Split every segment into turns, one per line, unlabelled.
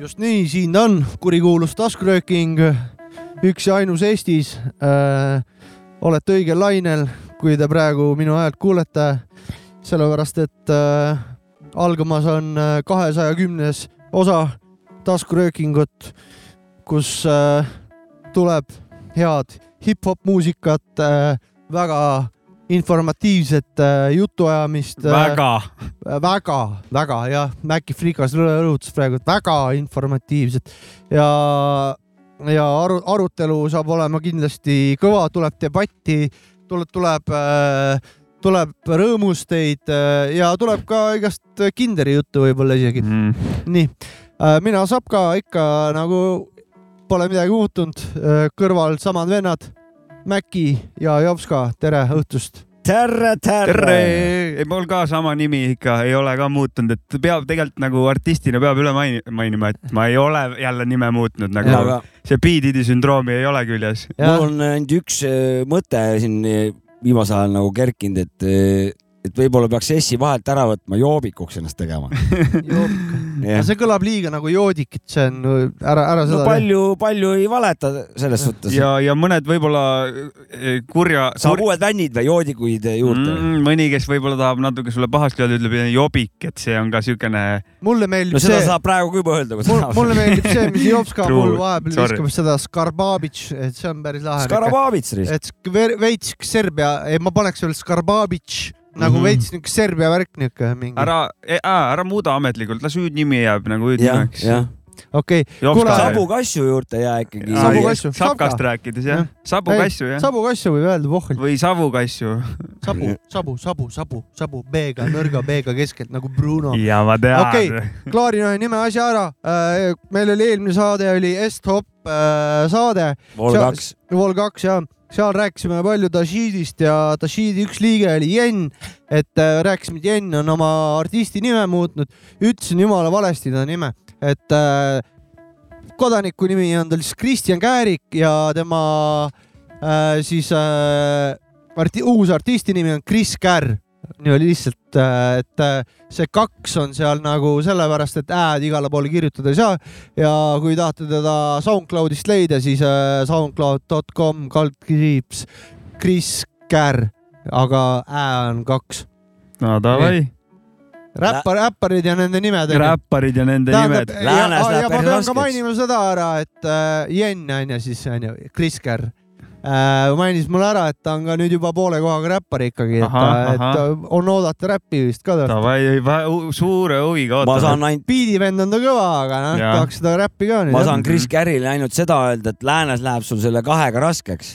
just nii , siin ta on , kurikuulus taskurööking , üks ja ainus Eestis äh, . olete õigel lainel , kui te praegu minu häält kuulete , sellepärast et äh, algamas on kahesaja kümnes osa taskuröökingut , kus äh, tuleb head hip-hop muusikat äh, , väga informatiivset äh, jutuajamist äh,
väga .
väga , väga jah , Maci Frikas rõõ- rõhutas praegu , et väga informatiivsed ja , ja aru, arutelu saab olema kindlasti kõva , tuleb debatti , tuleb , tuleb , tuleb rõõmusteid äh, ja tuleb ka igast kinderi juttu võib-olla isegi .
Mm.
Mm.
nii , mina Sapka ikka nagu pole midagi muutunud , kõrval samad vennad , Maci ja Jopska , tere õhtust
tere ,
tere
tere !
ei , mul ka sama nimi ikka ei ole ka muutunud , et peab tegelikult nagu artistina peab üle maini- mainima , et ma ei ole jälle nime muutnud
Jaa,
nagu
aga- .
see Beatidi sündroomi ei ole küljes .
mul on ainult üks äh, mõte siin äh, viimasel ajal nagu kerkinud , et , et võib-olla peaks S-i vahelt ära võtma , joobikuks ennast tegema .
aga see kõlab liiga nagu joodik , et see on ära , ära
no
seda
palju , palju ei valeta selles suhtes .
ja , ja mõned võib-olla eh, kurja .
saab uued vännid või joodikuid juurde mm. .
Mm, mõni , kes võib-olla tahab natuke sulle pahasti öelda , ütleb eh, jobik , et see on ka siukene .
teha. mulle meeldib
no seda
see
see... , saab praegu ka juba öelda , kui
mul , mulle
tahab .
meeldib see , mis Jopska
True,
mul vahepeal
sorry.
viskab seda Skarbabitš , et see on päris lahe .
Skarababits rist .
et sk- ve- veits Serbia , ei ma paneks veel Skarbabitš nagu
Mhm.
veits niuke Serbia värk niuke mingi .
ära , ära muuda ametlikult , las hüüdnimi jääb nagu
jah ,
hüüdnimeks .
jah .
okei , Kuule,
sabu kassu juurde ja ikkagi .
Ai,
Sabu kassu.
sapkast
Sapka.
rääkides jah
Jah. ,
sabu
Ei,
kassu jah ,
sabu kassu võib öelda vohvel ,
või savu kassu .
sabu , sabu , sabu , sabu , sabu B-ga , nõrga B-ga keskelt nagu Bruno .
ja ma tean
Okei. klaarin ühe nime asja ära . meil oli eelmine saade oli Est-Hop äh, saade
vol
Sa-
kaks .
Vol kaks ja seal rääkisime palju Dashiidist ja Dashiidi üks liige oli Jen , et äh, rääkisime , et Jen on oma artisti nime muutnud , ütlesin jumala valesti ta nime , et äh, kodaniku nimi on tal siis Kristjan Käärik ja tema äh, siis äh, arti, uus artisti nimi on Kris Kärr . nii oli lihtsalt , et äh, see kaks on seal nagu sellepärast , et ä-d igale poole kirjutada ei saa ja kui tahate teda SoundCloudist leida , siis äh, soundcloud.com kaldkriips Kris Kär , aga ä on kaks .
no davai ,
räppar , räpparid ja nende nimed .
räpparid ja nende nimed .
ja, ja,
Läänes
ja ma
läheb päris
pean ka
raskeks.
mainima seda ära , et äh, Jen on ju siis on ju , Kris Kär äh, mainis mulle ära , et ta on ka nüüd juba poole kohaga räppar ikkagi , et,
Ahah,
et äh, on oodata räppi vist ka tal .
davai , suure huviga
ma
ootame .
saan ainult ,
biidivend on ta kõva , aga noh ,
Jaa.
tahaks seda räppi ka nüüd .
ma saan
Mhm.
Kris Kärile ainult seda öelda , et läänes läheb sul selle kahega raskeks .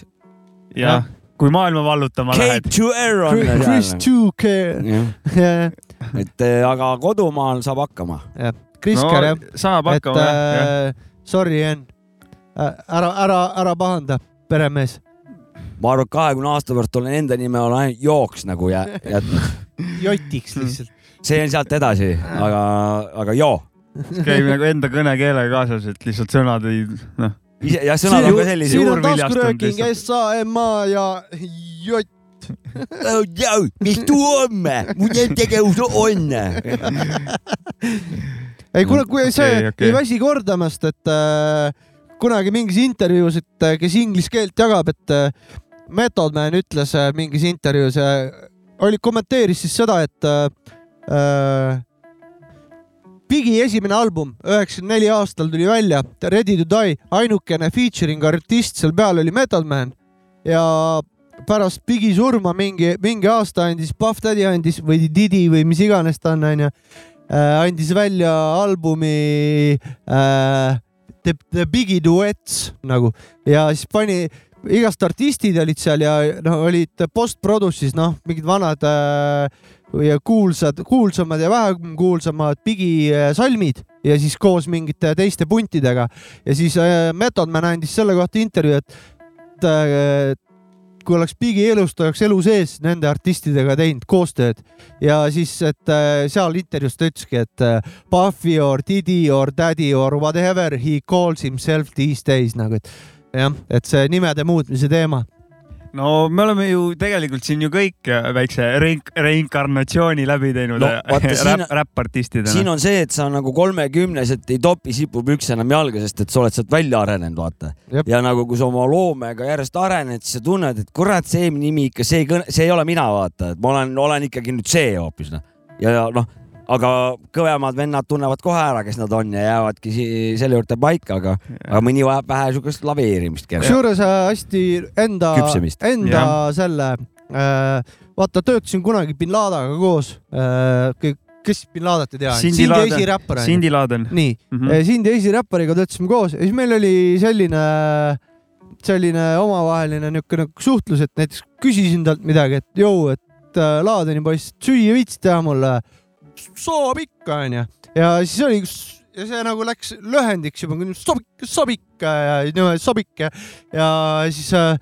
jah , kui maailma vallutama lähed
Cape . to air on .
Kris Two Care , jah .
et eh, aga kodumaal saab hakkama .
jah , Krisker jah ,
saab
et
hakkama jah , jah .
äh, sorry , Enn , ära , ära , ära pahanda , peremees .
ma arvan , et kahekümne aasta pärast olen enda nime olen ainult jooks nagu jä- jätnud .
jotiks lihtsalt .
see on sealt edasi , aga , aga joo .
käib nagu enda kõnekeelega kaasas , et lihtsalt sõnad ei , noh .
ise , jah , sõnad on ka sellised
siin . on
juurviljast on
taskurööking
lihtsalt.
S-A-M-A ja jott .
mis tuu on , mu tegevus on .
ei kuule , kui see
Okei,
okay, ,
okei.
okay. ei väsi kordamast , et äh, kunagi mingis intervjuus , et äh, kes inglise keelt jagab , et äh, Method Man ütles äh, mingis intervjuus äh, , oli , kommenteeris siis seda , et äh, äh, Bigi esimene album üheksakümne neli aastal tuli välja , Ready to die , ainukene featuring artist seal peal oli Method Man ja pärast Bigi surma mingi , mingi aasta andis , Puff Daddy andis või Didi või mis iganes ta on , onju , Äh, andis välja albumi äh, The, The Bigi Duets nagu ja siis pani , igast artistid olid seal ja noh , olid post-produce'is noh , mingid vanad äh, ja kuulsad , kuulsamad ja vähem kuulsamad Bigi äh, salmid ja siis koos mingite teiste puntidega ja siis äh, Method Man andis selle kohta intervjuu , et et, äh, et kui oleks Bigi elust , oleks elu sees nende artistidega teinud koostööd ja siis , et äh, seal intervjuus ta ütleski , et äh, Puffy or Diddy or Daddy or whatever he calls himself these days nagu , et jah , et see nimede muutmise teema .
no me oleme ju tegelikult siin ju kõik äh, väikse reink- , reinkarnatsiooni läbi teinud
No,
no,
vaata, siin-
räpp , räppartistidena
siin . on see , et sa nagu kolmekümneselt ei topi sipupükse enam jalga , sest et sa oled sealt välja arenenud , vaata
Jep. .
ja nagu , kui sa oma loomega järjest arened , siis sa tunned , et kurat , see nimi ikka , see ei kõne , see ei ole mina , vaata , et ma olen , olen ikkagi nüüd see hoopis noh . ja , ja noh , aga kõvemad vennad tunnevad kohe ära , kes nad on ja jäävadki si- selle juurde paika , aga , aga mõni vajab vähe siukest laveerimist .
kusjuures äh, hästi enda
Küpsemist. ,
enda
Jah.
selle äh, , vaata , töötasin kunagi bin Ladaga koos äh, . kes bin Ladat ei tea ?
Cindy Laden.
esiräppar on ju .
Cindy Laden .
nii mm ,
Mhm.
-hmm. siin teisi räppariga töötasime koos ja siis meil oli selline , selline omavaheline niisugune nagu suhtlus , et näiteks küsisin talt midagi , et jõu , et äh, Laadeni poiss , süüa viitsid teha mulle ? saab ikka , onju . ja siis oli , ja see nagu läks lühendiks juba , saab ikka , saab ikka ja niimoodi saab ikka ja siis äh,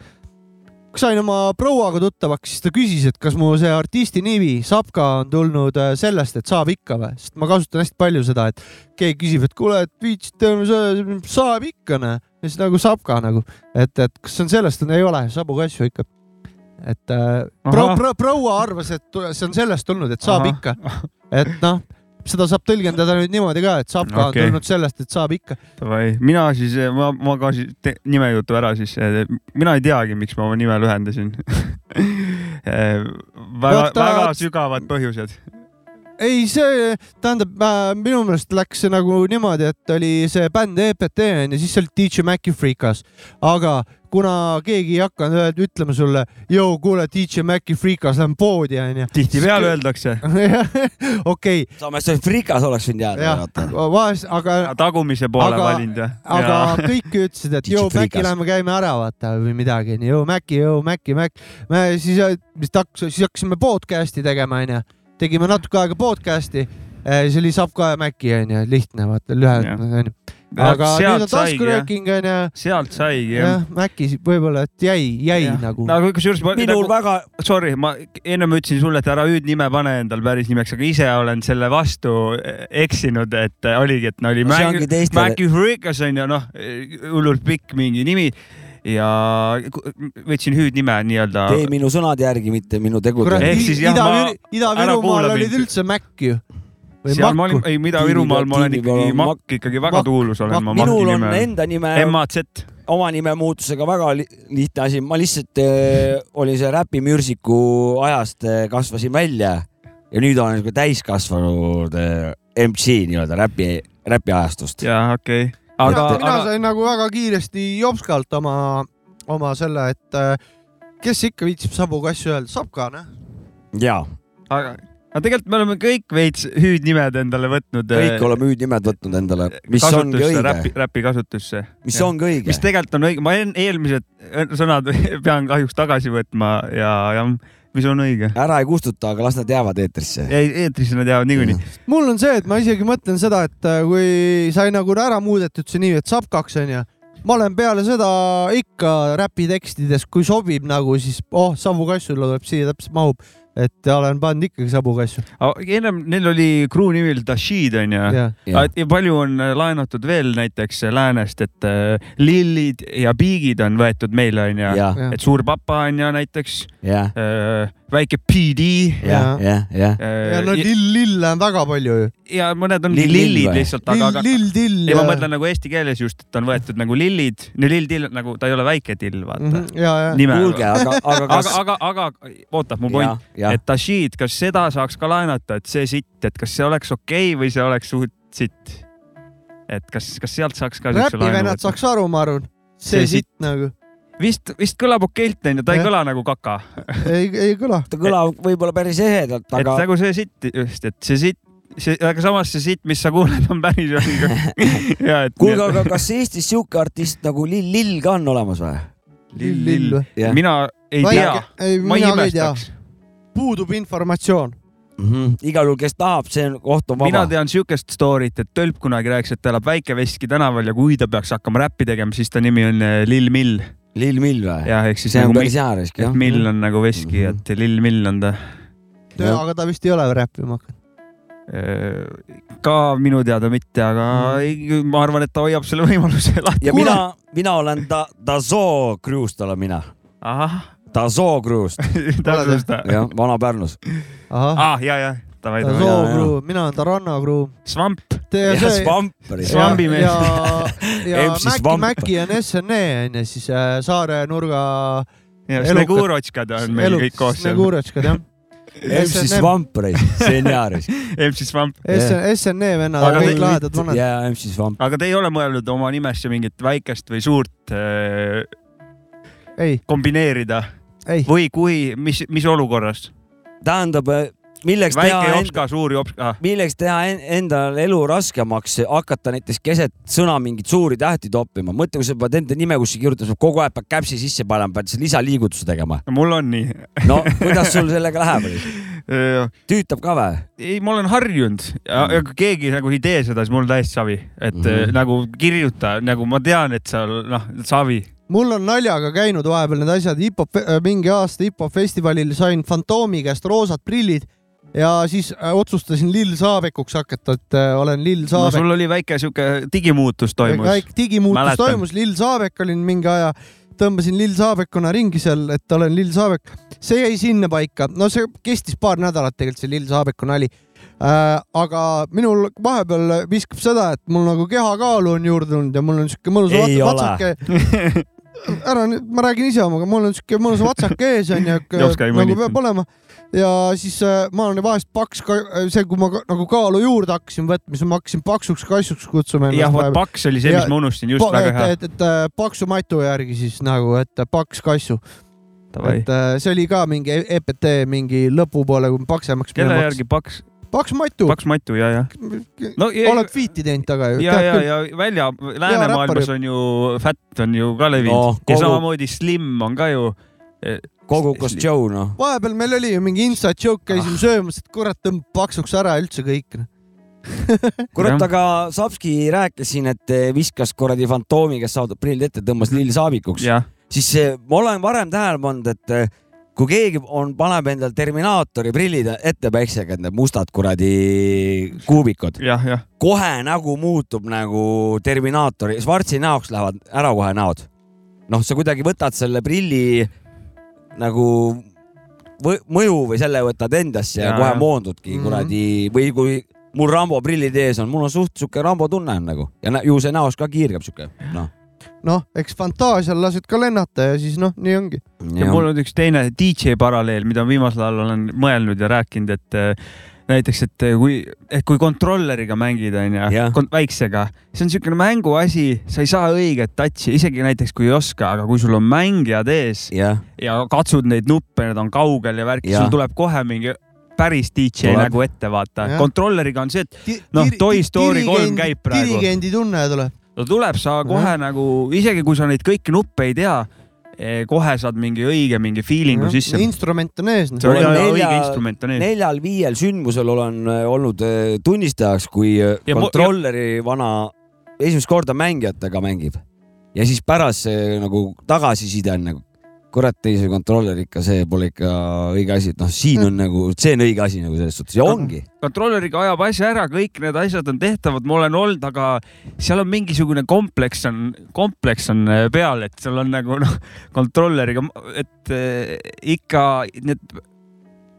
kui sain oma prouaga tuttavaks , siis ta küsis , et kas mu see artisti nimi Sapka on tulnud äh, sellest , et saab ikka või , sest ma kasutan hästi palju seda , et keegi küsib , et kuule , et viitsid teeme seda , saab ikka noh , ja siis nagu Sapka nagu , et , et kas see on sellest , ei ole , sabu ka asju ikka . et äh, prou- , prou- , proua arvas , et tu- see on sellest tulnud , et
Ahah.
saab Aha. ikka , et noh , seda saab tõlgendada nüüd niimoodi ka , et Sapka okay.
Okei.
on tulnud sellest , et saab ikka .
Davai , mina siis , ma , ma ka siis te- nime jutu ära siis , mina ei teagi , miks ma oma nime lühendasin Äh, väga ,
Vaata-
väga sügavad põhjused .
ei , see tähendab , minu meelest läks see nagu niimoodi , et oli see bänd E EPT onju , siis oli DJ Maci Freekas , aga kuna keegi ei hakanud öel- ütlema sulle , joo , kuule , DJ Maci Freekas , lähme poodi onju .
tihtipeale öeldakse ,
okei ,
samas see frikas oleks võinud jääda ,
jah ,
vaata .
vahest , aga ,
tagumise poole
Aga-
valinud jah .
aga kõik ütlesid , et
DJ
joo , Maci ,
Freekas.
lähme käime ära , vaata või midagi onju , joo , Maci , joo , Maci , Mac . me siis , siis hakkas , siis hakkasime podcast'i tegema onju , tegime natuke aega podcast'i , siis oli Sapka ja Maci onju , lihtne vaata , lühend onju . aga nüüd
sealt
on
saigi jah ,
taskurööking onju ,
sealt saigi jah .
jah , Maci si- võib-olla , et jäi , jäi ja. nagu .
aga kusjuures ma
minul
nagu, ,
väga ,
sorry , ma ennem ütlesin sulle , et ära hüüdnime pane endal päris nimeks , aga ise olen selle vastu eh, eksinud , et eh, oligi , et no oli
No see ongi teistele-
Mägi Freekas on ju noh , hullult pikk mingi nimi ja ku- võtsin hüüdnime nii-öelda .
tee minu sõnade järgi , mitte minu tegude
kurat
järgi .
Ehk siis jah,
Ida-Viru-
ma- , ära
Ida-Virumaal
kuula
olid
mind.
üldse Mac ju . või
seal ma olin
Maku ,.
ei , Ida-Virumaal ma olen
Tiimi peal
ikkagi
on
Makk , ikkagi väga
Makk-
tuulus olen ma Maki
minul on
nime all .
enda nime ,
MAZ ,
oma nime muutusega väga li lihtne asi , ma lihtsalt äh, olin see räpimürsiku ajast äh, kasvasin välja ja nüüd olen niisugune täiskasvanud äh, MC nii-öelda räpi , räpiajastust .
jaa , okei okay. .
mina
aga ,
mina
aga
sain nagu väga kiiresti jopskalt oma , oma selle , et äh, kes ikka viitsib sabuga asju öelda , saab ka noh .
ja
aga , aga tegelikult me oleme kõik veits hüüdnimed endale võtnud . eh,
kõik oleme hüüdnimed võtnud endale , mis ongi õige
räpi , räpi kasutusse .
mis
jah.
ongi õige
mis . tegelikult on õige , ma en- eelmised äh, sõnad pean kahjuks tagasi võtma ja , ja mis on õige .
ära ei kustuta , aga las nad jäävad eetrisse .
ei , eetrisse nad jäävad niikuinii .
mul on see , et ma isegi mõtlen seda , et äh, kui sai nagu ära muudetud see nimi , et saab kaks onju , ma olen peale seda ikka räpi tekstides , kui sobib nagu siis , oh , Sabu Kassu tuleb siia , täpselt mahub , et olen pannud ikkagi Sabu Kassu .
ennem neil oli crew nimel Dashid onju .
jah ,
ja palju on äh, laenatud veel näiteks läänest , et äh, lillid ja piigid on võetud meile onju .
jah ,
jah ,
Ah. et suur papa onju näiteks ,
jah ,
väike PD
jah , jah , jah .
äh,
ja no
ja-
lill , lille on väga palju ju .
ja mõned ongi
Lill- lill
lillid
või?
lihtsalt , aga ,
lill ,
aga
lill , till .
ei , ma mõtlen nagu eesti keeles just , et on võetud nagu lillid , no lilltill nagu ta ei ole väike till , vaata mm . -hmm.
Mhm, ja , ja .
nime .
kuulge , aga , aga
aga ,
kas .
aga , aga oota , mu point ,. et Dashid , kas seda saaks ka laenata , et see sitt , et kas see oleks okei okay või see oleks suht sitt ? et kas , kas sealt saaks ka siukse laenu
räpivennad
võtta ?
saaks aru , ma arvan . see
See sitt.
sitt nagu ,
vist , vist kõlab okeilt onju , ta ei
Jah.
kõla nagu kaka ,
ei , ei kõla .
ta kõlab võib-olla päris ehedalt ,
et
aga
nagu see sitt just , et see sitt , see , aga samas see sitt , mis sa kuuled , on päris õige . ja et .
kuulge , aga kas Eestis sihuke artist nagu Lill Lill ka on olemas või ?
lill , lill ,
või ?
mina ei tea ,
ei ,
ma ei
mina ka ei tea .
imestaks .
puudub informatsioon .
Mhm. igal juhul , kes tahab , see on- koht on
mina
vaba .
tean siukest story't , et Tölp kunagi rääkis , et ta elab Väike-Veski tänaval ja kui ta peaks hakkama räppi tegema , siis ta nimi on äh, Lill Mill .
Lil Mill või ?
jah , ehk siis
see on
nagu
päris hea risk
et
jah . Mhm.
mill on nagu veski , et lill mill on ta .
Jah.
aga ta vist ei ole räppima hakanud .
Äh, ka minu teada mitte , aga ei- ma arvan , et ta hoiab selle võimaluse lahti .
Mhm. ja mina , mina olen da- , Dazoo Crew'st olen mina .
ahah ,
Dazoo Crew'st ,
täpselt ta .
jah , Vana-Pärnus .
ahah ,
ah ja , ja , davai ,
ta
davai .
Soo
jaa.
Crew , mina olen ta Ranna Crew .
svamp ,
jah , Svamperis .
Svambi mees.
ja , ja
MC
Mäki ,
Svamp.
Mäki on SNE onju , siis äh, Saare nurga
Snegurotškad on meil kõik koos seal .
Snegurotškad jah . E,
MC Svamperis , see on hea risk .
MC Svamp ,
SNE E vennad
Aga
on kõik
te-
lahedad vanad .
jaa , MC Svamp .
aga te ei ole mõelnud oma nimesse mingit väikest või suurt eh,
ei ,
kombineerida
ei ,
või kui , mis , mis olukorras ?
tähendab , milleks teha
väike
enda ,
jopska , suur
Ah.
jopska ,
milleks teha en- endal elu raskemaks , hakata näiteks keset sõna mingeid suuri tähti toppima . mõtle , kui sa pead enda nime kuskile kirjutama , sa kogu aeg pead käpsi sisse panema , pead siis lisaliigutuse tegema .
mul on nii .
no kuidas sul sellega läheb ? tüütab ka või ?
ei , ma olen harjunud ja ja kui keegi nagu ei tee seda , siis mul on täiesti savi , et mm
Mhm.
-hmm. nagu kirjuta , nagu ma tean , et sa noh , savi .
mul on naljaga käinud vahepeal need asjad , hip-hop , äh, mingi aasta hip-hop festivalil sain Fantoomi käest roosad prillid ja siis äh, otsustasin Lill Saavikuks hakata , et äh, olen Lill
no
Saavik .
sul oli väike sihuke digimuutus toimus .
väike digimuutus
Mäletan.
toimus , Lill Saavek olin mingi aja , tõmbasin Lill Saavekuna ringi seal , et olen Lill Saavek . see jäi sinnapaika , no see kestis paar nädalat tegelikult see Lill Saaveku nali äh, . aga minul vahepeal viskab seda , et mul nagu kehakaalu on juurde tulnud ja mul on siuke mõnus
Ei
vats-
ole.
vatsake . ära nüüd , ma räägin ise omaga , mul on siuke mõnus vatsake ees onju
Jopska ei
nagu
mõnitanud.
peab olema ja siis äh, ma olen vahest paks , see , kui ma ka, nagu kaalu juurde hakkasin võtma , siis ma hakkasin paksuks kassuks kutsuma ennast
jah , vot
vahepeal.
paks oli see , mis
Ja-
ma unustasin , just
Pa-
väga hea .
et , et, et äh, paksu matu järgi siis nagu , et äh, paks kassu ,
Davai
et , äh, see oli ka mingi E- EPT mingi lõpupoole , kui ma paksemaks
kelle järgi paks ,
paks matu ,
paks matu ja , ja . no ja ,
oled feat'i teinud taga ju .
ja , ja , ja välja läänemaailmas
räppar
on ju , Fat on ju ka levinud
Oh,
no
ja
kogu ,
samamoodi Slim on ka ju .
kogukas Joe noh .
vahepeal meil oli ju mingi inside joke , käisime ah. söömas , et kurat tõmbab paksuks ära üldse kõik .
kurat ,
Jah.
aga Sapski rääkis siin , et viskas kuradi fantoomi , kes saadab prillid ette , tõmbas lill saabikuks .
jah ,
siis eh, ma olen varem tähele pannud , et eh, kui keegi on , paneb endal Terminaatori prillid ette päiksega , need mustad kuradi kuubikud ,
jah , jah .
kohe nägu muutub nagu Terminaatori , Schwarzi näoks lähevad ära kohe näod . noh , sa kuidagi võtad selle prilli nagu võ- mõju või selle võtad endasse ja,
Jaa,
ja kohe
jah.
moondudki
Mhm.
kuradi või kui mul Rambo prillid ees on , mul on suht siuke Rambo tunne on nagu ja nä- ju see näos ka kiirgab siuke noh .
noh , eks fantaasial lased ka lennata ja siis noh , nii ongi .
ja mul on üks teine DJ paralleel , mida ma viimasel ajal olen mõelnud ja rääkinud , et äh, näiteks , et äh, kui , et kui kontrolleriga mängid , onju
Jah. ,
väiksega , see on niisugune mänguasi , sa ei saa õiget touch'i , isegi näiteks kui ei oska , aga kui sul on mängijad ees
jah ,
ja katsud neid nuppe , need on kaugel ja värki ,
Jah.
sul tuleb kohe mingi päris DJ
Tuleb.
nägu ette , vaata
Jah. .
kontrolleriga on see , et Noh, Toy Story kolm käib praegu.
dirigendi tunne tuleb .
ta tuleb , sa kohe
Jah.
nagu , isegi kui sa neid kõiki nuppe ei tea , kohe saad mingi õige mingi feeling'u sisse .
instrument on ees . noh.
see on
Mul on
jaa, jaa,
nelja-
õige instrument on ees .
neljal-viiel sündmusel olen äh, olnud äh, tunnistajaks , kui äh,
Ja mu-
kontrolleri vana esimest korda mängijatega mängib ja siis pärast see nagu tagasiside on nagu kurat , ei see kontroller ikka , see pole ikka õige asi , et noh , siin on nagu , see on õige asi nagu selles suhtes ja ongi .
kontrolleriga ajab asja ära , kõik need asjad on tehtavad , ma olen olnud , aga seal on mingisugune kompleks on , kompleks on äh, peal , et seal on nagu noh , kontrolleriga , et eh, ikka need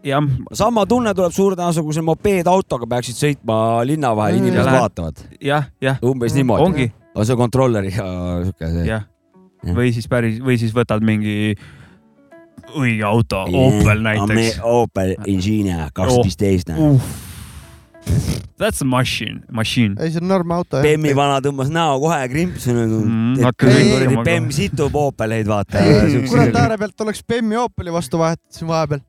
jah ,
sama tunne tuleb suure tõenäosusega , kui sa mopeedautoga peaksid sõitma linna vahel ,
Mm.
inimesed
Ja lähed-
vaatavad
jah , jah ,
umbes niimoodi .
Mm, ongi
on see kontrolleri ja siuke see .
jah . või siis päris või siis võtad mingi õige auto , Opel näiteks .
Opel Ingenia kaks
Oh.
viisteist .
That's a machine , machine .
ei , see on norm auto .
Bemmi vana tõmbas näo kohe krimpsu nagu
Mm,
et
hakkas
kuradi
hingama
Bemm
kohe.
situb Opeleid vaata .
Ei, kurat , äärepealt oleks Bemmi Opeli vastu vahetasin vahepeal .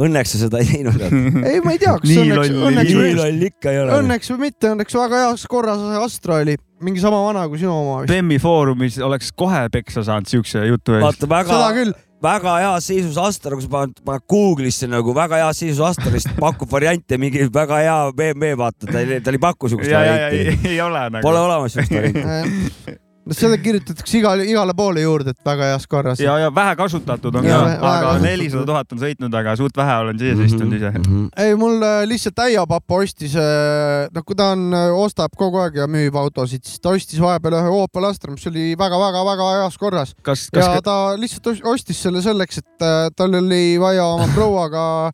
õnneks sa seda ei teinud .
ei , ma ei tea , kas
Nii
õnneks ,
loll oli
õnneks või
nii loll ikka ei ole .
õnneks või mitte , õnneks väga heas korras Astra oli , mingi sama vana kui sinu oma vist .
Bemmi foorumis oleks kohe peksa saanud siukse jutu eest .
vaata väga
seda , küll ,
väga heas seisus Astor , kui sa paned , paned Google'isse nagu väga heas seisus Astorist pakub variante mingi väga hea BMW , vaata ta ei , ta ei paku siukest
ja , ja , ja
varianti .
ei ole nagu .
Pole olemas siukest varianti .
Eh, no selle kirjutatakse igale , igale poole juurde , et väga heas korras .
ja , ja vähe kasutatud on
Ja
ka
vähe- , vähe
aga
kasutatud.
nelisada tuhat on sõitnud , aga suht vähe olen sees istunud
Mhm.
ise .
ei , mul äh, lihtsalt äiapapa ostis , noh , kui ta on , ostab kogu aeg ja müüb autosid , siis ta ostis vahepeal ühe Opel Astra , mis oli väga-väga-väga heas korras
kas , kas
ja ka... ta lihtsalt os- ostis selle selleks , et äh, tal oli vaja oma prouaga ,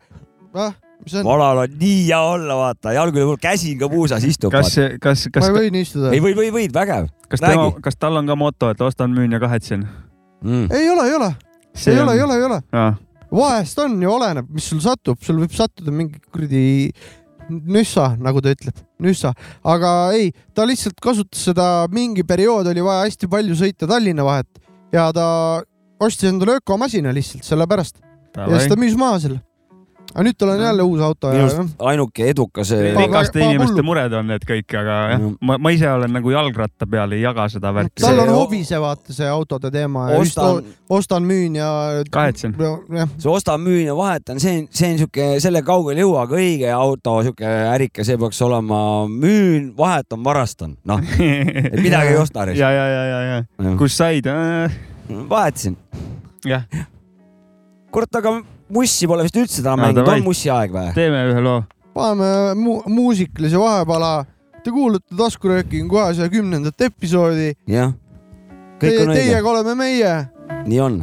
noh , mis see on ,
vanal on nii hea olla , vaata , jalgade puhul käsi ka puusas istub .
kas , kas ,
ma
kas
ei , võinud istuda
ei . või , või , võid , vägev
kas tema
räägi. ,
kas tal on ka moto , et ostan , müün ja kahetsen ?
mm. .
ei ole , ei ole , ei ole , ei ole , ei ole ,
ole .
vahest on ju , oleneb , mis sul satub , sul võib sattuda mingi kuradi nüssa , nagu ta ütleb , nüssa , aga ei , ta lihtsalt kasutas seda , mingi periood oli vaja hästi palju sõita Tallinna vahet ja ta ostis endale ökomasina lihtsalt sellepärast ja siis ta müüs maha selle . aga nüüd tal on jälle uus auto
minu
ja
arust ainuke edukas . eh,
Ma- ma-
rikaste
ma-
inimeste
hullu.
mured on need kõik , aga jah
Mm. ,
ma , ma ise olen nagu jalgratta peal , ei jaga seda värki .
tal on
See-
hobise vaata see autode teema ja just
ostan ,
ostan , müün ja .
kahetsen .
jah ,
see ostan-müün ja vahetan , see , see on siuke , selle kaugele ei jõua , aga õige auto siuke ärike , see peaks olema müün , vahetan , varastan , noh , et midagi ei osta
ja , ja , ja , ja , ja ,
arvesse .
kus said ?
vahetasin ,
jah ,
kurat , aga mussi pole vist üldse täna
No
mänginud ,
davai.
on mussi aeg või ?
teeme ühe loo .
paneme mu muusikalise vahepala . Te kuulate taskuröökingu kohe saja kümnendat episoodi
jah , kõik
Teie,
on õige ,
teiega oleme meie .
nii on .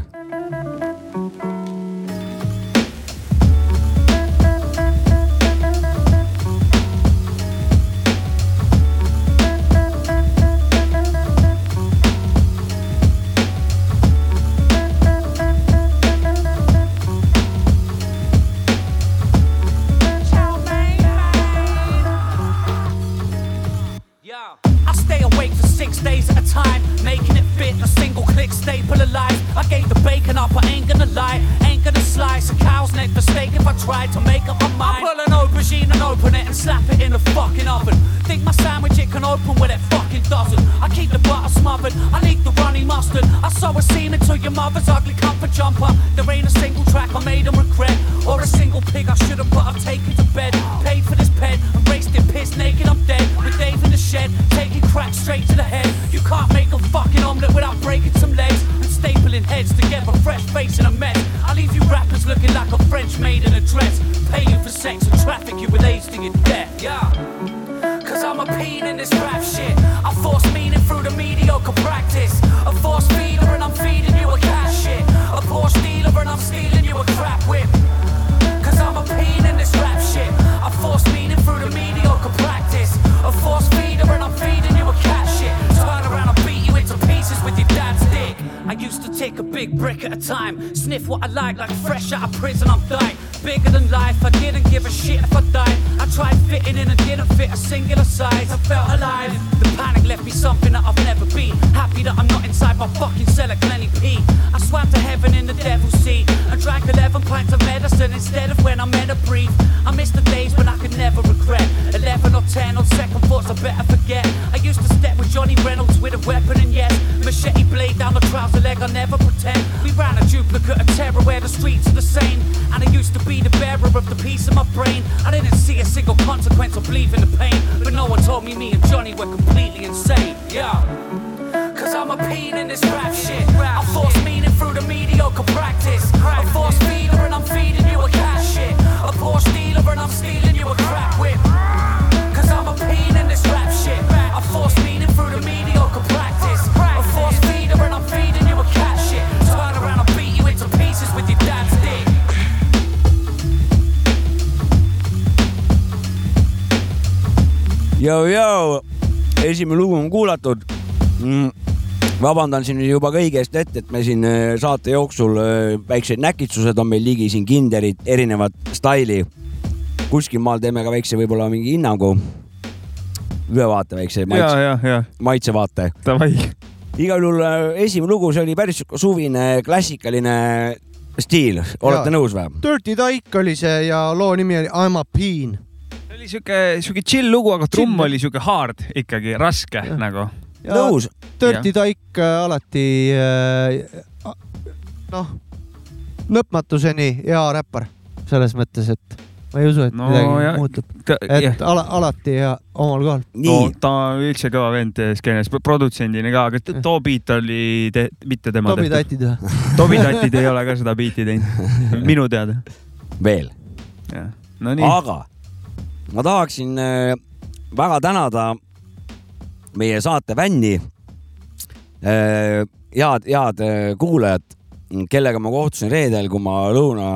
I stay awake for six days at a time, making it fit, a single click staple alive. I gave the bacon up, I ain't gonna lie, ain't gonna slice a cow's neck for steak if I tried to make up my mind. I pull an aubergine and open it and slap it in the fucking oven. Think my sandwich it can open with it fucking doesn't. I keep the butter smothered, I leave the runny mustard. I sow a seam into your mother's ugly comfort jumper. There ain't a single track I made them regret, or a single pig I shouldn't, but I've taken to bed. Paid for this pet, and raced it pissed naked, I'm dead. With Dave in the shed, taking crack straight to the head. You can't make a fucking omelette without breaking some legs and stapling heads together, fresh face in a mess. I leave you rappers looking like a French maid in a dress. Pay you for sex and traffic you with AIDS to your death. Yeah. Cause I'm a peen in this rap shit. I force meaning through the mediocre practice. A force feeder and I'm feeding you a cat shit. A Porsche dealer and I'm stealing you a crap whip. Cause I'm a peen in this rap shit. I force meaning through the mediocre practice. A force feeder and I'm feeding you a cat shit. Turn around, I'll beat you into pieces with your dad's dick. I used to take a big brick at a time. Sniff what I like, like fresh out of prison, I'm dying. Bigger than life, I didn't give a shit if I died. I tried fitting in and didn't fit a singular size. I felt alive. The panic left me something that I've never been. Happy that I'm not inside my fucking cell at Glenny P. I swam to heaven in the devil's seat. I drank 11 pints of medicine instead of when I meant to breathe. I miss the days when I could never regret. 11 or 10 on second thoughts, I better forget. I used to step with Johnny Reynolds with a weapon and yes, machete blade down the trouser leg, I never pretend. We ran a duplicate of terror where the streets are the same. And I used to be the bearer of the piece of my brain. I didn't see a single consequence of leaving the pain. But no one told me me and Johnny were completely insane. Yeah. Cause I'm a peen in this rap shit. I force meaning through the mediocre practice. A force feeder and I'm feeding you a cat shit. A Porsche dealer and I'm stealing you a crap whip. Cause I'm a peen in this rap shit. I force meaning through the mediocre practice. A force feeder and I'm feeding you a cat shit. Turn around, I'll beat you into pieces with your dad's dick.
Jõujõu , esimene lugu on kuulatud mm. . vabandan siin juba kõige eest ette , et me siin äh, saate jooksul äh, väiksed näkitsused on meil ligi siin kinderid , erinevat staili . kuskil maal teeme ka väikse võib-olla mingi hinnangu , ülevaate väikse
ja ,
maitse ,
ja , ja ,
maitsevaate .
davai .
igal juhul äh, esimene lugu , see oli päris sihuke suvine klassikaline stiil , olete
Jaa.
ja. nõus või ?
Dirty Dyke oli see ja loo nimi oli I m a peen .
see oli siuke , siuke chill lugu , aga trumm
Chill.
oli siuke hard ikkagi , raske ja. nagu .
nõus ,
Dirty Dyke äh, alati äh, a- noh , lõpmatuseni hea räppar selles mõttes , et ma ei usu , et
No
no, midagi
jah.
jah. muutub ,
jah
et , ala, alati ja omal kohal .
nii
no, , ta on üldse kõva vend eh, skeenes , produtsendina ka , aga t- too beat oli te, mitte tema
Tomi
tehtud .
tatid või ?
Tobi Tatid ei ole ka seda beat'i teinud , minu teada .
veel ,
no nii ,
aga ma tahaksin äh, väga tänada meie saate fänni , head , head äh, kuulajat , kellega ma kohtusin reedel , kui ma lõuna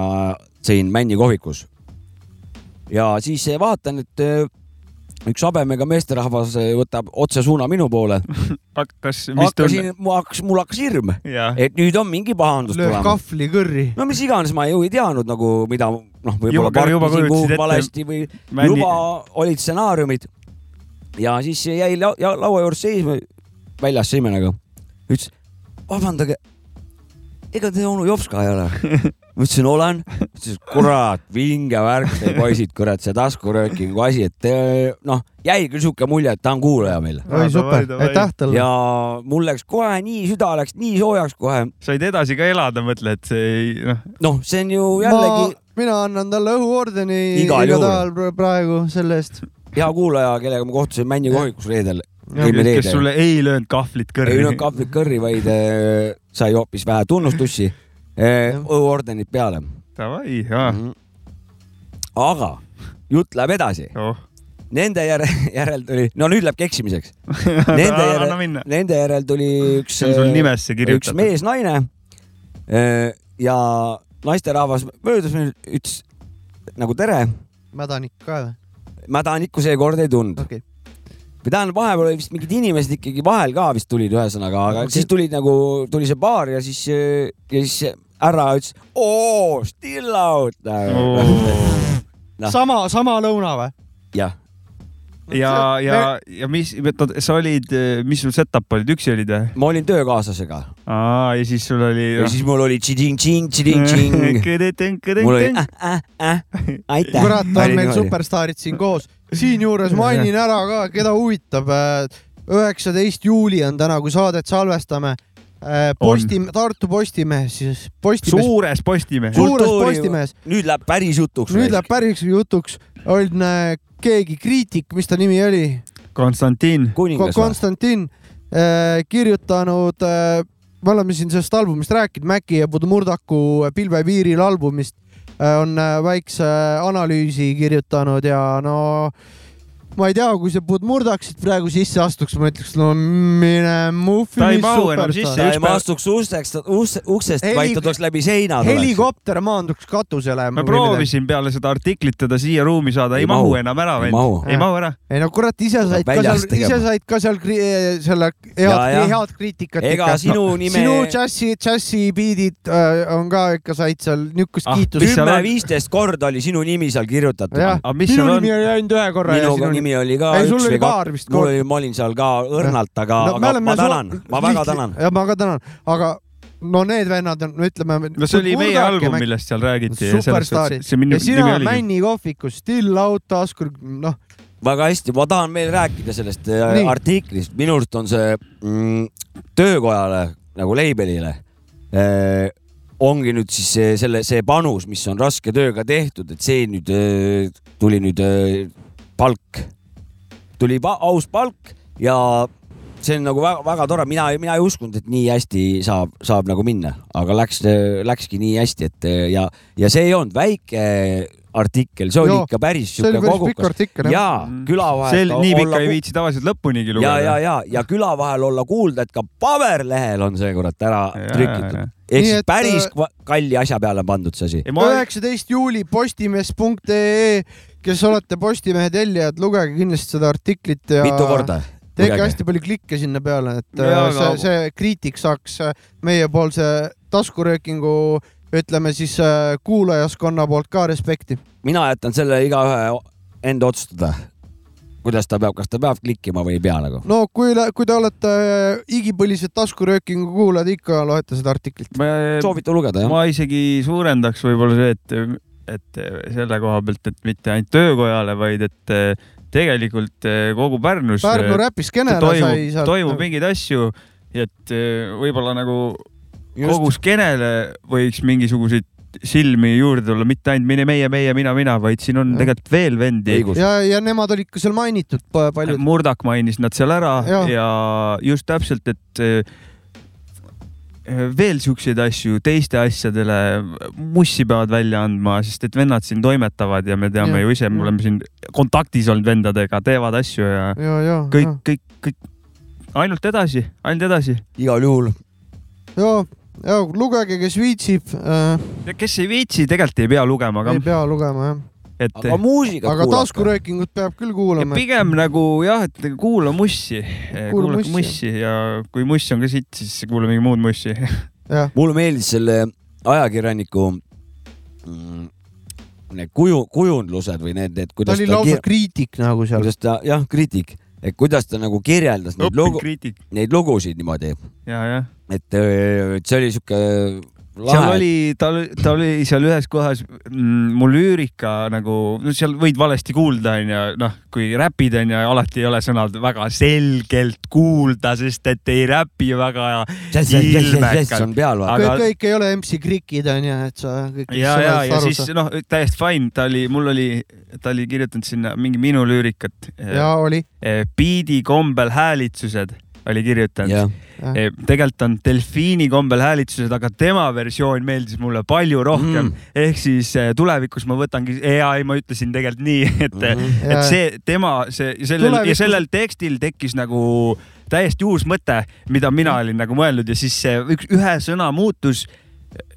sõin Männi kohvikus . ja siis äh, vaatan , et äh, üks habemega meesterahvas äh, võtab otse suuna minu poole .
hakkas , mis tunne ?
hakkasin , Eh, mul hakkas , mul hakkas hirm ,
jaa ,
et nüüd on mingi pahandus
lööb
tulemas .
kahvli kõrri .
no mis iganes , ma ju ei teadnud nagu , mida noh , võib-olla
Juba- juba
karpisin
kujutasid
kuhugi
ette.
valesti või
Männi-
juba olid stsenaariumid . ja siis jäi lau- ja laua juures seisma , väljas see inimene ka , ütles vabandage , ega te onu Jops ka ei ole ? ma ütlesin , olen . ütles , kurat , vinge värk , te poisid , kurat , see taskuröökingu asi , et te- noh , jäi küll sihuke mulje , et ta on kuulaja meil .
oi super , aitäh talle .
ja mul läks kohe nii , süda läks nii soojaks kohe .
said edasi ka elada , mõtle , et see ei , noh ,
noh , see on ju
ma
jällegi ,
mina annan talle õhuordeni
Igal
iga
juhul.
päeval pra- praegu selle eest .
hea kuulaja , kellega ma kohtusin Männi kohvikus reedel . eelmine
kes
reede .
sulle ei löönud kahvlit
ei
kõrvi
löönud . kaplit kõrri , vaid äh, sai hoopis vähe tunnustusi äh, , õhuordenid peale .
Davai , jaa ,
Mhm. aga jutt läheb edasi ,
oh .
nende järel , järel tuli , no nüüd läheb keksimiseks . Nende
anna
järel ,
minna .
nende järel tuli üks ,
see on sul nimesse
üks
kirjutatud .
mees-naine äh, ja naisterahvas möödus , ütles nagu tere ,
mädanik ka või ?
mädanikku seekord ei tundnud .
okei okay. ,
või tähendab , vahepeal olid vist mingid inimesed ikkagi vahel ka vist tulid , ühesõnaga , aga okay. siis tulid nagu , tuli see baar ja siis , ja siis härra ütles oo , still out
Oo.
nagu. . Noh.
sama , sama lõuna või ?
jah ,
ja , ja , ja mis , sa olid , mis sul set-up olid , üksi olid või ?
ma olin töökaaslasega
aa , ja siis sul oli . noh,
ja siis mul oli tšiding-tšing , tšiding-tšing , mul oli Ah,
oli .
äh-äh-äh , aitäh .
kurat , on meil . superstaarid siin koos . siinjuures mainin ära ka , keda huvitab . üheksateist juuli on täna , kui saadet salvestame . Posti , Tartu Postimehes , siis Postimees ,
suures Postimehes
Suur-
suures
Kultuuri-
Postimehes .
nüüd läheb päris jutuks .
nüüd läheb päris jutuks , on äh, keegi kriitik , mis ta nimi oli ,
Konstantin ,
kuningas või ?
Konstantin , kirjutanud , me oleme siin sellest albumist rääkinud , Mäki ja Budmurdaku Pilve piiril albumist äh, on äh, väikse analüüsi kirjutanud ja no ma ei tea , kui see Budmurdak siit praegu sisse astuks , ma ütleks , no mine
Ta ei
muffi .
mahu enam sisse.
ta
üks
ei
päev-
maastuks usteks , uksest ,
Heli-
vaid ta tuleks läbi seina .
helikopter maanduks katusele .
ma proovisin peale seda artiklit teda siia ruumi saada , ei
Ei
mahu
mahu.
enam ära
Ei
veel
mahu. ,
ei mahu ära .
ei no kurat , ise said ka
väljas
seal ,
tegema.
ise said ka seal kri- eh, selle
Ja, ja.
head , head kriitikat .
ega sinu nime
sinu džässi , džässibiidid äh, on ka ikka said seal niukest
Ah,
ah, kiitust
mis . seal on?
kümme-viisteist korda oli sinu nimi seal kirjutatud .
jah
Aga , mis
minu
seal on?
nimi oli ainult ühe korra ja
minuga
sinu nimi .
nimi oli ka
ei ,
üks
sul
või
oli
kaks .
paar vist
mul . oli , ma olin seal ka õrnalt , aga no, , aga ma tänan , ma väga tänan .
ja ma ka tänan , aga no need vennad on , ütleme .
no see oli meie album , millest seal räägiti .
superstaarid
see minu
ja
nimi
sina
oligi .
Männi kohvikus , Still Out Taskur , noh ,
väga hästi , ma tahan veel rääkida sellest äh,
Nii.
artiklist , minu arust on see mm, töökojale nagu label'ile äh, ongi nüüd siis see, selle , see panus , mis on raske tööga tehtud , et see nüüd äh, tuli nüüd äh, palk , tuli pa aus palk ja see on nagu väga-väga tore , mina , mina ei uskunud , et nii hästi saab , saab nagu minna , aga läks , läkski nii hästi , et äh, ja , ja see ei olnud väike artikkel , see oli
Joo,
ikka päris
see oli
sihuke
päris pikk
kogukas .
artikkel .
jaa , Mm. küla
Mm. see
vahel .
nii pikka ei . viitsi tavaliselt lõpunigi
ja , ja ,
lugeda .
ja , ja küla vahel olla kuulda , et ka paberlehel on see kurat ära
Jaa, jaa.
trükitud . ehk
Nii
siis
et,
päris
äh,
kva- kalli asja peale on pandud see asi .
ei ma ,
üheksateist juuli postimees.ee , kes olete Postimehe tellijad , lugege kindlasti seda artiklit ja .
mitu korda .
tehke hästi palju klikke sinna peale , et
Jaa,
ja, see
aga- ,
see kriitik saaks äh, meiepoolse taskuröökingu ütleme siis äh, kuulajaskonna poolt ka respekti .
mina jätan selle igaühe enda otsustada , kuidas ta peab , kas ta peab klikkima või ei pea nagu .
no kui , kui te olete äh, igipõlised taskuröökingu kuulajad , ikka loete seda artiklit .
ma ,
soovite lugeda jah ?
ma isegi suurendaks võib-olla see , et , et selle koha pealt , et mitte ainult töökojale , vaid et eh, tegelikult eh, kogu Pärnus .
Pärnu räpiskene sai
toimub ,
sealt .
toimub mingeid asju , äh, et eh, võib-olla nagu kogu skeenele võiks mingisuguseid silmi juurde tulla , mitte ainult mine meie , meie , mina , mina , vaid siin on
Jah.
tegelikult veel vendi .
õigus .
ja , ja nemad olid ka seal mainitud pa- paljud .
Murdak mainis nad seal ära ja,
Jaa.
ja just täpselt , et äh, veel siukseid asju teiste asjadele mussi peavad välja andma , sest et vennad siin toimetavad ja me teame
Jah.
ja. ju ise , me oleme siin kontaktis olnud vendadega , teevad asju ja
ja , ja ,
kõik , kõik , kõik ainult edasi , ainult edasi .
igal juhul
ja , ja lugege , kes viitsib äh, ,
kes ei viitsi , tegelikult ei pea lugema ka
ei , pea lugema jah ,
et
aga muusikat
aga
kuulata .
taskurääkingut peab küll
ja
kuulama .
pigem nagu jah , et kuula mussi , kuula
mussi.
mussi ja kui muss on ka sitt , siis kuula mingi muud mussi .
jah ,
mulle meeldis selle ajakirjaniku mm, need kuju , kujundlused või need , need ,
ta
kuidas
oli
ta,
lausa
kir-
kriitik nagu seal .
kuidas ta , jah , kriitik , et kuidas ta nagu kirjeldas neid
õppinud
lugu ,
kriitik
neid lugusid niimoodi ,
ja , jah .
et öö, et see oli siuke
seal
lahe ,
oli , tal , ta oli seal ühes kohas mm, mul lüürika nagu , no seal võid valesti kuulda , onju , noh , kui räpid onju , alati ei ole sõnad väga selgelt kuulda , sest et ei räpi väga ja ,
jess on peal vaata .
kõik
aga- ,
kõik ei ole MC Krikid onju , et sa kõik .
ja , ja , ja siis . noh , täiesti fine , ta oli , mul oli , ta oli kirjutanud sinna mingi minu lüürikat .
ja oli ,
biidi kombel häälitsused oli kirjutanud .
jah ,
Jah.
Eh, tegelikult on delfiini kombel häälitsused , aga tema versioon meeldis mulle palju rohkem
Mm.
mm. . ehk siis eh, tulevikus ma võtangi , ja ei , ma ütlesin tegelikult nii , et mm , -hmm.
Mhm. Jaa.
et see tema , see sellel tulevikus...
Tulevikus-
ja sellel tekstil tekkis nagu täiesti uus mõte , mida
Mm.
mina olin nagu mõelnud ja siis see üks , ühe sõna muutus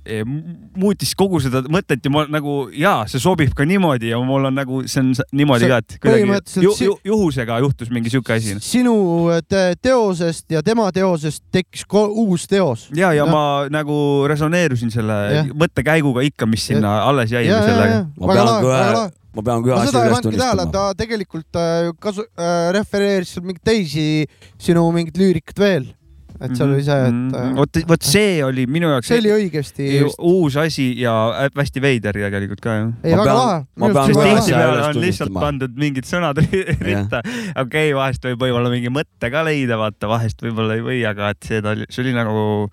eh, mu- muutis kogu seda mõtet ja ma nagu jaa , see sobib ka niimoodi ja mul on nagu see on s- niimoodi
See
ka , et
põhimõtteliselt
kuidagi ju,
si-
ju, juhusega juhtus mingi siuke asi .
sinu äh, te teosest ja tema teosest tekkis ko- uus teos .
ja , ja
Jah.
ma nagu resoneerusin selle
Jah.
mõttekäiguga ikka , mis sinna alles jäi
ja , ja , ja
sellega .
ma pean
väga lahe ,
ka
väga
ühe
lahe .,
ma pean ka ühe
ma
asja
seda ei
üles
pannudki tähele , ta
tunnistama .
tegelikult äh, kasu- , refereeris seal mingeid teisi sinu mingit lüürikat veel . et seal oli see , et äh,
Mhm, vot , vot see oli minu jaoks
see oli õigesti
ju-
just .
uus asi ja hästi veider tegelikult ka jah .
ei ,
ma
väga
pean-
lahe .
ma pean
sest
kohe
tihti
asja
peale
üles
on lihtsalt
tunnistama.
pandud mingid sõnad ri- ritta . okei , vahest võib võib-olla mingi mõtte ka leida , vaata vahest võib-olla ei või , aga et see ta oli , see oli nagu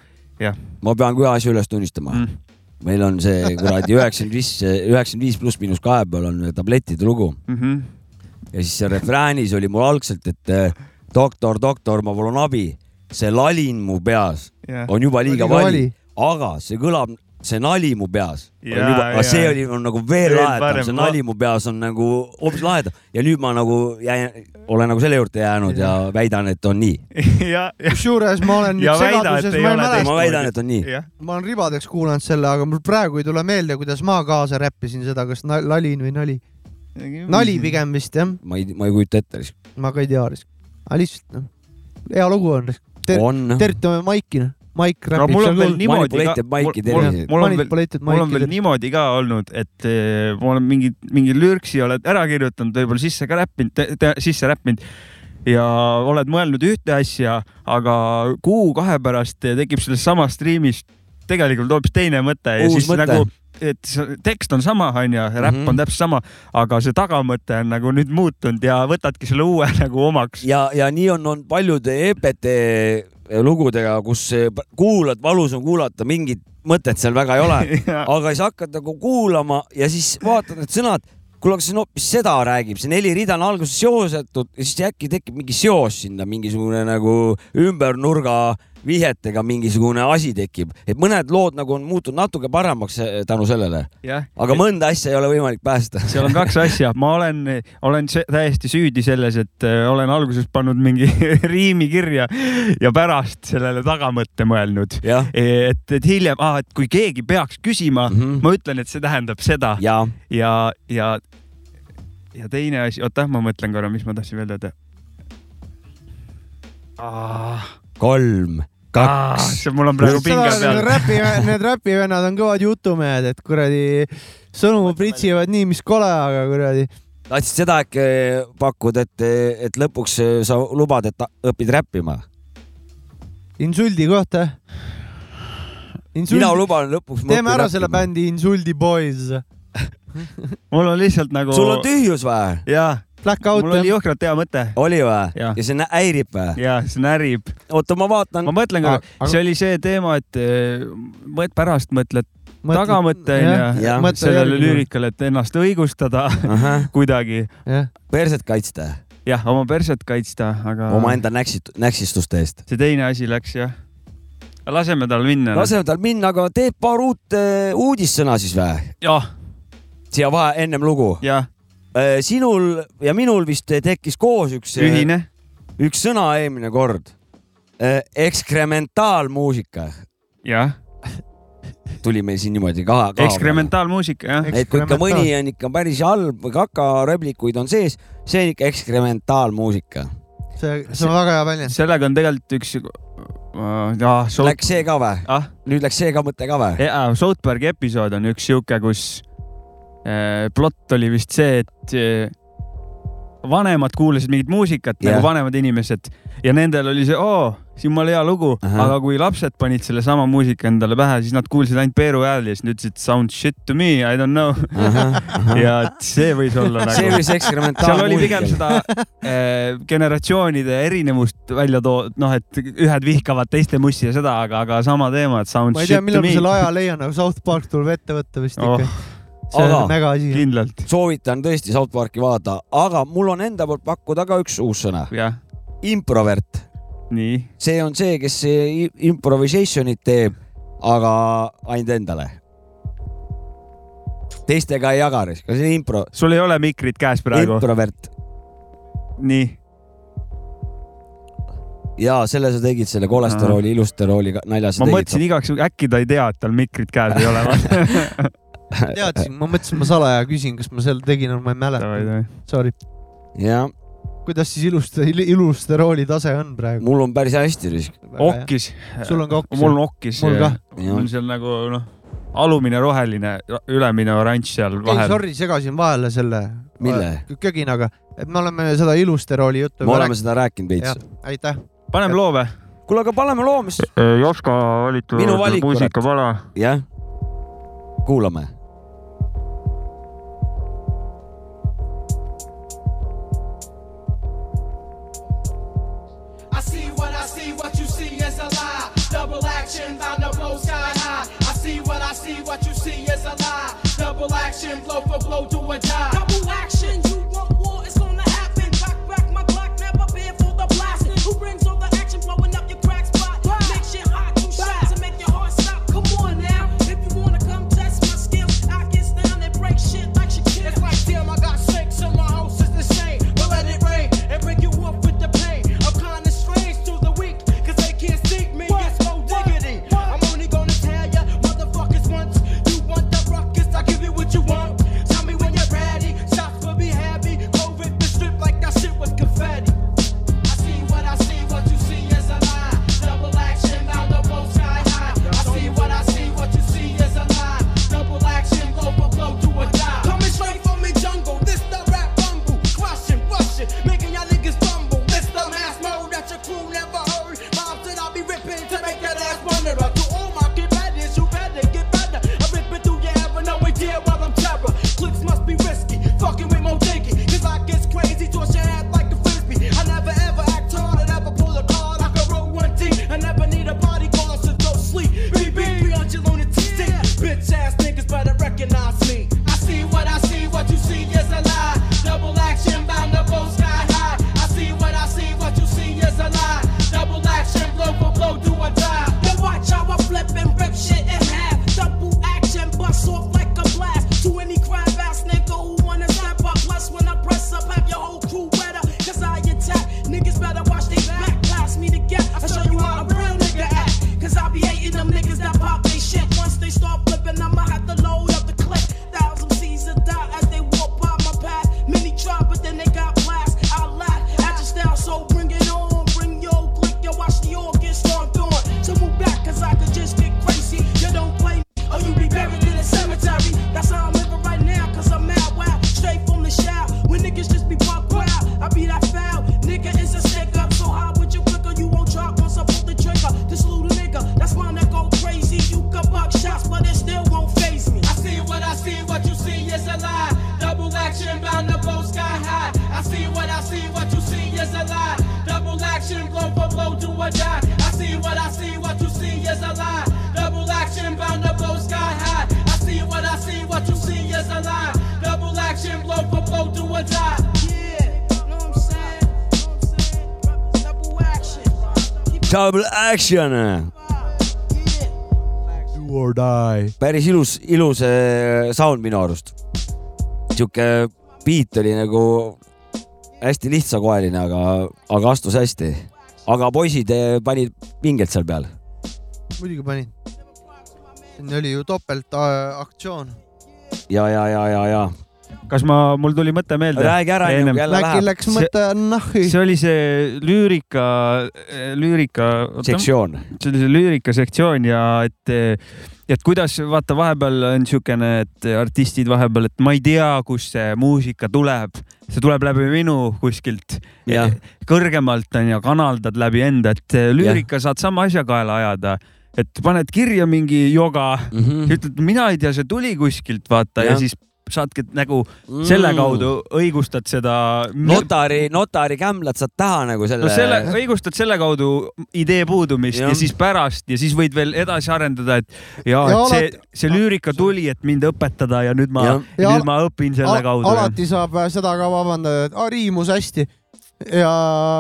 ma pean ka ühe asja üles tunnistama .
mm,
meil on see kuradi üheksakümmend viis , üheksakümmend viis pluss miinus kahe peal on tablettide lugu
mm -hmm.
ja siis seal refräänis oli mul algselt , et eh, doktor , doktor , ma palun abi . see lalin mu peas
jah .
on juba liiga
Liiga
vali
vali. ,
aga see kõlab , see nali mu peas .
Jaa,
aga
jaa.
see oli on nagu veel
Veel
lahedam ,
parem.
see nali mu peas on nagu hoopis lahedam ja nüüd ma nagu jäin , olen nagu selle juurde jäänud ja väidan , et on nii .
ja , ja ,
kusjuures ma olen
Ja
nüüd
väida, et
segaduses ,
ei
ma ei
ole
mäleta ,
ma väidan , et on nii .
jah .
ma olen ribadeks kuulanud selle , aga mul praegu ei tule meelde , kuidas ma kaasa räppisin seda , kas na- lalin või nali . nali .
Mhm.
pigem vist jah ,
ma ei , ma ei kujuta ette .
ma ka ei tea , aga lihtsalt noh , hea lugu on , Ter-
on .
tervitame Maikina , Maik
aga
räpib
mul
seal
on veel
küll .
niimoodi
Manipulated Mike'i
mul,
tervised.
mul on veel ,
manipuleeritud
mul on veel
Maikidel .
niimoodi ka olnud , et eh, ma olen mingi , mingi lürksi oled ära kirjutanud , võib-olla sisse ka räppinud , sisse räppinud ja oled mõelnud ühte asja , aga kuu-kahe pärast tekib selles samas striimis tegelikult hoopis teine mõte ja
Uus
siis
mõte.
nagu , et see tekst on sama , onju , räpp
Mhm.
on täpselt sama , aga see tagamõte on nagu nüüd muutunud ja võtadki selle uue nagu omaks .
ja , ja nii on , on paljude E EPT E lugudega , kus p- kuulad , valus on kuulata , mingit mõtet seal väga ei ole , aga siis hakkad nagu kuulama ja siis vaatad need sõnad , kuule , aga see on hoopis seda räägib , see neli rida on alguses seosetud ja siis äkki tekib mingi seos sinna , mingisugune nagu ümbernurga vihjetega mingisugune asi tekib , et mõned lood nagu on muutunud natuke paremaks eh, tänu sellele , aga mõnda asja ei ole võimalik päästa .
seal on kaks asja , ma olen , olen se- täiesti süüdi selles , et äh, olen alguses pannud mingi riimi kirja ja pärast sellele tagamõtte mõelnud .
jah ,
et , et hiljem ah, , et kui keegi peaks küsima mm ,
Mhm.
-hmm. ma ütlen , et see tähendab seda ja ,
ja
ja, ja , ja teine asi , oota , ma mõtlen korra , mis ma tahtsin veel öelda .
kolm , kaks ,
see mul on praegu pinge
Need
peal .
räpi , need räpivennad on kõvad jutumehed , et kuradi sõnu pritsivad nii , mis kole , aga kuradi
tahtsid seda äkki pakkuda , et , et lõpuks eh, sa lubad , et ta- õpid räppima ?
insuldi kohta .
mina luban lõpuks .
teeme ära selle . bändi Insuldi Boys .
mul on lihtsalt nagu .
sul on tühjus või ?
jaa ,
Blackout
mul oli jõhkralt hea mõte
oli või ?
Jah.
ja see nä- häirib või ?
ja see närib .
oota , ma vaatan
ma . mõtlen korra ,
Aga-
see oli see teema , et äh, mõt- , pärast mõtled , tagamõte on ju
Jah.
Mõtle
sellele
järgi.
lüürikale , et ennast õigustada kuidagi .
jah ,
perset kaitsta ,
jah , oma perset kaitsta , aga
omaenda näksit- , näksistuste eest .
see teine asi läks jah . laseme tal minna .
laseme tal minna , aga teeb paar uut äh, uudissõna siis või ?
jah ,
siia vahe , ennem lugu .
jah ,
sinul ja minul vist eh, tekkis koos üks ,
ühine .
üks sõna eelmine kord . ekskrementaalmuusika
jah ,
tuli meil siin niimoodi ka .
ekskrementaalmuusika jah ,
Eks-
et kui ikka mõni on ikka päris halb või kakaröblikuid on sees , see on ikka ekskrementaalmuusika .
see , see on väga hea väljend .
sellega on tegelikult üks äh, .
Läks see ka või ?
ah ,
nüüd läks see ka mõte ka või ?
South Park'i episood on üks sihuke , kus äh, plott oli vist see , et äh, vanemad kuulasid mingit muusikat yeah.
Jah.
nagu vanemad inimesed ja nendel oli see oo , jumala hea lugu ,
Ahah.
aga kui lapsed panid sellesama muusika endale pähe , siis nad kuulsid ainult Peeru hääli ja siis nad ütlesid sound shit to me , I don't know ja et see võis olla
see
nagu
oli see
seal oli pigem
ekskrementaalmuusika .
seda äh, generatsioonide erinevust välja toodud , noh , et ühed vihkavad teiste mussi ja seda , aga , aga sama teema , et sound
ma ei
shit
tea ,
to
millal ma
me
selle aja leian , aga South Park tuleb ette võtta vist
Oh.
ikka . see
Aga-
on mega asi .
kindlalt ,
soovitan tõesti South Parki vaadata , aga mul on enda poolt pakkuda ka üks uus sõna ,
jah ,
improvert .
nii ,
see on see , kes i- improvisation'it teeb , aga ainult endale . teistega ei jaga , see on impro ,
sul ei ole mikrit käes praegu ,
improvert
nii ,
ja selle sa tegid selle kolesterooli , ilusterooli ka- nalja sa
ma
tegid .
mõtlesin igaks juhuks , äkki ta ei tea , et tal mikrit käes ei ole .
teadsin , ma mõtlesin , ma salaja küsin , kas ma selle tegin , aga ma ei mäleta . Sorry ,
jah ,
kuidas siis iluste , iluste rooli tase on praegu ?
mul on päris hästi risk .
okkis ,
sul on ka okkis?
mul on okkis ,
Mul ka.
mul on seal nagu noh , alumine roheline , ülemine oranž seal
ei ,
vahel ,
sorry , segasin vahele selle . äh,
Mille? ?
köginaga , et me oleme seda iluste rooli juttu .
me oleme seda rääkinud veits .
rääkinud . aitäh .
paneme loo või ?
kuule , aga paneme loo , mis ,
Joška valitud
Minu valik, muusikapala. jah , kuulame .
I see what I see, what you see is a lie. Double action, I know blow sky high. I see what I see, what you see is a lie. Double action, blow for blow, do or die.
Double action, you want war, it's gonna happen. Cock back my Glock, never fear for the blasting. Who brings all the action, blowing up your crack spot? Make shit hot, two shots to make your heart stop. Come on now, if you wanna come test my skills, I get down and break shit like Shaquille.
It's like damn, I got sick, so my house is the same. But let it rain and bring you up with the pain. I'm kinda strange through the week, cause they can't seek me.
What?
It's no
What?
dignity. I'm only gonna tell ya, motherfuckers, once you want the ruckus, I'll give you what you want. Tell me when you're ready, shots will be had.
Double action .
Do or die .
päris ilus , ilus äh, sound minu arust . sihuke beat oli nagu hästi lihtsakoeline , aga , aga astus hästi . aga poisid äh, panid pinget seal peal .
muidugi panin . siin oli ju äh, topeltaktsioon .
ja , ja , ja , ja , ja .
kas ma , mul tuli mõte meelde .
räägi ära ,
Ennem-
jälle
äkki
läheb .
läks mõte nahhi .
see oli see lüürika , lüürika , see
sektsioon .
oli see lüürika sektsioon ja et , et kuidas vaata , vahepeal on niisugune , et artistid vahepeal , et ma ei tea , kust see muusika tuleb , see tuleb läbi minu kuskilt
jah ,
kõrgemalt onju , kanaldad läbi enda , et lüürika saad sama asja kaela ajada , et paned kirja mingi joga , ütled , mina ei tea , see tuli kuskilt , vaata ja,
Mhm. Jah. Mm.
ja siis saadki nagu selle . kaudu õigustad seda .
notari , notari kämblad saad taha nagu selle .
no selle , õigustad selle kaudu idee puudumist ja.
Jah.
ja siis pärast ja siis võid veel edasi arendada , et ja,
Ja
ja see
alati- ,
see lüürika tuli , et mind õpetada ja nüüd ma ,
Jah.
Ja al-
nüüd ma õpin selle kaudu .
alati saab äh, seda ka vabandada , et "Aa, riimus hästi ja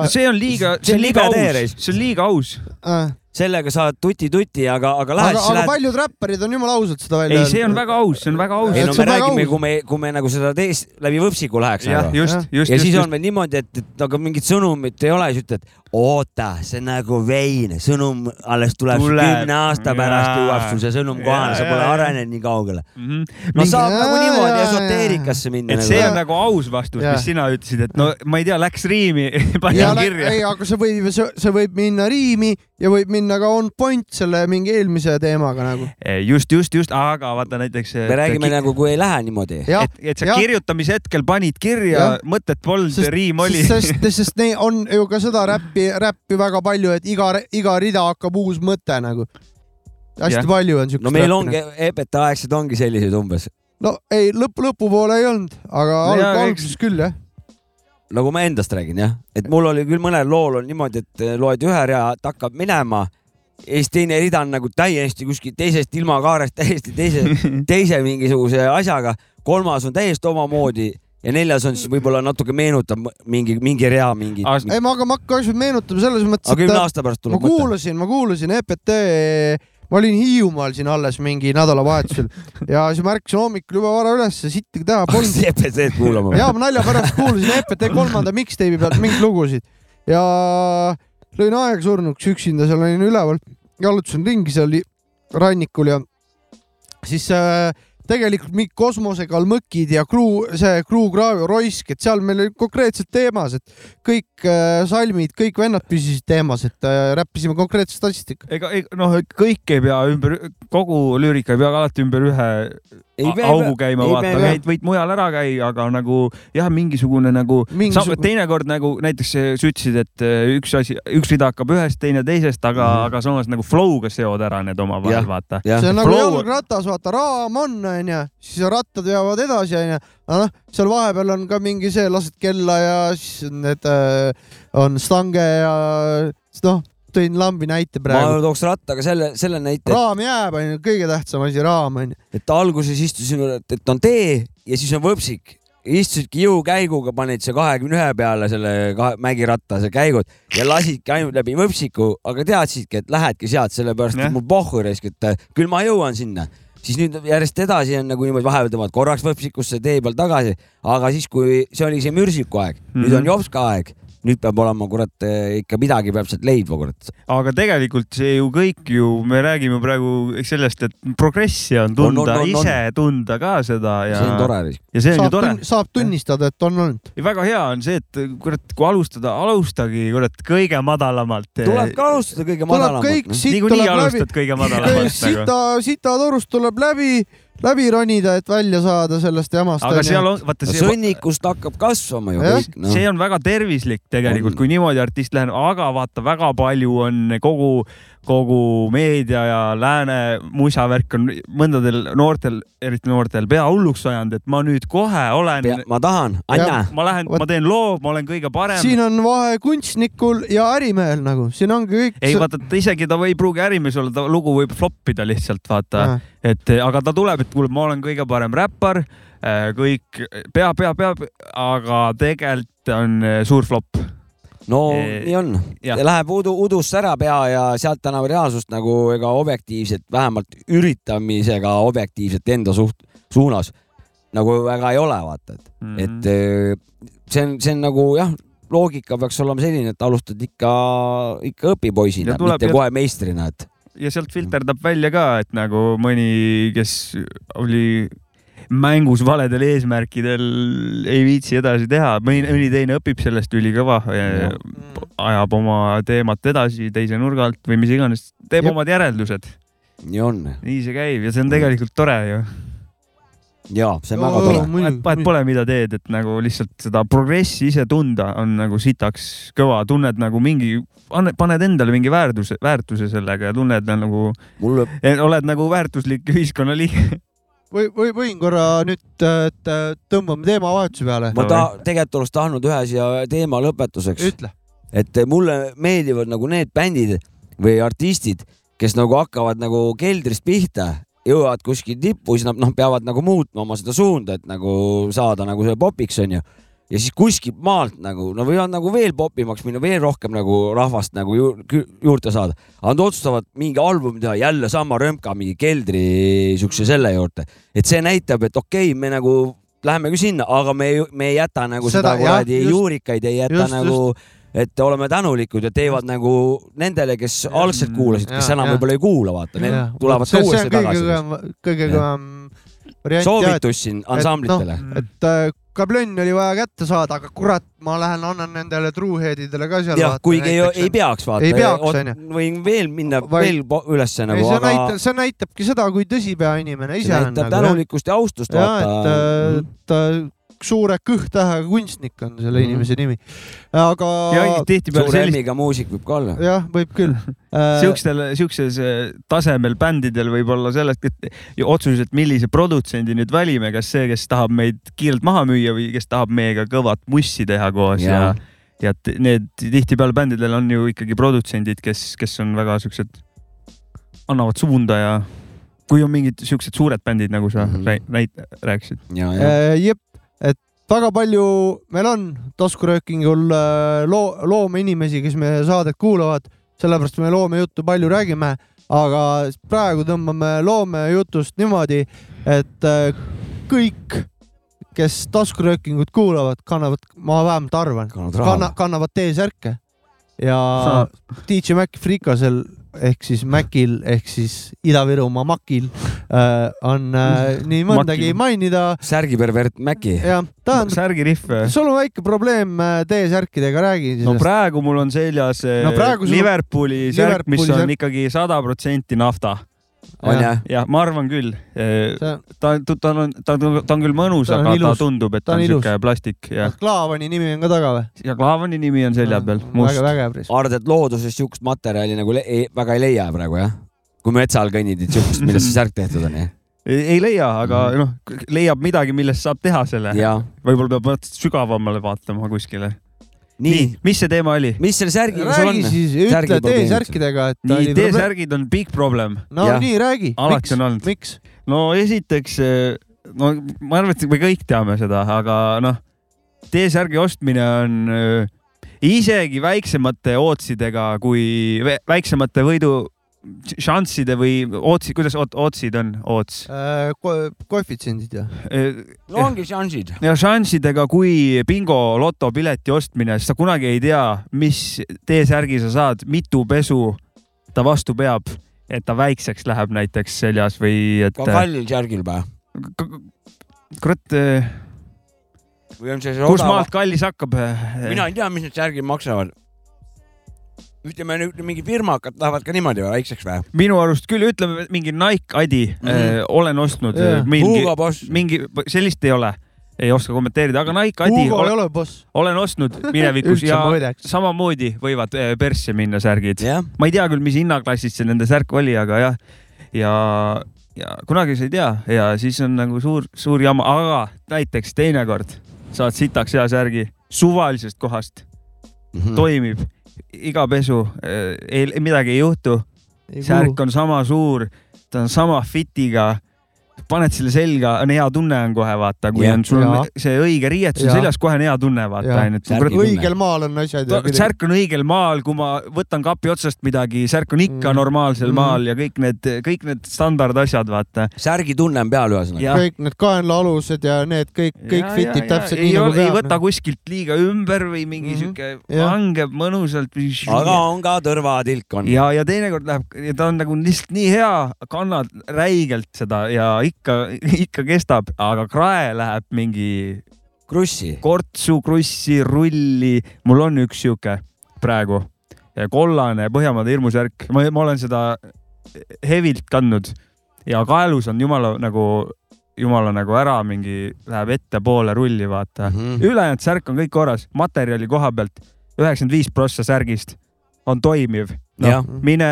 No see on liiga , see on liiga
libe tee,
aus
reis. ,
see on liiga aus .
äh,
sellega saad tuti-tuti , aga , aga lähed ,
aga ,
siis
aga
lähed .
paljud räpparid on jumala ausad seda välja
ei , see on väga aus , see on väga aus
ei
et .
no
see on väga
me räägime ,
aus.
kui me , kui me nagu seda tees läbi võpsiku läheks .
jah , just , just .
ja siis on veel niimoodi , et , et aga mingit sõnumit ei ole , siis ütled oota , see on nagu vein , sõnum alles tuleb,
Tuleb.
tuleb. kümne aasta pärast
Jaa.
jõuab sul see sõnum kohale , sa
Jaa,
pole
jaa, jaa.
arenenud nii kaugele .
mm .
no
-hmm.
sa-
saab nagu
Jaa,
niimoodi
jaa,
esoteerikasse minna .
et see on nagu aus vastus ,
Jaa.
mis sina ütlesid , et no ma ei tea , läks riimi ,
ja
panin
lä-
kirja .
ei , aga see võib , see võib minna riimi ja võib minna ka on point selle mingi eelmise teemaga nagu .
just , just , just , aga vaata näiteks .
me räägime nagu , kui ei lähe niimoodi .
jah
et , et sa
jah.
ja. kirjutamise hetkel panid kirja
Jah. ,
mõtet polnud , riim oli .
sest , sest neid on ju ka seda räppi , räppi väga palju , et iga , iga rida hakkab uus mõte nagu . hästi
Jah.
palju on siukest .
no meil ongi , EBT aegsed ongi sellised umbes ,
no ei , lõpp , lõpupoole ei olnud , aga
No
alg,
jaa, eks-
alguses küll jah .
nagu ma endast räägin jah , et mul oli küll mõnel lool on niimoodi , et eh, loed ühe rea , ta hakkab minema ja siis teine rida on nagu täiesti kuskilt teisest ilmakaarest täiesti teise , teise mingisuguse asjaga , kolmas on täiesti omamoodi ja neljas on siis võib-olla natuke meenutab m- mingi , mingi rea mingit .
As-
ei , ma , aga ma hakkan asju meenutama selles mõttes ,
aga
et
kümne
äh,
aasta pärast
ma
tuleb mõte .
kuulasin , ma kuulasin EPT , ma olin Hiiumaal siin alles mingi nädalavahetusel ja siis ma ärkasin hommikul juba vara ülesse , sitt ei taha polnud
EPT-d kuulama
ja . ma nalja pärast kuulasin EPT kolmanda mixtape'i pealt mingeid lugusid ja lõin aega surnuks üksinda , seal olin üleval , jalutasin ringi seal li- rannikul ja siis äh, tegelikult mingi Kosmose Kalmõkid ja Kruu , see Kruu Graavio Roisk , et seal meil oli konkreetselt teemas , et kõik äh, salmid , kõik vennad püsisid teemas , et äh, räppisime konkreetsest asjast ikka .
ega , ei noh , kõik ei pea ümber , kogu lüürika ei pea ka alati ümber ühe a- augu käima , vaata , neid võid mujal ära käia , aga nagu jah , mingisugune nagu
Mingisugune-
mingisugune... , teinekord nagu näiteks eh, sa ütlesid , et eh, üks asi , üks rida hakkab ühest , teine teisest , aga mm ,
Mhm.
-hmm. aga samas nagu flow'ga seod ära need
Jah.
omavahel , vaata .
see
jah ,
on nagu
flow-
jalgratas , vaata raam on , onju , siis rattad veavad edasi , onju . aga noh , seal vahepeal on ka mingi see , lased kella ja siis on need äh, on stange ja siis noh , tõin lambi näite
ma
praegu .
tooks rattaga selle , selle näite ,
raam jääb , onju , kõige tähtsam asi , raam , onju .
et alguses istusin , et on tee ja siis on võpsik . istusidki jõukäiguga , panid see kahekümne ühe peale selle kahe, mägirattase käigud ja lasidki ainult läbi võpsiku , aga teadsidki , et lähedki sealt , sellepärast et
Jah.
mul pohhu raisk , et äh, küll ma jõuan sinna . siis nüüd järjest edasi on nagu niimoodi , vahepeal tõmbad korraks võpsikusse tee peal tagasi , aga siis , kui see oli see mürsiku aeg mm , -hmm. nüüd
Mhm.
on jopska aeg , nüüd peab olema kurat äh, ikka midagi peab sealt leidma kurat .
aga tegelikult see ju kõik ju , me räägime praegu sellest , et progressi on tunda on,
On, on,
on,
on,
on,
on.
ise on. tunda ka seda ja
see on tore raisk .
ja see on ju
saab,
tore
tunn, . saab tunnistada , et on olnud .
ja väga hea on see , et eh, kurat , kui alustada , alustagi kurat kõige madalamalt .
tuleb ka alustada kõige noh.
tuleb kõik
madalamalt .
siit
niikuinii
tuleb läbi ,
alustad kõige madalamalt nagu .
sita , sitatorust tuleb läbi , läbi ronida , et välja saada sellest jamast .
aga seal on , vaata see ,
sõnnikust hakkab kasvama ju
Jah.
kõik noh.
see on väga tervislik tegelikult , kui niimoodi artist läheneb , aga vaata , väga palju on kogu , kogu meedia ja lääne musavärk on mõndadel noortel , eriti noortel , pea hulluks ajanud , et ma nüüd kohe olen ,
Pea, ma tahan , Anna ,
ma lähen ,
Vot-
ma teen loo , ma olen kõige parem
siin on vahe kunstnikul ja ärimehel nagu , siin ongi kõik .
ei vaata , ta isegi ta ei pruugi ärimees olla , ta lugu võib floppida lihtsalt vaata , et eh, aga ta tuleb , et kuule , ma olen kõige parem räppar , kõik peab , peab , peab , aga tegelikult on eh, suur flop .
no
Eh,
nii on ,
jah.
läheb udu , udusse ära pea ja sealt ta nagu reaalsust nagu ega objektiivselt , vähemalt üritamisega objektiivselt enda suht- , suunas nagu väga ei ole , vaata , et
Mhm.
mm , -hmm. et eh, see on , see on nagu jah , loogika peaks olema selline , et alustad ikka , ikka õpipoisina
Ja , tuleb
mitte
jah-
kohe meistrina , et
ja sealt filterdab välja ka , et nagu mõni , kes oli mängus valedel eesmärkidel , ei viitsi edasi teha , mõni , mõni teine õpib sellest ülikõva , ajab oma teemat edasi teise nurga alt või mis iganes , teeb
Jep.
omad järeldused .
nii on
nii see käib ja see on tegelikult tore ju .
ja see on väga
Joo,
tore .
muidugi,
vahet vahet
muidugi.
pole , mida teed , et nagu lihtsalt seda progressi ise tunda on nagu sitaks kõva , tunned nagu mingi , paned endale mingi väärtuse , väärtuse sellega ja tunned nagu ,
mul
oled nagu väärtuslik ühiskonnaliige .
või , või võin korra nüüd , et äh, tõmbame teemavahetuse peale .
ma ta, tegelikult oleks tahtnud ühe siia teema lõpetuseks ,
ütle .
et eh, mulle meeldivad nagu need bändid või artistid , kes nagu hakkavad nagu keldrist pihta , jõuavad kuskil tippu , siis nad noh , peavad nagu muutma oma seda suunda , et nagu saada nagu selle popiks onju . ja siis kuskilt maalt nagu , no võivad nagu veel popimaks minna , veel rohkem nagu rahvast nagu ju, kü- juurde saada . aga nad otsustavad mingi albumi teha , jälle sama römka mingi keldri siukse selle juurde , et see näitab , et okei okay, , me nagu läheme ka sinna , aga me , me ei jäta nagu seda,
Seda,
seda
jah,
kuradi
just-
juurikaid , ei jäta
just,
just, nagu et oleme tänulikud ja teevad nagu nendele , kes algselt kuulasid , kes
ja,
enam
ja.
võib-olla ei kuula , vaata , need
Jah.
tulevad ka
see, see on
uuesti
kõige
tagasi .
kõvem , kõige
Jah.
kõvem variant .
soovitus siin
noh,
ansamblitele .
et äh, kablönn oli vaja kätte saada , aga kurat , ma lähen annan nendele truuheadidele ka seal .
jah , kuigi ei, ei peaks vaata .
Ei peaks, onju. .
võin veel minna
Vaid-
veel po- ülesse
ei ,
nagu ,
see
aga
näitab , see näitabki seda , kui tõsipea inimene
see
ise on
näitab
nagu .
tänulikkust ja austust ,
ja , et
vaata . mhm.
äh, ta suure kõhtähega kunstnik on selle
Mhm.
inimese nimi . aga
ja tihtipeale
suure
sellist ,
M-iga muusik võib ka olla .
jah , võib küll . Äh,
siukstel , siukses eh, tasemel bändidel võib olla sellest , et ja otsus , et millise produtsendi nüüd valime , kas see , kes tahab meid kiirelt maha müüa või kes tahab meiega kõvat mussi teha koos ja,
Jaa.
ja , ja t- need tihtipeale bändidel on ju ikkagi produtsendid , kes , kes on väga siuksed , annavad suunda ja kui on mingid siuksed suured bändid , nagu sa mm
Mhm.
-hmm. näit- , rääkisid .
ja , ja ,
Äh, jep , et väga palju meil on taskuröökingul äh, loo , loomeinimesi , kes meie saadet kuulavad , sellepärast me loomejuttu palju räägime , aga praegu tõmbame loomejutust niimoodi , et äh, kõik , kes taskuröökingut kuulavad , kannavad , ma vähemalt arvan ,
kannad
kanna,
raha .
kannavad T-särke ja DJ Mac Frikasel ehk siis Macil ehk siis Ida-Virumaa Macil äh, on äh, nii mõndagi
Macil.
mainida
särgipervert Mäki .
jah , tähendab ,
särgirihv .
sul on väike probleem äh, T-särkidega , räägi
no
sellest .
praegu mul on seljas eh,
No praegu sul-
Liverpooli särk , mis
Liverpooli
on
särk.
ikkagi sada protsenti nafta
on jah ?
jah , ma arvan küll . äh, ta ,
see
ta , ta on , ta , ta on küll mõnus ,
Ta on
aga ta
ilus.
tundub , et
Ta
ta
on
on
ilus.
niisugune plastik ja ,
Klaavani nimi on ka taga või ?
ja klaavani nimi on selja peal ,
väga
must .
vägev risk .
arvad , et looduses siukest materjali nagu le- ei, väga ei leia praegu jah ? kui metsal kõnnid , et siukest , millest see särk tehtud on jah ?
ei leia , aga
Mm.
noh , leiab midagi , millest saab teha selle .
ja
võib-olla peab vaat- sügavamale vaatama kuskile .
nii ,
mis see teema oli ?
mis selle särgiga sul on
räägi ? siis , ütle
Särgiprobleemid.
T-särkidega , et ta
nii ,
oli probleem .
T-särgid on big problem .
no
Jah.
nii , räägi .
Alati on olnud.
miks ?
no esiteks , no ma arvan , et me kõik teame seda , aga noh , T-särgi ostmine on öö, isegi väiksemate ootsidega kui vä- väiksemate võidu šansside või ootsi , kuidas oot- , ootsid on , oots ?
Äh, koefitsiendid ja ?
no ongi šansid .
ja šanssidega , kui bingo lotopileti ostmine , sest sa kunagi ei tea , mis T-särgi sa saad , mitu pesu ta vastu peab , et ta väikseks läheb näiteks seljas või et
ka . kallil särgil või ?
kurat ,
või on see see
kus
odav
maalt ? kallis hakkab ?
mina ei tea , mis need särgid maksavad . ütleme nüüd mingi firmakad lähevad ka niimoodi või väikseks või ?
minu arust küll , ütleme mingi Nike Adi mm -hmm. äh, olen ostnud
Jaa.
yeah. mingi ,
Mhm. Hugo Boss .
mingi sellist ei ole , ei oska kommenteerida , aga Nike Adi
Hugo ei
ole,
ole boss .
olen ostnud minevikus
üldse
ja
ma ei teaks.
samamoodi võivad äh, persse minna särgid .
jah ,
ma ei tea küll , mis hinnaklassis see nende särk oli , aga jah , ja , ja kunagi sa ei tea ja siis on nagu suur , suur jama , aga näiteks teinekord saad sitaks hea särgi suvalisest kohast ,
Mhm. Mm.
toimib iga pesu , äh, ei , midagi ei juhtu särk on sama suur , ta on sama fit'iga , paned selle selga , on hea tunne on kohe vaata , kui
Jah.
on sul on
Jaa.
see õige riietus on
Jah.
seljas , kohe on hea tunne vaata
Jah.
onju
Särgi- .
õigel maal on asjad ja midagi .
särk on õigel maal , kui ma võtan kapi otsast midagi , särk on ikka
Mm.
normaalsel
Mm.
maal ja kõik need , kõik need standardasjad vaata .
särgitunne on peal ühesõnaga .
ja
kõik need kaenlaalused ja need kõik , kõik
Ja, ja,
fitib
ja.
täpselt
ei
nii nagu
ole- ei võta
peab .
kuskilt liiga ümber või mingi
Mhm.
sihuke
Jah.
langeb mõnusalt .
aga on ka tõrvatilk on .
ja , ja teinekord läheb , ta on nagu lihtsalt nii hea , kannad räigelt seda ja ikka , ikka kestab , aga krae läheb mingi
krussi .
kortsu , krussi , rulli . mul on üks sihuke praegu , kollane Põhjamaade hirmusärk , ma , ma olen seda hevilt kandnud ja kaelus on jumala nagu , jumala nagu ära mingi , läheb ettepoole rulli , vaata mm .
Mhm.
-hmm. ülejäänud särk on kõik korras , materjali koha pealt üheksakümmend viis prossa särgist on toimiv .
Jah.
noh , mine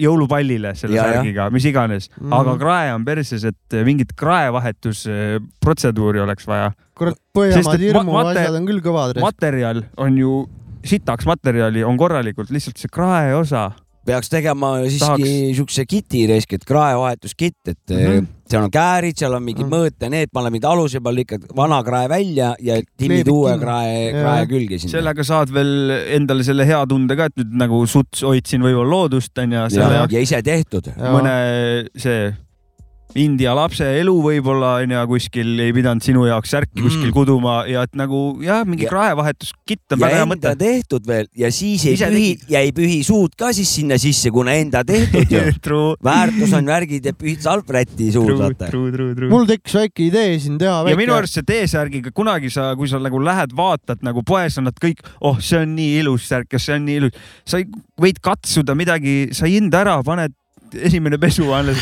jõulupallile selle
Ja,
ja,
jah.
särgiga , mis iganes mm ,
Mhm.
-hmm. aga krae on perses , et mingit kraevahetusprotseduuri oleks vaja
kurat ,
Sest et
Põhjamaad
ma-
hirmu
mate-
asjad on küll kõvad .
materjal on ju sitaks materjali on korralikult , lihtsalt see krae osa .
peaks tegema siiski
Tahaks.
siukse kiti risk , et kraevahetuskitt , et mm
Mhm.
-hmm. seal on käärid , seal on mingid mm
Mhm.
-hmm. mõõte , need paneme nüüd aluse peal , lõikad vana krae välja ja timmid
Kleebid
uue
kinni.
krae ,
Jaa.
krae külge sinna .
sellega saad veel endale selle hea tunde ka , et nüüd nagu suts hoidsin võib-olla loodust onju , selle
Ja,
jaoks
ja ise tehtud .
mõne see India lapse elu võib-olla onju kuskil ei pidanud sinu jaoks särki
Mm.
kuskil kuduma ja et nagu jah , mingi
Ja-
kraevahetuskitt on
ja
väga hea
enda
mõte .
tehtud veel ja siis ei
Ise
pühi , ja ei pühi suud ka siis sinna sisse , kuna enda tehtud ju .
True ,
väärtus on värgid ja pühid salvräti suud ,
true ,
vaata .
true , true , true .
mul tekkis väike idee siin teha .
ja minu arust see T-särgiga kunagi sa , kui sa nagu lähed , vaatad nagu poes on nad kõik , oh , see on nii ilus särk ja see on nii ilus . sa ei- võid katsuda midagi , sa ei hinda ära , paned esimene pesu alles .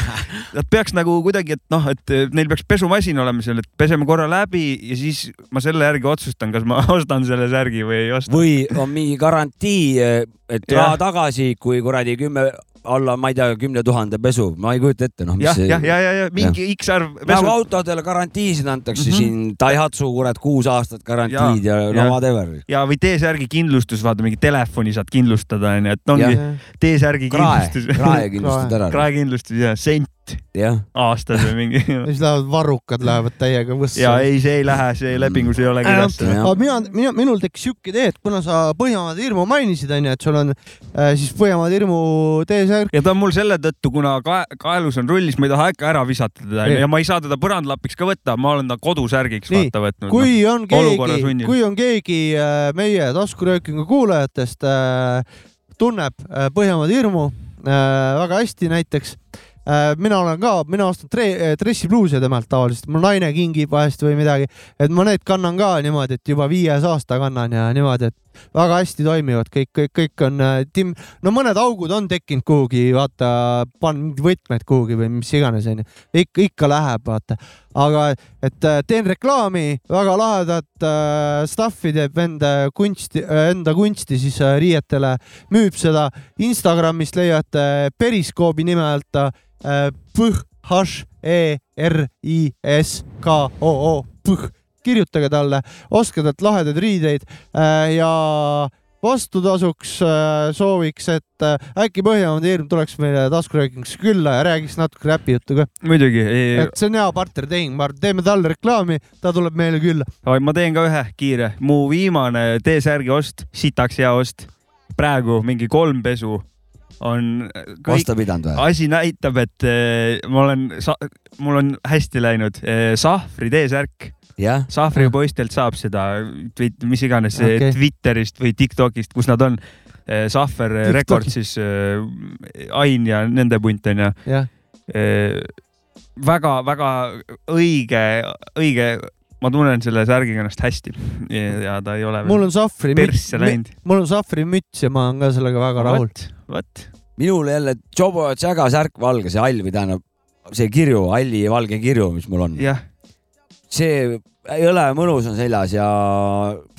Nad peaks nagu kuidagi , et noh , et neil peaks pesumasin olema seal , et peseme korra läbi ja siis ma selle järgi otsustan , kas ma ostan selle särgi või ei osta .
või on mingi garantii , et
Jah.
raha tagasi , kui kuradi kümme , alla , ma ei tea , kümne tuhande pesu , ma ei kujuta ette , noh , mis
jah ,
see
jah , ja , ja , ja mingi X arv
nagu
pesu .
autodele garantiisid antakse mm
Mhm.
-hmm. siin , Daihatsu kurat kuus aastat garantiid ja, ja no
ja.
whatever .
ja , või T-särgi kindlustus , vaata mingi telefoni saad kindlustada onju , et ongi
Jah.
T-särgi
krae ,
kindlustus .
krae kindlustad ära .
kraekindlustus ja sent
jah ,
aastas või mingi
ja . siis lähevad varrukad lähevad täiega võssa .
ja ei , see ei lähe , see lepingus ei ole kirjas .
Jah.
aga mina , mina , minul tekkis siuke idee , et kuna sa Põhjamaade hirmu mainisid , onju , et sul on äh, siis Põhjamaade hirmu T-särk ,
ja ta on mul selle tõttu , kuna kae- , kaelus on rullis , ma ei taha äkki ära visata teda
Nii.
ja ma ei saa teda põrandlapiks ka võtta , ma olen ta kodusärgiks
Nii.
vaata võtnud .
kui on
olukorra
keegi ,
sunnil.
kui on keegi äh, meie taskuröökingu kuulajatest äh, tunneb äh, Põhjamaade hirmu äh, väga hästi näiteks äh, mina olen ka , mina ostan tre- , dressipluuse temalt tavaliselt , mul naine kingib vahest või midagi , et ma need kannan ka niimoodi , et juba viies aasta kannan ja niimoodi , et väga hästi toimivad kõik , kõik , kõik on äh, tim- , no mõned augud on tekkinud kuhugi , vaata , panen mingid võtmed kuhugi või mis iganes onju , ikka , ikka läheb , vaata . aga et äh, teen reklaami , väga lahedat äh, stuff'i teeb enda kunsti , enda kunsti siis äh, riietele , müüb seda , Instagramist leiate Periskoobi nime alt äh, põh , h e r i s k o o põh , kirjutage talle , ostke talt lahedaid riideid äh, ja vastutasuks äh, sooviks , et äh, äkki Põhjamaade hirm tuleks meile taskurääkingusse külla ja räägiks natuke räpijuttu ka .
muidugi ,
et see on hea partnertehing , ma arvan , teeme talle reklaami , ta tuleb meile külla .
ma teen ka ühe kiire , mu viimane T-särgi ost , sitaks hea ost , praegu mingi kolm pesu on kõik ,
vastu pidanud või ?
asi näitab , et eh, ma olen , mul on hästi läinud , sahvri T-särk
jah ,
sahvri poistelt saab seda , mis iganes
Okei.
okay. Twitterist või Tiktokist , kus nad on . Sahver
TikToki.
Rekord siis äh, , Ain ja nende punt onju
jah ,
äh, . väga-väga õige , õige , ma tunnen selle särgiga ennast hästi ja, ja ta ei ole
mul on sahvri müts
persse , läinud .
mul on sahvri müts ja ma olen ka sellega väga rahul .
vot , vot .
minul jälle Jobo Jaga särk valge , see hall või tähendab see kirju , halli ja valge kirju , mis mul on .
jah ,
see jõle mõnus on seljas ja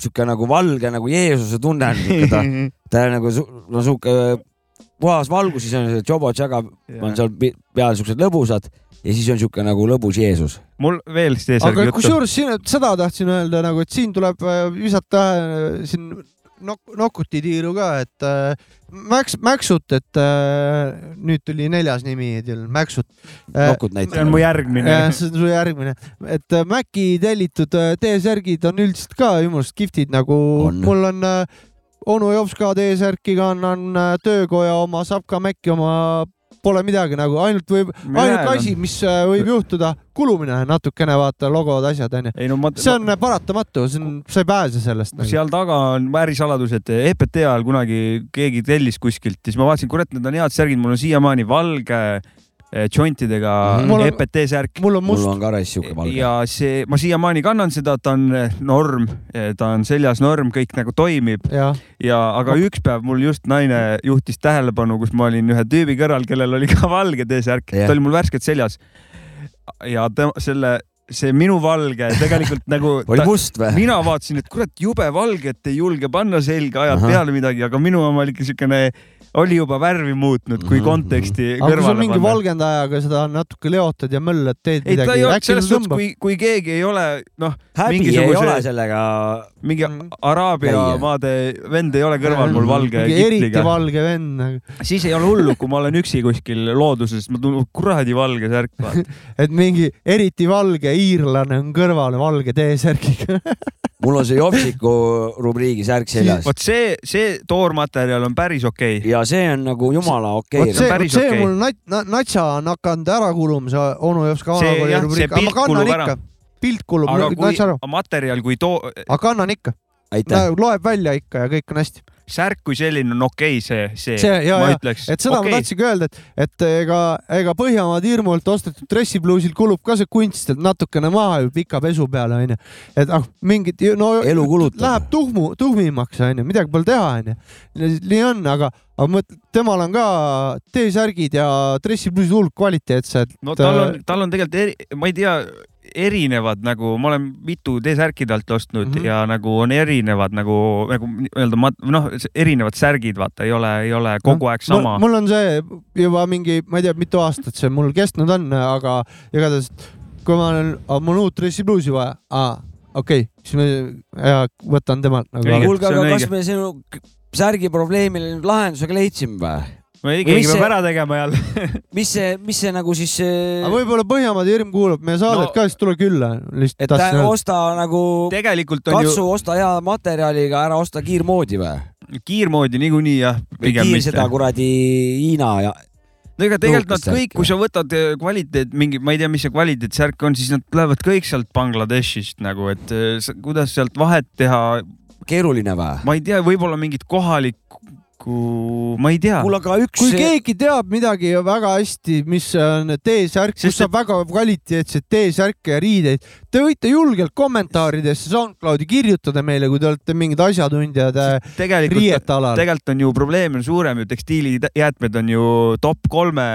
sihuke nagu valge nagu Jeesuse tunne on sihuke ta , ta nagu su- no sihuke puhas valgus , siis on see Jobo Jaga on seal pi- peal siuksed lõbusad ja siis on siuke nagu lõbus Jeesus .
mul veel T-särgi
aga
juttu .
kusjuures siin , seda tahtsin öelda nagu , et siin tuleb äh, visata äh, siin nok- , nokuti tiiru ka , et äh, Max , Maxut , et äh, nüüd tuli neljas nimi teil , Maxut äh, .
nokud
see on mu
näitavad .
järgmine .
jah , see on su järgmine , et äh, Maci tellitud äh, T-särgid on üldiselt ka jumala kihvtid , nagu
On.
on. mul on äh, onu Jops ka T-särkiga annan äh, töökoja oma , Sapka Maci oma , pole midagi nagu , ainult võib , ainuke asi , mis äh, võib juhtuda , kulumine natukene , vaata , logod , asjad onju .
ei no ma ,
see on äh, paratamatu , see on , sa ei pääse sellest nagu. .
seal taga on ärisaladus , et EPT ajal kunagi keegi tellis kuskilt ja siis ma vaatasin , kurat , need on head särgid , mul on siiamaani valge eh, džontidega
Mhm. Mul on-
EPT särk
mul on
mul
must ,
on ka raisk siuke valge .
ja see , ma siiamaani kannan seda , ta on eh, norm , ta on seljas norm , kõik nagu toimib
jah .
ja , aga üks päev mul just naine juhtis tähelepanu , kus ma olin ühe tüübi kõrval , kellel oli ka valge T-särk
Jah.
yeah. , ta oli mul värskelt seljas . ja tema selle , see minu valge tegelikult nagu
oli
ta,
must või ?
mina vaatasin , et kurat , jube valge , et ei julge panna selga , ajad
Ahah.
peale midagi , aga minu oma oli ikka siukene , oli juba värvi muutnud , kui
Mhm.
konteksti
aga kui sa
kõrvale
mingi
panna .
valgendajaga seda natuke leotad ja möllad , teed
ei , ta ei
midagi ,
olnud
äkki
selles
ta
suhtes ,
tõmbab .
kui , kui keegi ei ole , noh ,
häbi ei
mingisuguse-
ole sellega .
mingi
Mhm.
Araabia
Käia.
maade vend ei ole kõrval mul valge
Mm. eriti
kitliga .
valge vend nagu.
siis ei ole hullu , kui ma olen üksi kuskil looduses , ma tunnen oh, kuradi valge särk , vaata .
et mingi eriti valge iirlane on kõrval valge T-särgiga .
mul on see Jopsiku rubriigi särk seljas
vot see , see toormaterjal on päris okei okay. .
ja see on nagu jumala okei
vot
okay. .
see ,
päris
vot see
okei.
mul nat- , na- natsa on hakanud ära kuluma , see onu jops ka
See, jah, see pilt kulub ära. .
pilt kulub ,
aga kui
natsa ära ,
materjal kui too ,
aga kannan ikka ,
aitäh .
loeb välja ikka ja kõik on hästi .
särk kui selline on okei okay, , see , see ,
See, jaa,
ma
jaa.
ütleks .
et seda okay. ma tahtsingi öelda , et , et ega , ega Põhjamaad hirmult ostetud dressipluusil kulub ka see kunst sealt natukene maha ju pika pesu peale onju . et ah mingit no
Elu kulutab.
läheb tuhmu , tuhmimaks onju , midagi pole teha onju . nii on , aga , aga mõt- , temal on ka T-särgid ja dressipluusid äh, hullult kvaliteetsed .
no tal on , tal on tegelikult eri, , ma ei tea , erinevad nagu , ma olen mitu T-särkide alt ostnud mm
Mhm.
-hmm. ja nagu on erinevad nagu , nagu nii-öelda mat- noh , erinevad särgid , vaata , ei ole , ei ole kogu aeg sama .
mul on see juba mingi , ma ei tea , mitu aastat see mul kestnud on , aga igatahes , kui ma olen , mul on uut dressipluusi vaja , aa , okei okay. , siis ma ja, võtan temalt nagu .
Õige,
kuulge ,
see on
aga kas
õige.
me sinu särgi probleemile nüüd lahendusega leidsime või ?
ei , keegi
mis
peab
see-
ära tegema jälle .
mis see , mis see nagu siis ,
aga võib-olla Põhjamaade hirm kuulab meie saadet
No-
no, ka , siis tule külla . lihtsalt
et
tahtsin
ta-
öelda .
osta nagu ,
tegelikult on ju
katsu osta hea materjaliga , ära osta kiirmoodi või ?
kiirmoodi niikuinii jah ,
või
pigem
kiir
mitte .
seda kuradi Hiina ja
no ega tegelikult nad
Nõukast
kõik
särki ,
kui sa võtad eh, kvaliteet mingi , ma ei tea , mis see kvaliteetsärk on , siis nad lähevad kõik sealt Bangladeshist nagu , et eh, sa- kuidas sealt vahet teha ,
keeruline või ?
ma ei tea , võib-olla mingit kohalikku , ma ei tea .
mul aga üks
kui , keegi teab midagi väga hästi , mis on T-särk ,
Sest
kus saab väga kvaliteetseid T-särke ja riideid , te võite julgelt kommentaaridesse SoundCloudi kirjutada meile , kui te olete mingid asjatundjad äh,
tegelikult ,
riiete alal .
tegelikult on ju probleem on suurem ju , tekstiilijäätmed on ju top kolme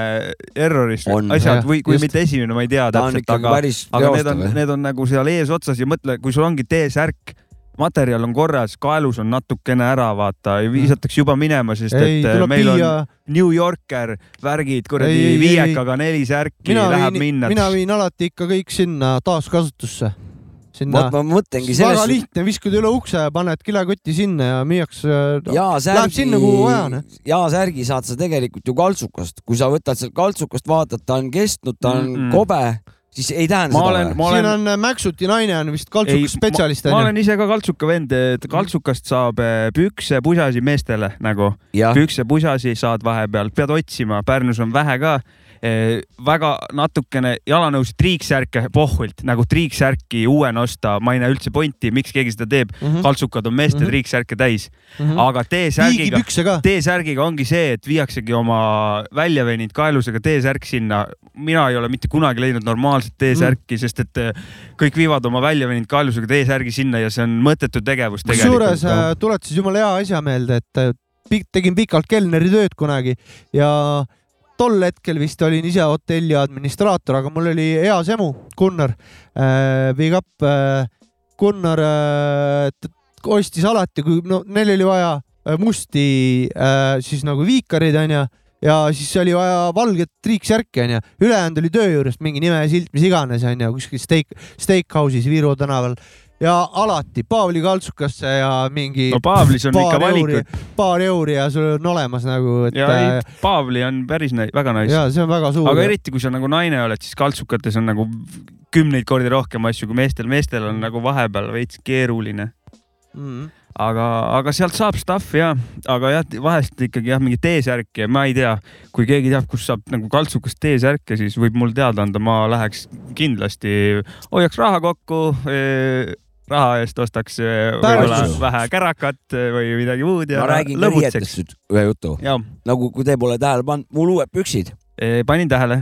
erroris
On.
asjad
Jah,
või , kui
just.
mitte esimene , ma ei tea
ta on
täpselt ,
ikkagi
aga ,
päris
aga need on
reostav ,.
need on nagu seal eesotsas ja mõtle , kui sul ongi T-särk , materjal on korras , kaelus on natukene ära , vaata , visatakse juba minema , sest
ei ,
et eh,
tuleb
meil on
viia ,
New Yorker värgid ,
Ei, ei,
kuradi
ei,
viiekaga neli särki ,
mina
läheb
viin ,
minna .
mina viin alati ikka kõik sinna taaskasutusse . sinna
vot , ma mõtlengi
väga
selles ,
lihtne , viskud üle ukse , paned kilekotti sinna ja müüakse äh,
jaa
Läheb
särgi
sinna, kuhu vaja, noh. ,
jaa särgi saad sa tegelikult ju kaltsukast , kui sa võtad sealt kaltsukast , vaatad , ta on kestnud , ta on mm
Mm-mm.
-mm. kobe , siis ei tähenda
ma
seda
olen ,
või ?
ma
siin
olen ,
on äh, Maxuti naine on vist
ei ,
kaltsukusspetsialist
ma
onju .
olen ise ka kaltsuka vend , et kaltsukast saab eh, pükse , pusasi meestele nagu ,
Ah.
jah ,
pükse , pusasi saad vahepeal , pead otsima , Pärnus on vähe ka eh, väga natukene jalanõusid triiksärke pohhult nagu triiksärki uuena osta , ma ei näe üldse pointi , miks keegi seda teeb . kaltsukad on meestel
Mhm.
triiksärke täis ,
-hmm.
aga T-särgiga
viigipükse ka .
T-särgiga ongi see , et viiaksegi oma välja veninud kaelusega T-särk sinna . mina ei ole mitte kunagi leidnud normaalset T-särki mm. , sest et eh, kõik viivad oma välja veninud kaelusega T-särgi sinna ja see on mõttetu tegevus
kusjuures
tegelikult . noh.
äh, tuletas jumala hea asja meelde , et äh, pik- tegin pikalt kelneritööd kunagi ja tol hetkel vist olin ise hotelli administraator , aga mul oli hea semu , Gunnar äh, , big up äh, . Gunnar äh, t- ostis alati , kui no neil oli vaja äh, musti äh, siis nagu viikareid onju ja siis oli vaja valget triiksärki onju , ülejäänud oli töö juures mingi nimesilt , mis iganes onju , kuskil steak , steakhouse'is Viru tänaval ja alati Paavli kaltsukasse ja mingi
no Paavlis on ikka
euri
valikud .,
paar euri ja sul on olemas nagu , et
ja
ja,
ei, Paavli on päris nai- väga nice ,
ja see on väga suur .
aga eriti kui sa nagu naine oled , siis kaltsukates on nagu kümneid kordi rohkem asju kui meestel , meestel on nagu vahepeal veits keeruline ,
mm. .
aga , aga sealt saab stuff'i ja , aga jah , vahest ikkagi jah , mingi T-särk ja ma ei tea , kui keegi teab , kus saab nagu kaltsukast T-särke , siis võib mulle teada anda , ma läheks kindlasti , hoiaks raha kokku e, raha eest ostaks eh, võib-olla
Päris.
vähe kärakat eh, või midagi muud ja
ma räägin ka riietest nüüd ühe jutu ,
ja
nagu kui te pole tähele pannud , mul uued püksid ,
E, panin tähele ,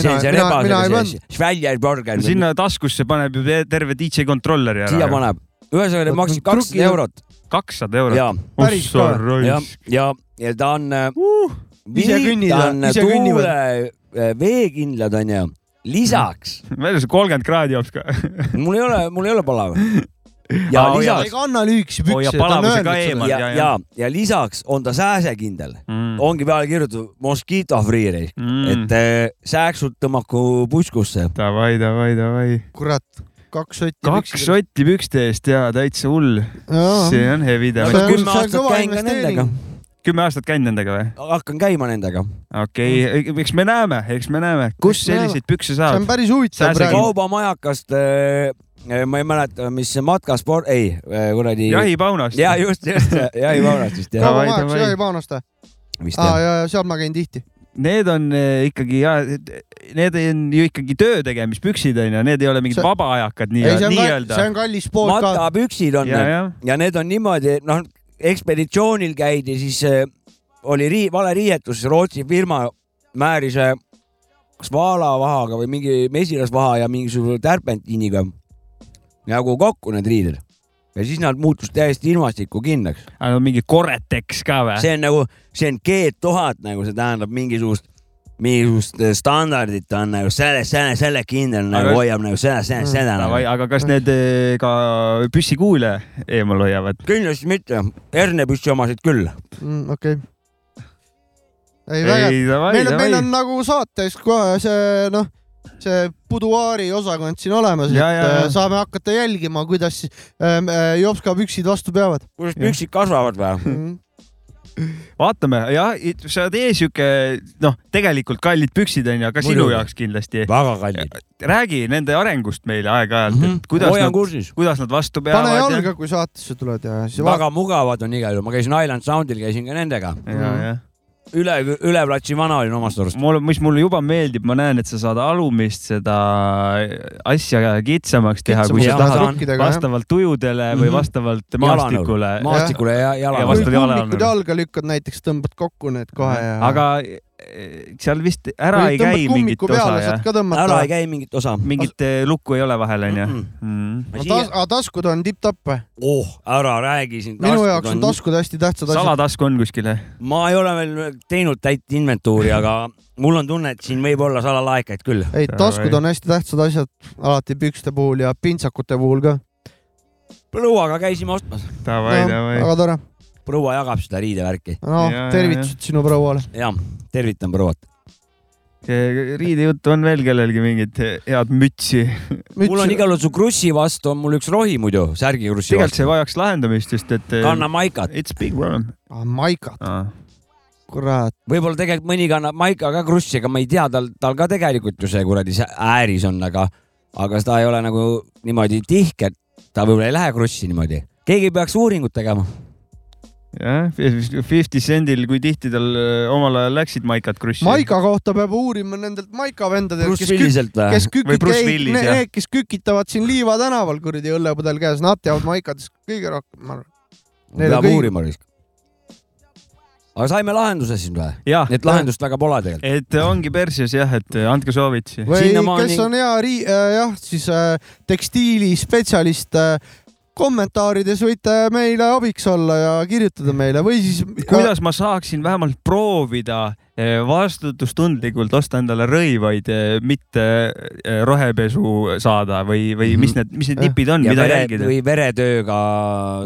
see on see
mina ei
rebasega
pannud
sees , Schweigerborgen ,
sinna taskusse paneb ju te- terve DJ kontrolleri
siia
ära .
paneb , ühesõnaga need maksid kakssada
Trukid-
eurot
kakssada eurot .
ja ,
Päris ka.
ja , ja , ja ta on
Uh,
ise kõnnida-
ta on
ise kõnnivad.
tuule , veekindlad onju , lisaks
veel see kolmkümmend kraadi jops ka .
mul ei ole , mul ei ole palav . ja
Aa, hoia-
ta
lisaks Oh,
ei , kanna lühikesi
Hoia
pükse , ta on
palavuse
öelnud
ka
seda
eemal. .
ja ,
ja, ja.
ja , ja lisaks on ta sääsekindel ,
Mm.
ongi peale kirjutatud Mosquito Free Race , Oh, et äh, sääksud tõmmaku puskusse .
davai , davai , davai .
kurat , kaks sotti .
kaks . sotti pükste eest ja täitsa hull . see on heavy
See
davai .
on-
kümme
see on
aastat
kõva
käin ka
investeering.
nendega ,
kümme aastat käinud nendega või ?
hakkan käima nendega .
okei okay. , eks me näeme , eks me näeme , kus
Eks me näeme.
selliseid pükse
see on
saab .
päris huvitav
Sääse-
praegu .
kaubamajakast , ma ei mäleta , mis see matkasport , ei äh, kuradi .
jahipaunast .
ja just , just jahipaunast vist jah ,
Davai,
kaubamajaks
davai.
ja ei paanasta .
vist
aa
jah .
ja , ja seal ma käin tihti .
Need on eh, ikkagi ja , need on ju ikkagi töö tegemispüksid onju , need ei ole mingid
See-
vabaajakad
ei , see
nii-öelda
on ka ,
nii-öelda
see . on kallis sport ka .
matapüksid on
ja ,
need
ja
ja need on niimoodi , noh , ekspeditsioonil käidi , siis äh, oli rii- , vale riietus , Rootsi firma määris äh, kas vaalavahaga või mingi mesilasvaha ja mingisuguse tärpentiiniga nagu kokku need riided . ja siis nad muutus täiesti ilmastikukinnaks .
aga no mingi Koretex ka või ?
see on nagu , see on G tuhat nagu see tähendab mingisugust , mingisugust äh, standardit on nagu selle , selle , selle kindel nagu
Aga-
hoiab nagu seda , seda , seda nagu.
Davai , aga kas need eh, ka püssikuule eemal hoiavad ?
kindlasti mitte , hernepüssi omasid küll .
Mm, okei . ei , väga
ei , davai ,
meil on , meil
davai
on . nagu saates kohe see noh , see buduaari osakond siin olemas , et
Ja, ja, ja.
äh, saame hakata jälgima , kuidas siis ähm, äh, Jopska püksid vastu peavad
kuidas püksid kasvavad või ?
Hmm.
mm. .
vaatame , jah , sa oled ees sihuke , noh , tegelikult kallid püksid onju , ka sinu
Muidugi.
jaoks kindlasti .
väga kallid .
räägi nende arengust meile aeg-ajalt mm , -hmm. et kuidas
hoian
nad ,
kursis .
kuidas nad vastu peavad
Mhm. pane . jalga , kui saatesse tuled ja siis
väga mugavad on igal juhul , ma käisin Island Soundil , käisin ka nendega .
ja ,
Mhm.
ja
üle , üle platsi vana olin omast arust .
mul , mis mulle juba meeldib , ma näen , et sa saad alumist seda asja kitsamaks teha , kui sa
Kitsamaks,
tahad
jah.
vastavalt tujudele või
Mhm.
vastavalt maastikule .
maastikule
Ja
ja jalale
vastu-
vastu
vastavad
jalale .
jalale
kummikud
on.
jalga lükkad näiteks , tõmbad kokku need kohe ja .
aga eh, seal vist ära ei käi mingit osa
peale,
ja
saad ka tõmmata .
ära ei käi mingit osa .
mingit eh, lukku ei ole vahel onju
Mhm.
Mhm.
Mm-mm. . Ma
tas
siia-
aga taskud on tipp-tapp või ?
oh , ära räägi siin .
minu jaoks on . taskud hästi tähtsad asjad .
salatasku on kuskil jah ?
ma ei ole veel teinud täit inventuuri , aga mul on tunne , et siin võib olla salalaekaid küll .
ei , taskud on hästi tähtsad asjad alati pükste puhul ja pintsakute puhul ka .
prouaga käisime ostmas .
Davai , davai .
Noh, väga tore .
proua jagab seda riidevärki .
no
Ja, ja,
tervitused sinu prouale .
jah , tervitan prouat .
riidejuttu on veel kellelgi mingit head mütsi ?
mul on igal juhul su krussi vastu on mul üks rohi muidu , särgikrussi
tegelikult
vastu .
see vajaks lahendamist , sest et eh,
kanna maikat .
it's big problem .
ah, . maikad , kurat .
võib-olla tegelikult mõni kannab Maika ka krussi , aga ma ei tea , tal , tal ka tegelikult ju see kuradi see ääris on , aga , aga ta ei ole nagu niimoodi tihke , et ta võib-olla ei lähe krussi niimoodi . keegi peaks uuringut tegema .
jah , Fifty Centil , kui tihti tal eh, omal ajal läksid maikad krussi ?
Maika kohta peab uurima nendelt Maika vendadelt ,
Bruce
kes kük- ,
Williselt või ?
kes
Või
kükid
Bruce
käi-
Willis,
ne-
jah.
need , kes kükitavad siin Liiva tänaval kuradi õllepudel käes , nad teavad Maikadest kõige rohkem , ma arvan . Neil on
peab
kõik-
uurima risk . aga saime lahenduse siis või ?
jah ,
et lahendust väga pole tegelikult .
et ongi Persias jah , et eh, andke soovitusi .
või
Sinnamaani-
kes on hea rii- , jah , siis äh, tekstiilispetsialist äh, kommentaarides võite meile abiks olla ja kirjutada meile või siis
kuidas ma saaksin vähemalt proovida eh, vastutustundlikult osta endale rõivaid , mitte eh, rohepesu saada või , või mis need , mis need
Mhm. Jah.
nipid on ,
ja
mida
vere ,
jälgida ?
või veretööga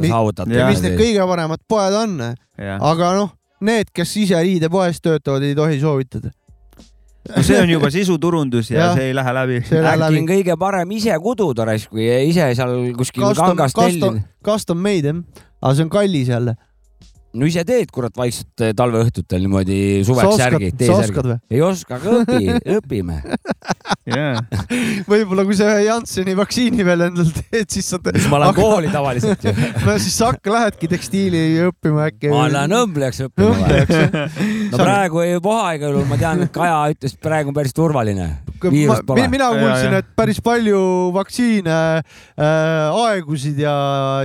Mi-
saavutada
ja
ja mis need . kõige paremad poed on ,
jah ,
aga noh , need , kes ise riidepoes töötavad , ei tohi soovitada .
no see on juba sisuturundus ja, ja
Jah.
see ei lähe läbi .
See ei lähe
äkki
läbi.
on kõige parem ise kududa raisk või ise seal kuskil
Custom-
kangas
custom-
tellida .
custom made jah , aga see on kallis jälle .
no ise teed kurat vaikselt eh, talveõhtutel niimoodi
Sa
suveks
oskad-
särgid ,
sa oskad
T-särgid
või? .
ei oska , aga õpi , õpime .
Yeah.
võib-olla kui sa ühe Jansseni vaktsiini veel endale teed , siis sa .
siis ma lähen . kooli tavaliselt ju .
no siis sa hakka , lähedki tekstiili õppima äkki .
ma lähen õmblejaks õppima . no praegu ei puha igal juhul , ma tean , et Kaja ütles , et praegu on päris turvaline . viirust pole .
mina
Ja,
kuulsin
ja. ,
et päris palju vaktsiine äh, aegusid ja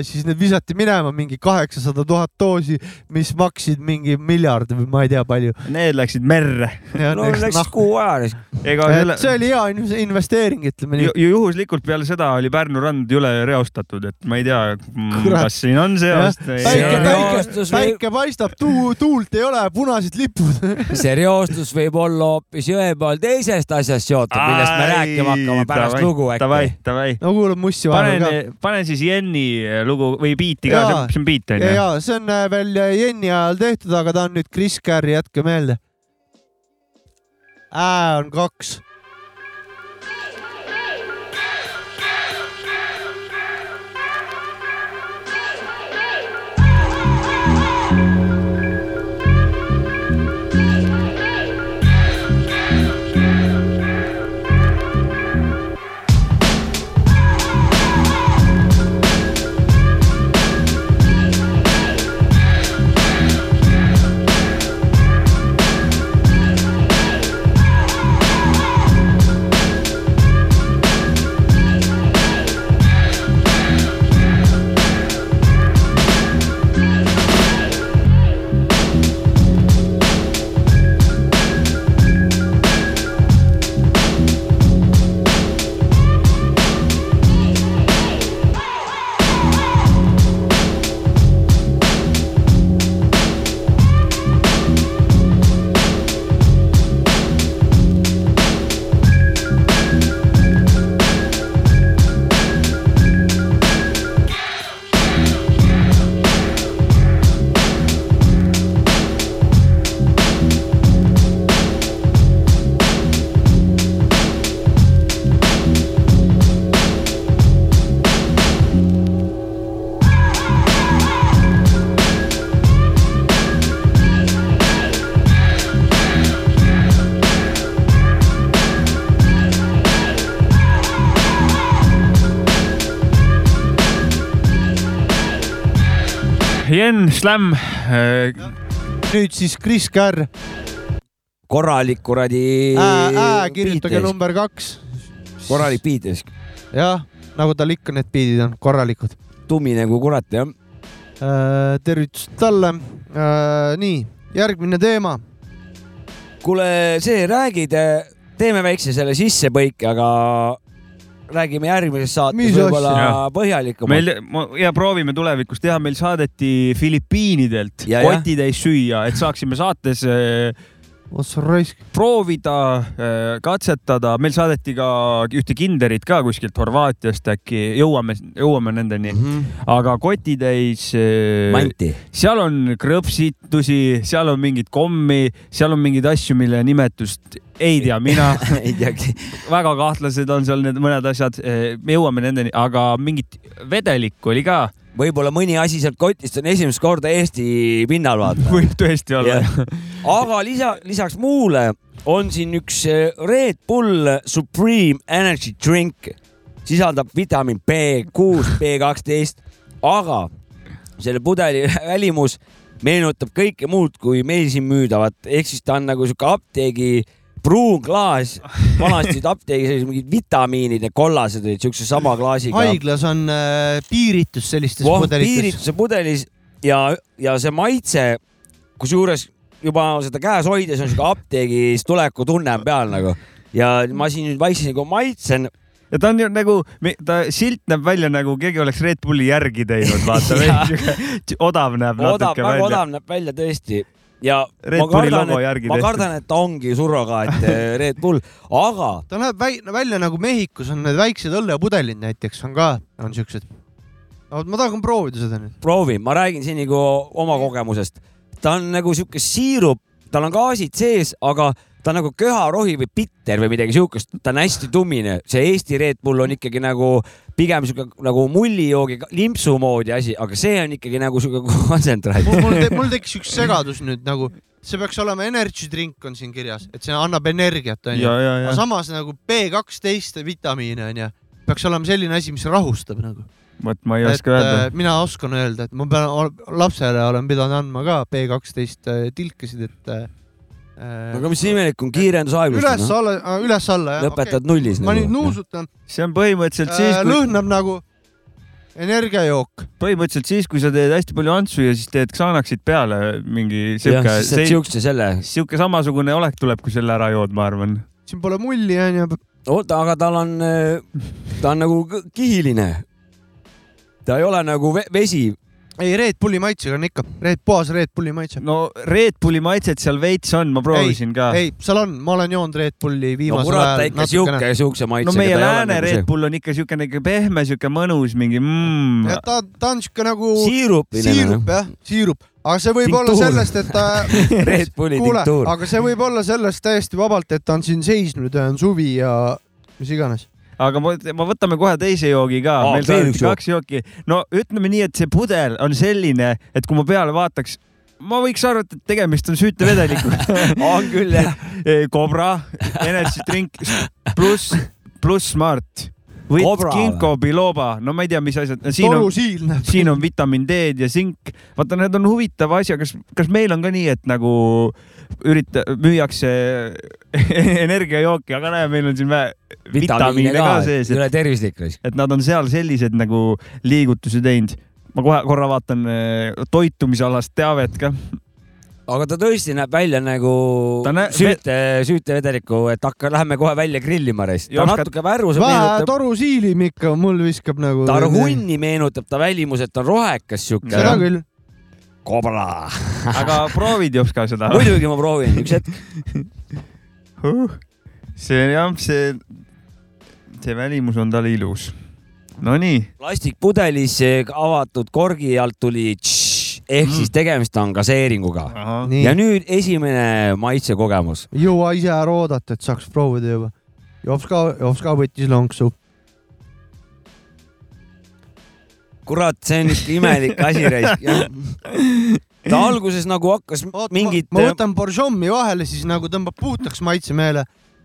siis need visati minema mingi kaheksasada tuhat doosi , mis maksid mingi miljard või ma ei tea palju .
Need läksid merre .
no
Noh.
läks kuu aja raisk .
ega selle
et see oli hea inv- investeering , ütleme nii
ju, . ju juhuslikult peale seda oli Pärnu rand üle reostatud , et ma ei tea ,
Kurat.
kas siin on seost või ei
päike ,
ole .
päike ,
reostus või-
päike paistab , tuult ei ole , punased lipud .
see reostus võib olla hoopis jõe peal teisest asjast seotud , millest me rääkima hakkame pärast lugu
Davai
äkki .,
davai .
no kuule , Mussi vahel
pane
ka .,
pane siis Jenni eh, lugu või biiti ka , see
Jaa.
on- see on biit
ja ,
onju
ja . see on äh, veel Jenni ajal tehtud , aga ta on nüüd Chris Carri , jätke meelde . Ä on kaks .
Jen , Slam , eh,
nüüd siis Chris Carr ,
korralik kuradi .
Ä , Ä , kirjutage . number kaks .
korralik biitrisk ,
jah , nagu tal ikka need biidid on , korralikud .
tumi nagu kurat jah .
tervitused talle . nii , järgmine teema .
kuule , see räägid , teeme väikse selle sissepõike , aga räägime järgmises
Mis
saates
asja?
võib-olla põhjalikumalt .
meil ma- ja proovime tulevikus teha , meil saadeti Filipiinidelt
Ja, jah.
kotitäis süüa , et saaksime saates äh,
otsa raisk .
proovida , katsetada , meil saadeti ka ühte kinderit ka kuskilt Horvaatiast äkki , jõuame , jõuame nendeni mm , -hmm. aga kotitäis .
Mhm. Manti ,
seal on krõpsitusi , seal on mingit kommi , seal on mingeid asju , mille nimetust ei tea mina .
ei teagi ,
väga kahtlased on seal need mõned asjad , me jõuame nendeni , aga mingit vedelikku oli ka ,
võib-olla mõni asi sealt kotist on esimest korda Eesti pinnal vaata .
võib tõesti olla
Jah.
yeah. .
aga lisa , lisaks muule on siin üks eh, Red Bull Supreme Energy Drink , sisaldab vitamiin B6 , B12 , aga selle pudeli välimus meenutab kõike muud kui meil siin müüdavat , ehk siis ta on nagu sihuke apteegi pruun klaas , vanasti olid apteegis olid mingid vitamiinid ja kollased olid siukse sama klaasiga .
haiglas on äh, piiritus sellistes
Voh,
pudelites .
piirituse pudelis ja , ja see maitse , kusjuures juba seda käes hoides on siuke apteegis tuleku tunne on peal nagu ja ma siin nüüd vaikselt nagu maitsen .
ja ta on ju nagu , ta silt näeb välja nagu keegi oleks Red Bulli järgi teinud , vaata
Jaa.
veidi odav näeb
odav ,
natuke
väga
välja .
odav näeb välja tõesti ja
Red
ma
Bulli
kardan
logo ,
et
järgi
ma
tehtud.
kardan , et ta ongi surrogaat eh, Red Bull , aga
ta näeb väi- välja nagu Mehhikos on need väiksed õllepudelid näiteks on ka , on siuksed . no vot , ma tahan proovida seda nüüd .
proovi , ma räägin siin nagu oma kogemusest . ta on nagu sihuke siirup , tal on gaasid sees , aga ta on nagu köharohi või bitter või midagi siukest , ta on hästi tumine , see Eesti Red Bull on ikkagi nagu pigem siuke nagu mullijoogi limpsu moodi asi , aga see on ikkagi nagu siuke kontsentraat .
mul , mul, te, mul tekkis üks segadus nüüd nagu , see peaks olema energy drink on siin kirjas , et see annab energiat , onju .
ja , ja ,
aga
ja
samas nagu B12 vitamiine onju , peaks olema selline asi , mis rahustab nagu .
vot ma ei
et
oska öelda
äh, . mina oskan öelda , et ma pean , lapsele olen pidanud andma ka B12 äh, tilkesid , et äh, . äh,
aga mis imelik on , kiirendus aeglustab , noh .
üles-alla , üles-alla äh, jah .
lõpetad nullis
ma nüüd
nagu .
nuusutan ,
see on
äh,
põhimõtteliselt siis , kui ,
lõhnab nagu energiajook .
põhimõtteliselt siis , kui sa teed hästi palju antsu ja siis teed ksaanaksid peale mingi
jah ,
siuke ,
siis saad siukse selle .
siuke samasugune olek tuleb , kui selle ära jood , ma arvan .
siin pole mulli onju ,
oota , aga tal on , ta on nagu k- kihiline . ta ei ole nagu ve- vesi .
ei Red Bulli maitsega on ikka , Red , puhas Red Bulli maitse .
no Red Bulli maitset seal veits on , ma proovisin ka .
ei , seal on , ma olen joonud Red Bulli
no
viimasel
kurat , ta
ajal
ikka siuke , siukse maitsega . nagu
no meie
nagu
lääne Red . Bull on ikka siukene ikka pehme , siuke mõnus mingi mm,
ja . ta , ta on siuke nagu
siirupiline
nagu,
siirup . jah , siirup , aga see võib olla
Tinktuur.
sellest , et ta ,
Red Bulli
kuule ,
tinktuur .
aga see võib olla sellest täiesti vabalt , et ta on siin seisnud ja on suvi ja mis iganes .
aga ma, ma võtame kohe teise joogi ka
Aa, .
meil
veel
on
üks jook.
kaks jooki . no ütleme nii , et see pudel on selline , et kui ma peale vaataks , ma võiks arvata , et tegemist on süüte vedelikuga .
on küll jah .
Cobra , Energy Drink pluss , pluss Smart või
Cobra
Ginkgo biloba , no ma ei tea , mis asjad . siin on ,
torusiil näeb .
siin on vitamiin D-d ja sink . vaata , need on huvitava asja , kas , kas meil on ka nii , et nagu ürita- , müüakse energiajooki , aga näe , meil on siin vä- vitamiine ka sees ,
ei ole tervislik .
et nad on seal sellised nagu liigutusi teinud . ma kohe korra vaatan eh, toitumisalast teavet ka .
aga ta tõesti näeb välja nagu
Ta nä-
süüte , süütevedeliku , et hakka , lähme kohe välja grillima reis .
Ja
ta
oskad-
natuke värvuse
vähe
meenutab ,
torusiilim ikka mul viskab nagu .
ta hunni meenutab , ta välimuselt on rohekas siuke
seda . küll .
kobra .
aga proovid jops ka seda ?
muidugi ma proovin , üks hetk .
see jah , see , see välimus on tal ilus . Nonii ,
plastikpudelis eh, avatud korgi alt tuli tšš, ehk
Mm.
siis tegemist on gaseeringuga .
ahah ,
nii
ja , nüüd esimene maitsekogemus .
jõua ise ära oodata , et saaks proovida juba . Jops ka , Jops ka võttis lonksu .
kurat , see on ikka imelik asi , raisk . ta alguses nagu hakkas
Oot,
mingit äh,
ma, ma võtan Borjomi vahele , siis nagu tõmbab puhtaks maitsemeele ,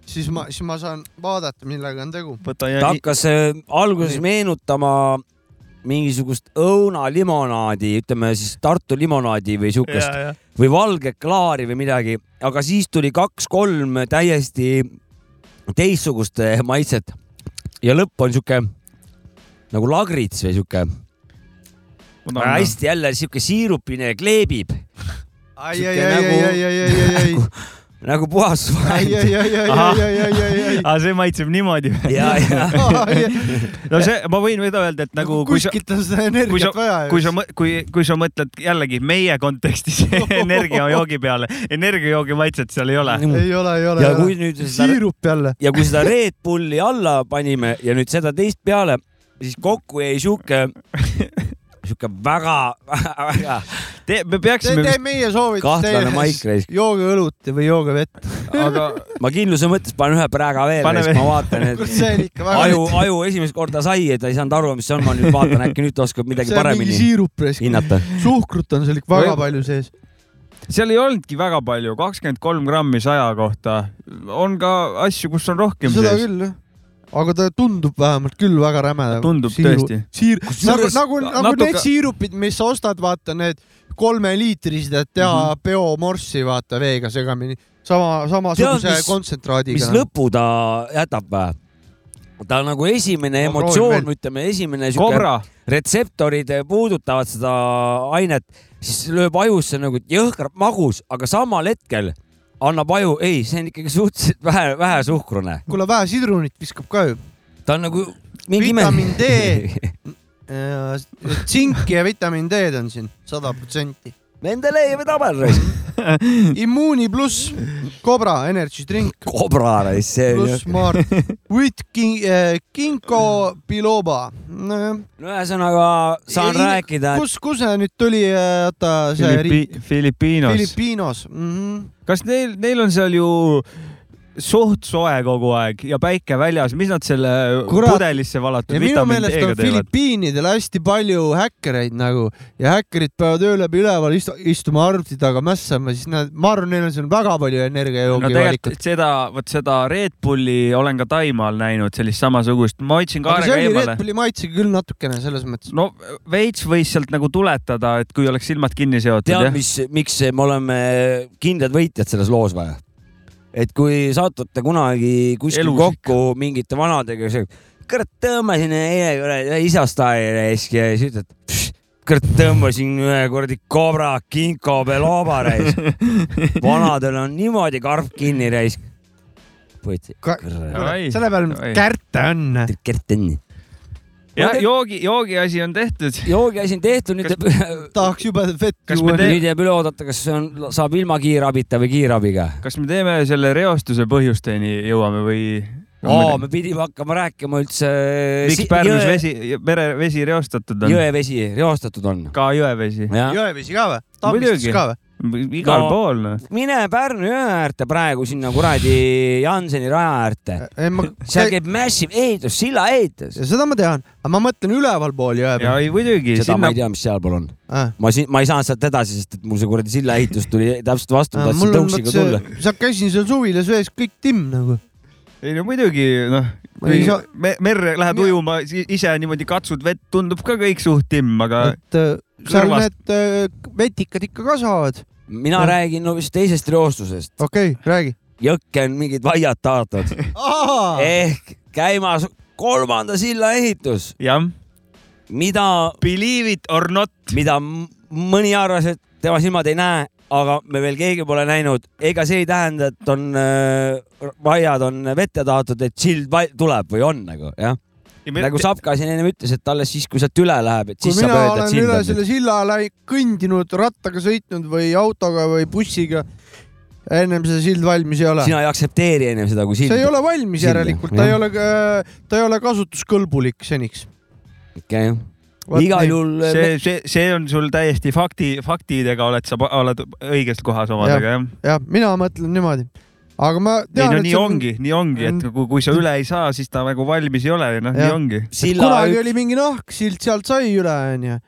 siis ma , siis ma saan vaadata , millega on tegu .
võta
ta
ja nii ,
hakkas äh, alguses meenutama mingisugust õunalimonaadi , ütleme siis Tartu limonaadi või siukest või valge klaari või midagi , aga siis tuli kaks-kolm täiesti teistsugust eh, maitset ja lõpp on siuke nagu lagrits või siuke , hästi jälle siuke siirupine ja kleebib
ai ,
Siuke
ai , ai , ai ,
nagu-
ai , ai , ai , ai , ai ,
nagu puhas
ai ,
vahend
ai , ai , ai ,
Ahah.
ai , ai , ai , ai ,
aa , see maitseb niimoodi või ?
ja , ja
ai .
no see , ma võin veel öelda , et nagu kui sa ,
kuskilt on
kui
seda
sa
energiat vaja ,
kui sa
ju .
mõ- , kui , kui sa mõtled jällegi meie kontekstis energiajoogi peale , energiajoogi maitset seal ei ole .
ei ole , ei ole ,
ja
ei
kui
ole .
nüüd seda
siirup jälle .
ja kui seda Red Bulli alla panime ja nüüd seda teist peale , siis kokku jäi sihuke , sihuke väga , väga
me
Tee ,
peaksime
tee meie soovitus
Kahtlane maik
teile
raisk. ,
jooge õlut või jooge vett .
vist , aga
ma kindluse mõttes panen ühe praega veel ,
Pane
siis
veel.
ma vaatan ,
kurat , see
et
on ikka väga
aju , aju esimest korda sai ja ta ei saanud aru , mis see on , ma nüüd vaatan , äkki nüüd ta oskab midagi
see on mingi
paremini
siirup raisk .
hinnata .
suhkrut on seal ikka
Või-
väga palju sees .
seal ei olnudki väga palju , kakskümmend kolm grammi saja kohta . on ka asju , kus on rohkem
seda
sees .
küll jah , aga ta tundub vähemalt küll väga räme .
Tundub tõesti. .
siir- , nagu ,
Kusjuures-
nagu , nagu
natuke-
need siirupid , mis sa ostad , vaata need kolmeliitrised , et teha mm
Mhm.
-hmm. peomorssi , vaata veega segamini . sama , samasuguse
Tead, mis- mis
kontsentraadiga . nagu.
lõpu ta jätab või ? ta on nagu esimene
Ma proovin
emotsioon
veel. ,
ütleme esimene sihuke
kobra ,
retseptorid puudutavad seda ainet , siis lööb ajusse nagu jõhkrab magus , aga samal hetkel annab aju , ei , see on ikkagi suhteliselt vähe , vähe suhkrune .
kuule , vähe sidrunit viskab ka ju .
ta on nagu mingi ime-
Vitamiin Äh, D. tsinki ja vitamiin D-d on siin sada protsenti .
Mendelejevi tabel raisk .
immuuni pluss Cobra Energy Drink
kobra raisk , see on
pluss
ju .
Mart with kin- , Kinko Biloba . saan
no ühesõnaga saan Ei, rääkida ,
kus , kus see nüüd tuli , oota see riik ,
Filipi- , Filipiinos .
Filipiinos mm . -hmm.
kas neil , neil on seal ju suht soe kogu aeg ja päike väljas , mis nad selle
Kurat.
Kurat. pudelisse
ja
valatud
minu
vitamiin
meelest on
D-ga teevad ?
Filipiinidel hästi palju häkkereid nagu ja häkkerid peavad öö läbi üleval istu- istuma arvuti taga mässama , siis nad , ma arvan , neil on seal väga palju
no
energiajoogi no, valikut .
tegelikult seda , vot seda Red Bulli olen ka Taimaal näinud , sellist samasugust , ma hoidsin
aga
kaarega
see oli Red
eemale .
Bulli maitsega küll natukene selles mõttes .
no veits võis sealt nagu tuletada , et kui oleks silmad kinni seotud ,
tead ,
jah .
mis , miks me oleme kindlad võitjad selles loos või ? et kui satute kunagi kuskil
Elus
Elus kokku mingite vanadega , siis kurat tõmbasin eile kuradi ühe isastaia raisk ja siis ütled , kurat tõmbasin ühe kuradi kobra kinko peal hooba raisk . vanadel on niimoodi karp kinni raisk . võtsin
Ka-
kuradi
Ai,
selle peal
ai.
kärte on .
kertenni .
ja
ma tean-
joogi , joogiasi on tehtud .
joogiasi on tehtud , nüüd
Kas-
jääb ,
tahaks jube vett
Kas me
juua .
tee-
nüüd jääb üle oodata , kas see on , saab ilma kiirabita või kiirabiga
kas me teeme selle reostuse põhjusteni jõuame või ?
aa , me pidime hakkama rääkima üldse .
miks Pärnus ? vesi , merevesi reostatud on ?
jõevesi reostatud on .
ka jõevesi .
jõevesi ka või ? Tammistest
Muidugi.
ka või ?
igal
No.
pool , noh .
mine Pärnu jõe äärde praegu sinna kuradi Janseni raja äärde .
ei , ma ,
seal käib massive ehitus , silla ehitus .
seda ma tean , aga ma mõtlen ülevalpool jõe
ja
peal .
ei muidugi ,
seda
sinna
ma ei , tea , mis sealpool on .
Ah,
ma siin , ma ei saanud sealt edasi , sest et mul see kuradi silla ehitus tuli täpselt vastu , ma tahtsin
Ah, mul on vot
tõuksiga
see
tulla .,
sa käisin seal suvilas vees , kõik timm nagu .
ei no muidugi , noh
Ma ei saa- .
merre lähed
Mina-
ujuma , ise niimoodi katsud vett , tundub ka kõik suht timm , aga
et äh, seal
kõrvast-
need äh, vetikad ikka kasvavad .
mina
jah.
räägin hoopis teisest reostusest .
okei okay, , räägi .
jõkke on mingid vaiad taotud ehk käimas kolmanda silla ehitus ,
jah .
mida
Believe it or not .
mida m- mõni arvas , et tema silmad ei näe , aga me veel keegi pole näinud . ega see ei tähenda , et on äh, vaiad on vette taotud , et sild vai- tuleb või on nagu jah . nagu Sapka siin ennem ütles , et alles siis , kui sealt üle läheb , et
kui
siis saab
mina
öelda , et
olen
sild
üle
on
selle
selle... .
silla läi- kõndinud , rattaga sõitnud või autoga või bussiga , ennem see sild valmis ei ole .
sina ei aktsepteeri ennem seda , kui sild .
see ei ole valmis
silda,
järelikult , ta
jah.
ei ole , ta ei ole kasutuskõlbulik seniks .
okay. .
Vot nii.
igal juhul äh, see...
see , see , see on sul täiesti fakti , faktidega oled sa , oled õiges kohas omadega , jah .
jah , mina mõtlen niimoodi . aga ma
ei
tean ,
no
et
nii
see on-
ongi , nii ongi , et kui , kui sa üle ei saa , siis ta nagu valmis ei ole ja noh , nii
Jah.
ongi .
silla ,
kunagi
üks,
oli mingi nahksild , sealt sai üle , onju .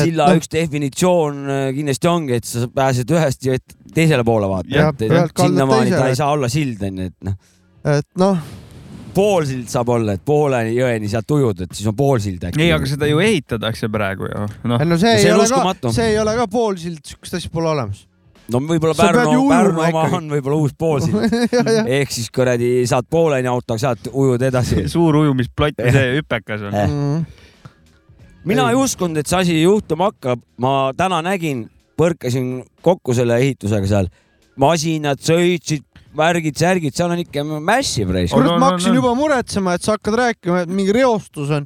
silla
et noh-
üks definitsioon äh, kindlasti ongi , et sa pääsed ühest jõest teisele poole
Jah,
vaata .
ühelt kaldalt
sinnamaani ta
teisele.
ei saa olla sild onju , et noh .
et noh ,
pool sild saab olla , et pooleni jõeni sealt ujud , et siis on pool sild äkki .
ei , aga seda ju ehitatakse praegu ju , noh .
no see
Ah. see
ei
on
ole
uskumatu.
ka , see ei ole ka poolsild , siukest asja pole olemas .
no võib-olla
sa pead
Pärnu
ju , ujuma
Pärnu oma
ikkagi.
on võib-olla uus pool sild . ehk siis kuradi saad pooleni autoga , sealt ujud edasi .
suur ujumisplott ja see hüpekas on
Äh,
Jah. .
see
mina ei uskunud , et see asi juhtuma hakkab . ma täna nägin , põrkasin kokku selle ehitusega seal . masinad sõitsid , värgid , särgid , seal on ikka massive reis .
On, on,
ma
on,
hakkasin
on.
juba muretsema , et sa hakkad rääkima , et mingi reostus on .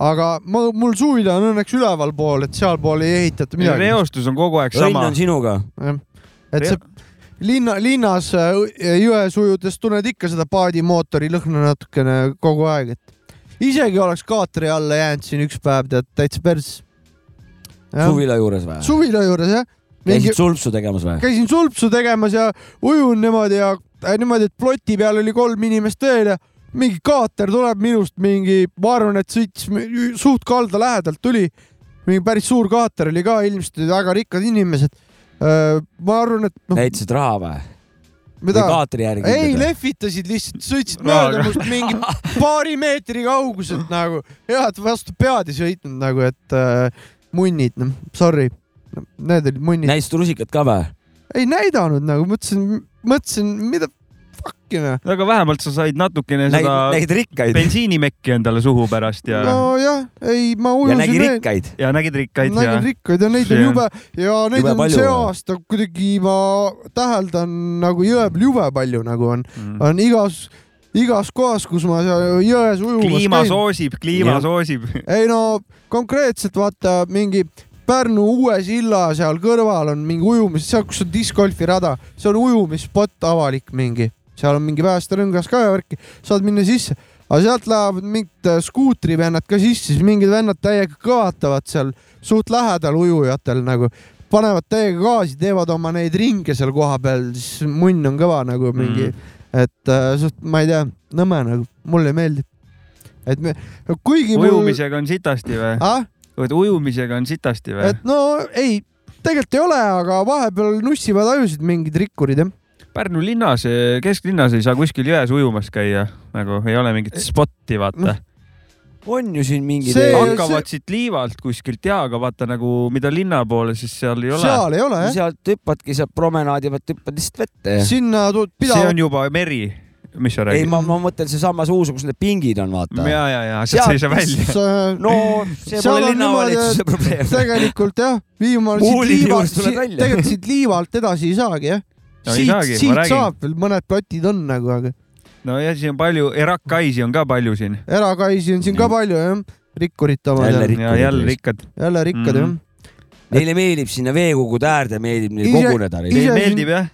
aga ma , mul suvila on õnneks ülevalpool , et sealpool ei ehitata midagi .
reostus on kogu aeg
õnn
sama
on . sinuga .
et see linna , linnas äh, jões ujudes tunned ikka seda paadimootori lõhna natukene kogu aeg , et isegi oleks kaatri alla jäänud siin üks päev , tead , täitsa pers .
suvila juures või ?
suvila juures jah . mingi
käisid , sulpsu tegemas või ?
käisin sulpsu tegemas ja ujun niimoodi ja äh, niimoodi , et ploti peal oli kolm inimest veel ja mingi kaater tuleb minust mingi , ma arvan , et sõits mi- suht kalda lähedalt tuli . mingi päris suur kaater oli ka , ilmselt olid väga rikkad inimesed . ma arvan , et noh ,
näitasid raha või ? või
mida ,
kaatri järgi ?
ei lehvitasid lihtsalt , sõitsid
Rahaga.
mööda must mingi paari meetri kauguselt nagu , jah , et vastu pead ei sõitnud nagu , et äh, munnid , noh , sorry . Need olid munnid .
näitasid rusikat ka või ?
ei näidanud nagu , mõtlesin , mõtlesin , mida fuck'i noh .
aga vähemalt sa said natukene
nägid ,
seda
nägid rikkaid ?
bensiinimekki endale suhu pärast ja no. ,
nojah , ei ma
ja
ujusin
nägi rikkaid .
ja nägid rikkaid ja
nägin rikkaid ja neid on
See on-
jube ja neid
Jube
on
palju
see
või?
aasta kuidagi ma täheldan nagu jõe peal jube palju nagu on ,
mm.
on igas , igas kohas , kus ma seal jões ujumas
kliima
käin .
soosib , kliima
Jah.
ja. soosib .
ei no konkreetselt vaata mingi Pärnu uue silla seal kõrval on mingi ujumis , seal kus on discgolfi rada , see on ujumisspot avalik mingi , seal on mingi päästerõngas ka ja värki , saad minna sisse , aga sealt lähevad mingid äh, skuutrivennad ka sisse , siis mingid vennad täiega kõvatavad seal suht lähedal ujujatel nagu , panevad täiega gaasi , teevad oma neid ringe seal kohapeal , siis munn on kõva nagu mingi mm. , et äh, suht , ma ei tea , nõme nagu , mulle meeldib . et me , kuigi mul-
ujumisega on sitasti või ?
ah?
ujumisega on sitasti või
et ? no ei , tegelikult ei ole , aga vahepeal nussivad ajusid mingid rikkurid jah .
Pärnu linnas , kesklinnas ei saa kuskil jões ujumas käia , nagu ei ole mingit spotti , vaata .
on ju siin mingi
See-
tee-
hakkavad siit liivalt kuskilt ja , aga vaata nagu , mida linna poole , siis seal ei ole .
seal ei ole jah ,
sealt hüppadki sealt promenaadi pealt hüppad lihtsalt vette ja .
sinna tu-
see
pidavad
on , juba meri , mis sa
ei ,
räägid ?
ma , ma mõtlen seesama suu , kus need pingid on , vaata .
ja , ja , ja sealt sai see välja .
äh, no,
no see
Seal
pole
on
linnavalitsuse
niimoodi-
probleem .
tegelikult jah , viimane siit
Muulide
liivalt ,
juurest tuleb välja.
tegelikult siit liivalt edasi ei saagi jah .
No ei
siit
saagi, , ma
siit
räägin.
saab veel mõned plotid on nagu , aga
no ja siin on palju , erakkaisi on ka palju siin .
erakaisi on siin ka palju jah , rikkurite
Jälle
omad ,
Rikkud
ja Mm. jälle
just.
rikkad .
jälle rikkad jah
Mhm. .
Neile meelib sinna veekogude äärde , meeldib neil
Ise-
koguneda .
ise-
nii
Teile meeldib jah ?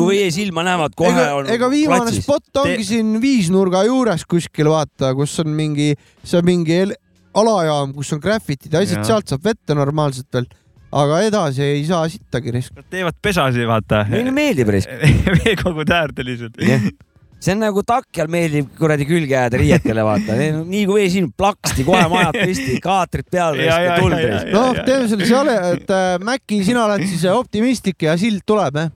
kui vee silma näevad , kohe
ega,
on
ega viimane platsis. spot ongi
Te-
siin Viisnurga juures kuskil vaata , kus on mingi , see on mingi el- alajaam , kus on graffitid ja asjad ,
Jaa.
sealt saab vette normaalselt veel , aga edasi ei saa sittagi risk- .
Nad teevad pesasi , vaata .
Neile meeldib risk ,
veekogude äärde lihtsalt .
Jah. see on nagu takjal meeldib kuradi külge jääda riietele vaata , nii kui vee silm plaksti , kohe majad püsti , kaatrid peal ,
Ja, ja,
tuld
ja, ja,
reis .
noh , teeme selle seal , et äh, Mäkki , sina oled siis äh, optimistlik ja sild tuleb jah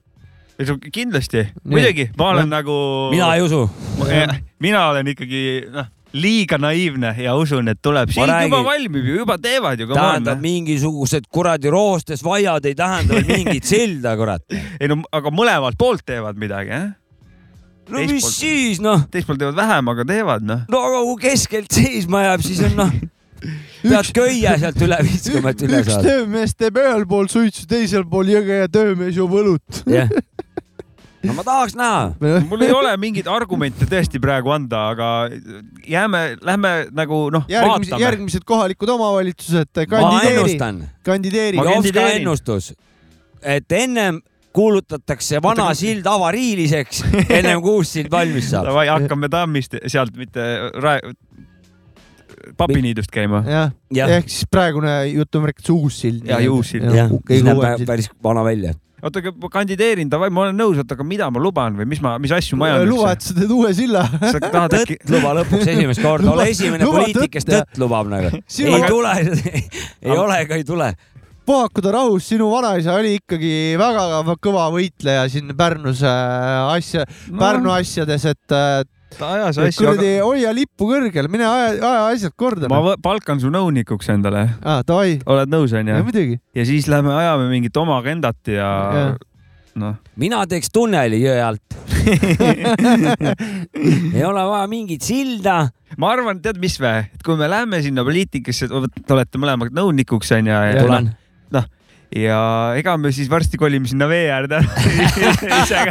eh? ?
kindlasti , muidugi , ma olen nagu .
mina ei usu .
Ma- eh, mina olen ikkagi noh , liiga naiivne ja usun , et tuleb . siin
räägin-
räägin. juba valmib ju , juba teevad ju , come
tähendab ,
on . noh.
mingisugused kuradi roostes vaiad ei tähenda veel mingit silda , kurat .
ei no aga mõlemalt poolt teevad midagi , jah .
no
Teiselt
mis
poolt-
siis noh ,
teiselt poolt teevad vähem , aga teevad noh .
no aga kui keskelt seisma jääb , siis on noh , pead köie sealt üle viskama , et üle
üks
saada .
töömees teeb ühel pool suitsu , teisel pool jõge ja töömees joob õlut .
jah . no ma tahaks näha .
mul ei ole mingeid argumente tõesti praegu anda , aga jääme , lähme nagu noh ,
järgmised ,
vaatame .
järgmised kohalikud omavalitsused ,
ma
kandideeri ,
ennustan ,
kandideeri
Ma- .
Jovska
kandideerin.
ennustus , et ennem kuulutatakse vana sild avariiliseks , ennem kui uus sild valmis saab .
Davai , hakkame tammist sealt , mitte ra- , papiniidust käima .
jah ,
jah ,
ehk siis praegune jutumärkides uus sild .
Jaa, uus sild.
jah ,
kõige
siis näeb
uuem
pä-
sild .
päris vana välja .
oota , aga ma kandideerin , davai , ma olen nõus , oota , aga mida ma luban või mis ma , mis asju ma ajan
luba ,
üldse ?
et sa teed uue silla .
sa tahad äkki ,
tõtt luba lõpuks esimest korda ,
Luba-
ole esimene
luba
poliitik , kes
tõtt, jah.
tõtt lubab nagu .
Sinu-
ei tule , ei ole ega ei tule .
puhakuda rahus , sinu vanaisa oli ikkagi väga kõva võitleja siin Pärnus äh, asja no. ,
No.
Pärnu asjades , et äh,
ta ajas
et
asju ,
kuradi
aga
aga... hoia lippu kõrgel , mine aja , aja asjad korda .
ma võ- palkan su nõunikuks endale
aa , davai ,
oled nõus , onju ?
muidugi .
ja siis lähme ajame mingit oma agendat ja
Jah.
noh ,
mina teeks tunneli jõe alt . ei ole vaja mingit silda .
ma arvan , tead mis vä , et kui me läheme sinna poliitikasse , te olete mõlemad nõunikuks onju ja, ja,
tulen .
ja ega me siis varsti kolime sinna vee äärde .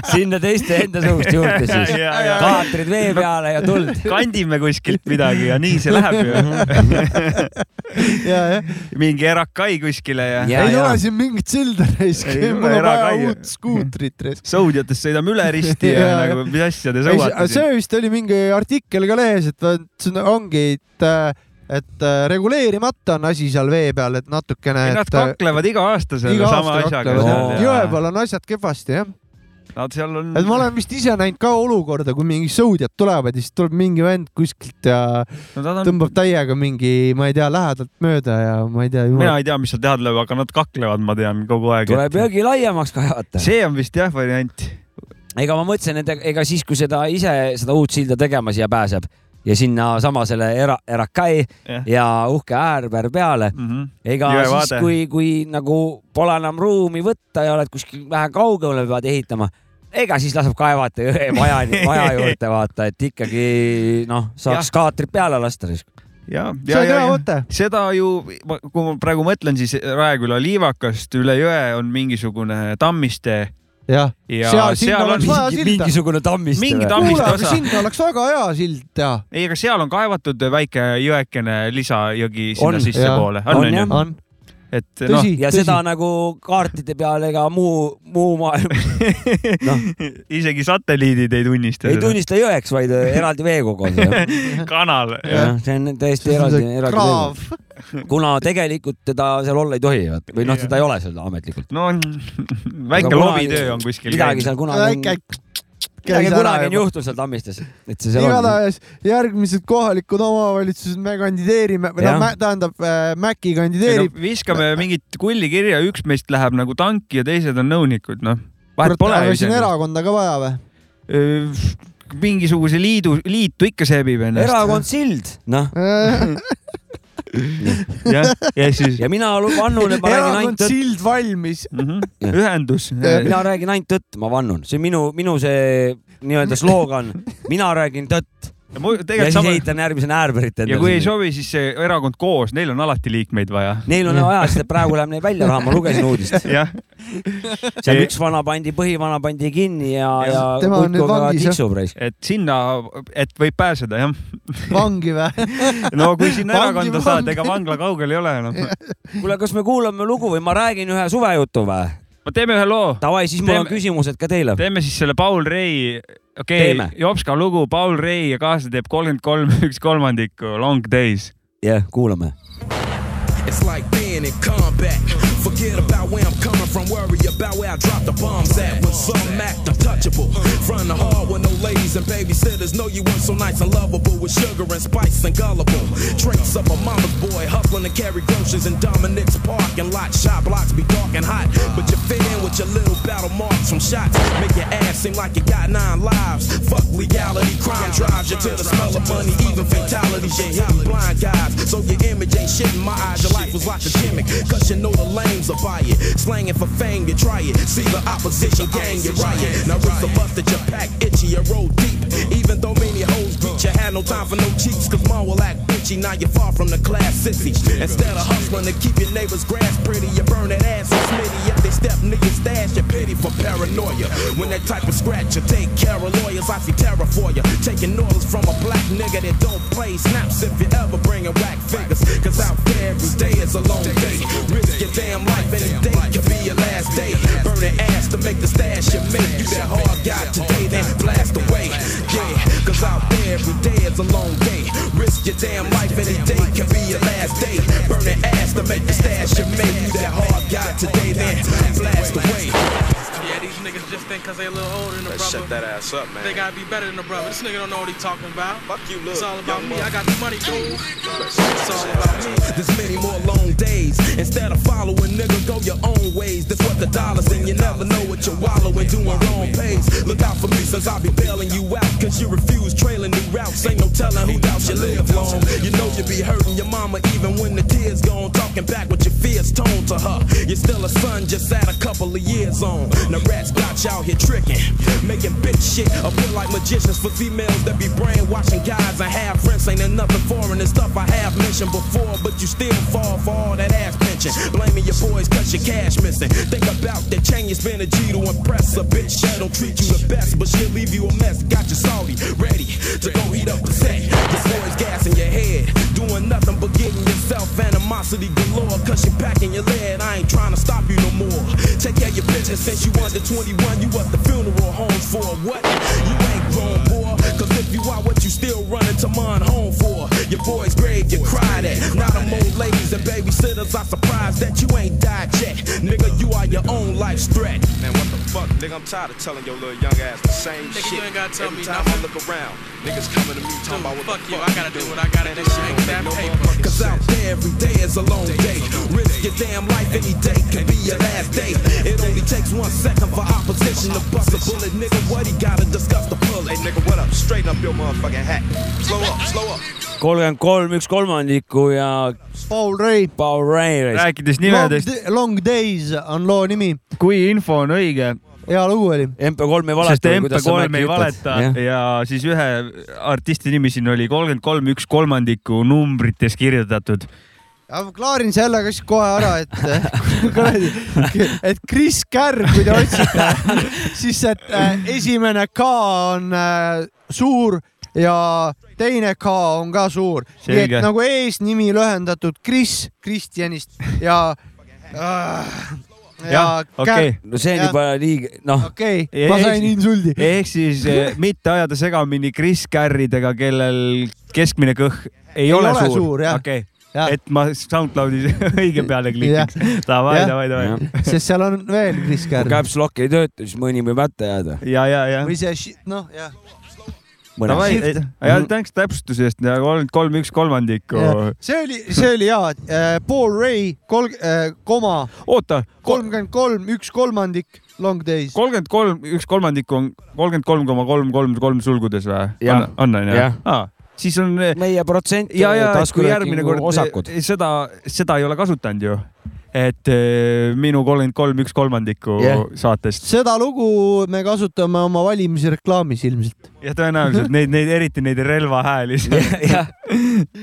sinna teiste enda suust juurde siis .
Ja, ja.
kaatrid vee peale ja tuld .
kandime kuskilt midagi ja nii see läheb ju .
ja , jah .
mingi erakai kuskile ja, ja.
Jaa,
ei tule
jaa.
siin mingit silda raisk ,
Ei tule,
mul on
ära
vaja
kai-
uut skuutrit raisk .
sõudjatest sõidame üle risti ja,
Jaa.
ja nagu mis asja te
Ei, see
sõuate
see
siin .
vist oli mingi artikkel ka lehes , et vot see on- ongi , et , et äh, reguleerimata on asi seal vee peal , et natukene .
Nad kaklevad iga aasta selle
iga
sama
aasta
asjaga
kaklevad
seal,
jah.
seal
jõe
ja
peal on asjad kehvasti jah .
nad seal on .
et ma olen vist ise näinud ka olukorda , kui mingi sõudjad tulevad ja siis tuleb mingi vend kuskilt ja tõmbab täiega mingi , ma ei tea , lähedalt mööda ja ma ei tea .
mina ei tea , mis seal teha tuleb , aga nad kaklevad , ma tean kogu aeg .
tuleb jõgi laiemaks kaevata .
see on vist jah variant .
ega ma mõtlesin , et ega siis , kui seda ise seda uut silda tegema siia pääseb ja sinnasama selle era , erakai
Jah.
ja uhke äärber peale ,
Mhm.
ega
Jõe
siis ,
vaade.
kui , kui nagu pole enam ruumi võtta ja oled kuskil vähe kaugemale , pead ehitama , ega siis laseb kaevata jõe maja , maja juurde vaata , et ikkagi noh , saaks kaatrid peale lasta siis .
ja ,
see
ja ,
on hea
ja ,
mõte .
seda ju , kui ma praegu mõtlen , siis Raeküla liivakast üle jõe on mingisugune tammiste
jah ,
ja
Seal-
seal,
sinna
seal
oleks
on ,
vaja- silda.
mingisugune tammist .
Mingi tamm- Tammist
kuule , aga
osa.
sinna oleks väga hea sild teha .
ei , aga seal on kaevatud väike jõekene lisajõgi
On,
sinna
jah.
sissepoole ,
On,
on onju
jah. .
on ,
et noh
tõsi ,
ja
tõsi
seda . nagu kaartide peal ega muu , muu maailm noh ,
isegi satelliidid ei tunnista
ei . tunnista jõeks , vaid äh, eraldi veekogu on see .
kanal .
jah , see on täiesti eraldi , eraldi
kraav
veekogu ,. kuna tegelikult teda seal olla ei tohi vaat- või noh , seda ei ole seal ametlikult .
no väike lobitöö on kuskil .
midagi seal kunagi
väike
on , midagi kunagi on . juhtunud seal Tammistes , et see seal on .
igatahes järgmised kohalikud omavalitsused , me kandideerime või
Jah.
noh , tähendab äh, Mäkki kandideerib .
viskame mingit kullikirja , üks meist läheb nagu tanki ja teised on nõunikud , noh . vahet pole ju
siin . erakonda ka vaja või ?
mingisuguse liidu , liitu ikka seebib ennast .
erakond Sild , noh ,
jah , ja siis
ja mina lu- vannun , et ma räägin ainult
erakond
tõtt ,
Sild valmis .
mhm, ühendus .
mina räägin ainult tõtt , ma vannun , see on minu , minu see nii-öelda sloogan , mina räägin tõtt ja
tegelikult
siis
sama
ehitan järgmise äärberit
ja kui ei
endale .
sobi , siis see erakond koos , neil on alati liikmeid vaja .
Neil on vaja , sest et praegu läheb neil välja raha , ma lugesin uudist .
jah ,
seal üks vana pandi , põhivana pandi kinni ja , ja
Tema on nüüd
kulkuga
vangis, jah.
tiksub raisk .
et sinna , et võib pääseda jah .
vangi või ?
no kui sinna
Vangi
erakonda saad ,
vang.
ega vangla kaugel ei ole noh. enam .
kuule , kas me kuulame lugu või ma räägin ühe suvejutu või ?
no teeme ühe loo ,
Davai , siis mul on
Teeme-
küsimused ka teile .
teeme siis selle Paul Rei , okei
Teeme.
okay, , Jopska lugu , Paul Rei ja kaasa teeb kolmkümmend kolm , üks kolmandikku , Long Days .
jah , kuulame .
It's like being in combat. Forget about where I'm coming from, worry about where I drop the bombs at. When some act untouchable, front the hall with no ladies and babysitters. Know you weren't so nice and lovable with sugar and spice and gullible. Traits of a mama's boy, hustling to carry groceries in Dominic's parking lot. Shot blocks be dark and hot, but you fit in with your little battle marks from shots. Make your ass seem like you got nine lives. Fuck legality, crime drives you to the smell of money, even fatalities. You hit blind guys, so your image ain't shit in my eyes. Your life was like a gimmick, cause you know the lames will buy it. Slanging for fame, you try it. See the opposition gang, you riot. Now it's the bus that you pack, itchy, you roll deep. Even though many hoes beat you, had no time for no cheeks, cause mom will act bitchy. Now you're far from the class sissy. Instead of hustling to keep your neighbor's grass pretty, you burn that ass and smitty. If they step niggas stash, you pity for paranoia. When that type of scratch, you take care of lawyers. I see terror for you. Taking orders from a black nigga that don't play snaps if you ever bringing whack figures. Cause out there, every day is a long day. Risk your damn life, any day could be your last day. Burning ass to make the stash you make. You that hard guy today, then blast away. Yeah, cause out there, every day is a long day. Risk your damn life, any day could be your last day. Burning ass to make the stash you make. You that hard guy today, then blast away.
Yeah, these niggas just think cause they a little older than the
Let's shut
brother.
that ass up, man.
They gotta be better than the brother. This nigga don't know what he talking about.
Fuck you, look.
It's all about
young
me.
mother-
I got the money, dude. It's all about me.
There's many more long days. Instead of following, nigga, go your own ways. That's what the dollars and you never know what you're wallowing, doing wrong pays. Look out for me since I'll be bailing you out. Cause you refuse trailing new routes. Ain't no telling who doubts you live long. You know you be hurting your mama even when the tears gone. Talking back with your fierce tone to her. You're still a son, just add a couple of years on. Now rats got you out here tricking. Making bitch shit appear like magicians for females that be brainwashing guys and half friends. Ain't enough nothing foreign and stuff I have mentioned before, but you still fall for all that ass pinching. Blaming your boys cause your cash missing. Think about that chain you spend a G to impress a bitch that'll treat you the best, but she'll leave you a mess. Got your salty ready to go heat up a set. Your boys gas in your head, doing nothing but getting yourself animosity galore. Cause you're packing your lead, I ain't trying to stop you no more. Take care of your business since you under 21, you at the funeral home for what? You ain't grown, boy. Cause if you are what you still running to mine home for. Your boy's grave, you cried at. Now them old ladies and babysitters are surprised that you ain't died yet. Nigga, you are your own life's threat.
Man, what the fuck, nigga? I'm tired of telling your little young ass the same
Nigga, you
shit.
ain't gotta tell
Every
me
time I
nothing.
look around, niggas coming to me talking about
Dude,
what the
fuck
fuck
you. I gotta
you
do what I gotta
Man,
do.
that shit
Make
don't
that
no
paper.
motherfucking
Cause out
sense.
there every day is a long day. Risk your damn life any day could be your last day. It only takes one second for opposition to bust a bullet. Nigga, what he gotta discuss the
Hey,
bullet?
nigga, what up? Straighten up your motherfucking hat. Slow up, slow up.
kolmkümmend kolm , üks kolmandiku ja
Paul Rei .
Paul Rein .
rääkides nimedest ,
Long Days on loo nimi ,
kui info on õige ,
hea lugu oli .
MP3 ei
sest
valeta .
MP3 ei valeta ja. ja siis ühe artisti nimi siin oli kolmkümmend kolm , üks kolmandiku numbrites kirjutatud .
ma klaarin selle ka siis kohe ära , et kuradi , et Kris Kärg , kui te otsite , siis et äh, esimene K on äh, suur ja teine K on ka suur . nii et
Selge.
nagu eesnimi lühendatud Kris Kristjanist ja
jah , okei .
no see on
Jah.
juba liiga , noh ,
okei ,
Ei,
ma
ei,
sain
ei.
insuldi .
ehk siis eh, mitte ajada segamini Chris Carridega , kellel keskmine kõhk ei, ei ole, ole suur, suur ,
jah.
okei
Jah.
okay. , et ma SoundCloudis õige peale klikiks . davai ,
Jah.
davai , davai .
sest seal on veel Kris
kui
Kärn
caps lock ei tööta , siis mõni võib hätta jääda .
ja , ja , ja .
või see , noh jah ,
davai ,
mõnes .
ja tänks täpsustuse eest , kolm , kolm , üks kolmandikku .
see oli , see oli hea , Paul Ray kolm , koma
oota ,
kolmkümmend kolm , üks kolmandik , long days .
kolmkümmend kolm , üks kolmandikku on kolmkümmend kolm koma kolm , kolm , kolm sulgudes või ?
Jah.
on , on , on ju
Jah. ?
siis on eh,
meie protsent
ja , ja , et kui järgmine
taskuhäälingu
kord
osakud .
eh, seda , seda ei ole kasutanud ju . et eh, minu kolmkümmend kolm , üks kolmandiku
Jah.
saatest
seda lugu me kasutame oma valimisreklaamis ilmselt .
ja tõenäoliselt neid , neid eriti neid relvahääli seal .
jah ,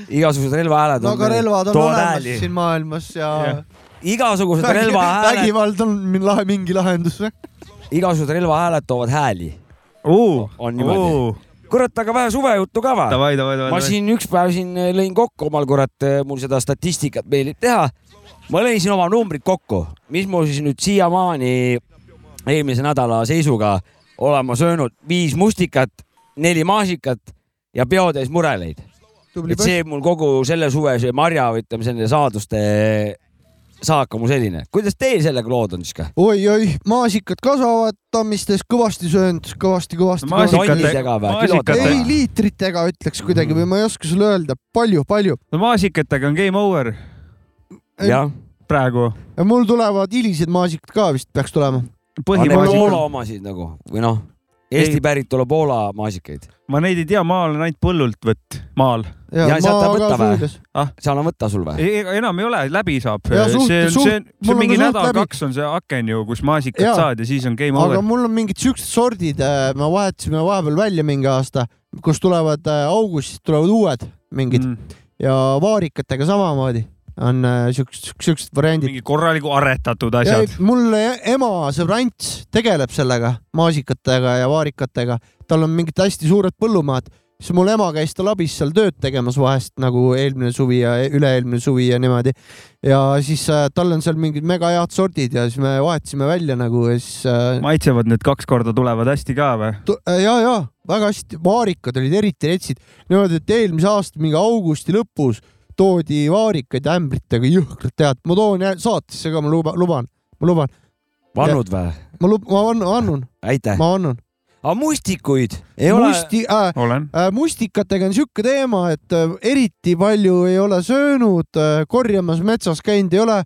igasugused relvahääled .
no aga relvad on
toovad
olemas
hääli.
siin maailmas ja,
Jah.
ja.
igasugused relvahääled ,
vägivald on min- lahe , mingi lahendus või ?
igasugused relvahääled toovad hääli . On niimoodi. kurat , aga vähe suvejuttu ka või ?
Davai , davai , davai .
ma siin üks päev siin äh, lõin kokku omal kurat , mul seda statistikat meeldib teha . ma lõin siin oma numbrid kokku , mis mul siis nüüd siiamaani eelmise nädala seisuga olema söönud viis mustikat , neli maasikat ja peotäis mureleid .
tubli
et
poiss .
see mul kogu selle suve see marja , ütleme selline saaduste saak on mu selline . kuidas teil sellega lood on siis ka ?
oi-oi , maasikad kasvavad tammistes , kõvasti söönud , kõvasti , kõvasti .
Maasikad-
maasikatega
tonnidega või? ,
ei
maasikatega ,
liitritega ütleks kuidagi või ma ei oska sulle öelda , palju , palju .
maasikatega on game over
Ei.
jah ,
praegu .
ja mul tulevad hilised maasikad ka vist peaks tulema .
Poola omasid nagu või noh , Eesti
Ei.
päritolu Poola maasikaid ,
ma neid ei tea , ma olen ainult põllult võtt , maal .
Ja sealt ta võtta või? seal on võtta sul või ?
ega enam ei ole , läbi saab . see
Jaa,
on ,
suht-
see on ,
suht-
see on
mul on
mingi
ka suht läbi.
nädal-kaks on see aken ju , kus maasikad
Jaa.
saad ja siis on game
aga
over .
mul on mingid siuksed sordid , me vahetasime vahepeal välja mingi aasta , kus tulevad äh, augustis tulevad uued mingid mm. ja vaarikatega samamoodi on äh, siuksed , siuksed variandid .
mingi korraliku aretatud asjad .
mul e- ema sõbrants tegeleb sellega maasikatega ja vaarikatega , tal on mingid hästi suured põllumaad , siis mul ema käis tal abis seal tööd tegemas vahest nagu eelmine suvi ja e- üle-eelmine suvi ja niimoodi . ja siis äh, tal on seal mingid mega head sordid ja siis me vahetasime välja nagu ja siis äh,
maitsevad need kaks korda tulevad hästi ka või ?
Tu- ja , ja väga hästi , vaarikad olid eriti retsid , niimoodi , et eelmise aasta mingi augusti lõpus toodi vaarikaid ämbritega jõhkralt head , ma toon jä- saatesse ka , ma luba- , luban , ma luban ,
pannud või ?
ma lub- , ma annan , annun ,
aitäh .
ma annun .
aga mustikuid ei ole Musti... ,
musti äh, ,
olen .
äh, mustikatega on siuke teema , et äh, eriti palju ei ole söönud äh, , korjamas metsas käinud ei ole ,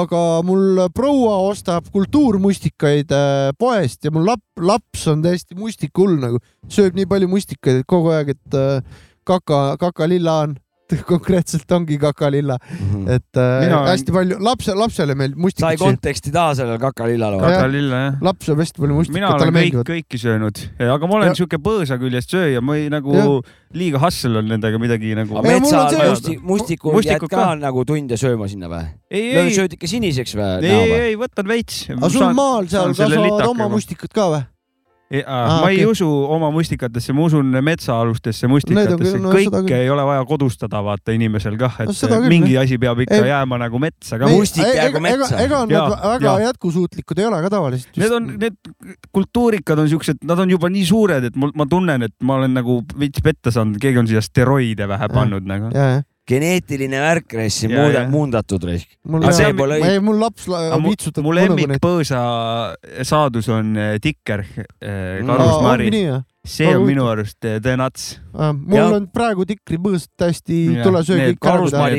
aga mul proua ostab kultuurmustikaid äh, poest ja mul lap, laps on täiesti mustikull nagu , sööb nii palju mustikaid , et kogu aeg , et äh, kaka , kakalilla on konkreetselt ongi kakalilla ,
Mhm.
et äh,
Hmm. Mina olen-
hästi palju lapse , lapsele meeldib
sai
mustikat süüa ,
konteksti taha sellel kakalillal või ?
Jah.
kakalilla jah .
laps sööb hästi palju
mina
mustikat ,
olen
talle
kõik ,
meeldivad .
kõiki söönud , aga ma olen
Ja-
siuke põõsa küljest sööja , ma ei nagu
Jah.
liiga hustle on nendega midagi nagu
aga .
Ei, mul on
metsal
see-
musti, mustikud,
Mustikud
mustikud jääd ka,
ka.
nagu tunde sööma sinna või ?
ei , ei , ei ,
sööd ikka siniseks või
ei ,
näo
ei
või ?,
võtan veits .
aga sul maal seal kasvavad oma mustikad ka või ?
Ei,
Aa,
ah, ma ei
okei.
okay. usu oma mustikatesse , ma usun metsaalustesse
Need
mustikatesse
on küll- , no seda
kõike
küll.
ei ole vaja kodustada vaata inimesel kah , et
No seda küll,
mingi asi peab ikka
Ei-
ei. jääma nagu metsa ka
Ei, .
Mustik
ei,
jäägu
ega-
metsa.
ega- ega nad
Jaa,
vä- väga
jaa.
jätkusuutlikud ei ole ka tavaliselt .
Need on , need kultuurikad on siuksed , nad on juba nii suured , et mul , ma tunnen , et ma olen nagu veits petta saanud , keegi on siia steroide vähe pannud nagu .
jajah ,
geneetiline värk raisk ,
Jaa,
muude-
jah. ,
muundatud raisk .
mul
Aga see
jah ,
pole
ei mul laps la-
Aga mu-
vitsutab .
mu lemmikpõõsa saadus on eh, tikker , Karus
Aa,
Mari .
või ?
see on
Aga
minu arust eh, the nuts .
mul
Jah.
on praegu tikripõõsad hästi , tule söö kõik ära .
karusmari-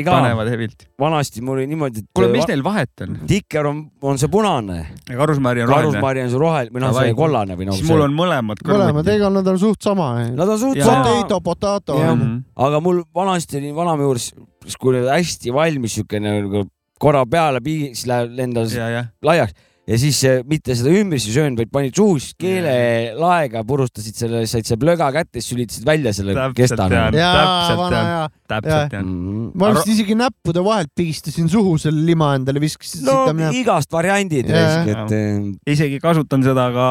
karusmari ka .
Mari ka.
panevad hevilt . Äh,
vanasti mul oli niimoodi , et
kuule , mis neil vahet on ?
tikker on , on see punane ,
karusmari on roheline .
karusmari on see roheline või noh ,
Davai.
see kollane või noh
siis . mul on mõlemad
mõlemad , ega nad on suht sama .
Nad on suht
Jaa.
sama ,
Potato , potato .
Jah.
Mhm.
aga mul vanasti oli vanaema juures , siis kui oli hästi valmis siukene nagu korra peale pii- , siis läheb , lendas
ja , jah .
laiaks ja siis eh, mitte seda ümbrisi söönud , vaid panid suhu , siis keelelaega purustasid selle , said selle plöga kätte , siis sülitasid välja selle
Täpselt,
kestana
jaa. .
jaa ,
Täpselt,
vana
jah.
hea .
täpselt
Jah.
jah .
Mhm.
ma vist isegi näppude vahelt pigistasin suhu selle lima endale , viskasin
no
sitta minema .
igast variandid
Jaa.
raisk , et eh,
isegi kasutan seda ka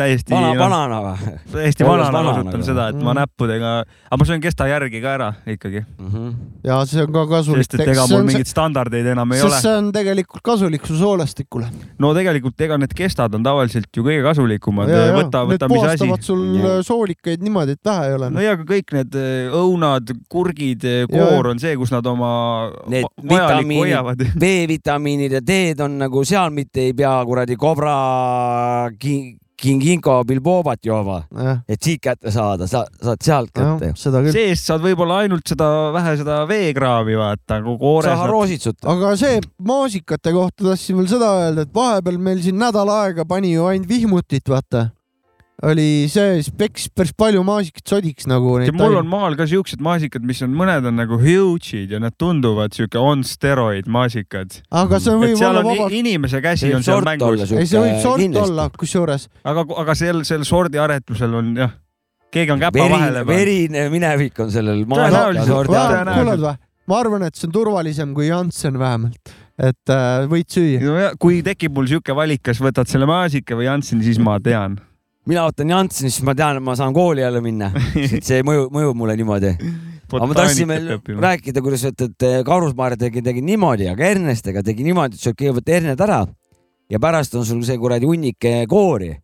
täiesti
vana , banana või
täiesti
Olles nagu.
vanana
vanana
kasutan
ka.
seda , et ma
Mm.
näppudega , aga ma söön kesta järgi ka ära ikkagi ,
Mhm.
ja see on ka kasulik .
sest et ega mul mingeid standardeid enam ei ole
sest . see on tegelikult kasulik su soolestikule .
no tegelikult ega need kestad on tavaliselt ju kõige kasulikumad , võta ,
Need
võta mis asi .
puhastavad sul
Jaa.
soolikaid niimoodi , et vähe ei ole
no . ja aga kõik need eh, õunad , kurgid ,
Jaa.
koor on see , kus nad oma
Need
va- vajalikku
vitamiinid-
hoiavad .
B-vitamiinid ja D-d on nagu seal mitte ei pea kuradi kobra ki- kinginko bilbobat jooma ,
jah ,
et siit kätte saada , sa saad sealt kätte .
seda küll .
sees saad võib-olla ainult seda vähe seda veekraavi vaata , kui koores
saha . roositsut .
aga see maasikate kohta tahtsin veel seda öelda , et vahepeal meil siin nädal aega pani ju ainult vihmutit , vaata . oli see , siis peks päris palju maasikaid sodiks nagu neid .
mul on maal ka siuksed maasikad , mis on , mõned on nagu huge'id ja nad tunduvad siuke on steroid maasikad .
aga see
et
võib
seal
olla
on i-
vabalt ,
inimese käsi on seal mängus ,
ei see võib sort olla , kusjuures .
aga , aga seal , seal sordiaretusel on jah , keegi on käpa
veri
vahele , pannud .
verine minevik on sellel
Tõenäoliselt.
maasikal .
Tõenäoliselt.
kuuled või ? ma arvan , et see on turvalisem kui Janssen vähemalt , et äh, võid süüa .
no ja kui tekib mul siuke valik , kas võtad selle maasika või Jansseni , siis ma tean .
mina võtan Jansseni , siis ma tean , et ma saan kooli jälle minna , sest see mõjub , mõjub mulle niimoodi . aga ma tahtsin veel rääkida , kuidas et , et Karusmaar tegi , tegi niimoodi , aga hernestega tegi niimoodi , et sööb kõigepealt herned ära ja pärast on sul see kuradi hunnike koori .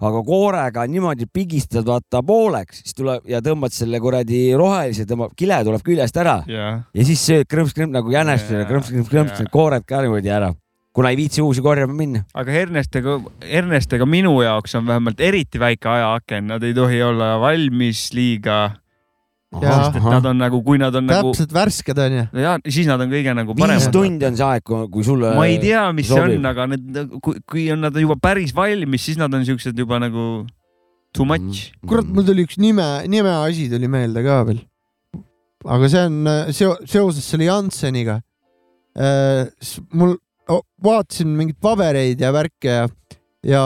aga koorega on niimoodi , pigistad vaata pooleks , siis tuleb ja tõmbad selle kuradi rohelise , tõmbab , kile tuleb küljest ära
jah ,
ja siis sööd krõmps-krõmps nagu jänestele
Jaa, ,
krõmps-krõmps-krõmps
jaa.
need koored ka niimoodi ära , kuna ei viitsi uusi korjama minna .
aga hernestega , hernestega minu jaoks on vähemalt eriti väike ajaaken , nad ei tohi olla valmis liiga ,
Jaa.
sest et nad on nagu , kui nad on nagu
täpselt värsked onju .
ja siis nad on kõige nagu
viis
paremad .
tundi on see aeg , kui sulle .
ma ei tea , mis see
Äh, sobib.
on , aga need , kui , kui on nad juba päris valmis , siis nad on siuksed juba nagu too
Mhm.
much .
kurat ,
Mm.
mul tuli üks nime , nimeasi tuli meelde ka veel . aga see on äh, seo- seoses selle Jansseniga . mul , vaatasin mingeid pabereid ja värke ja , ja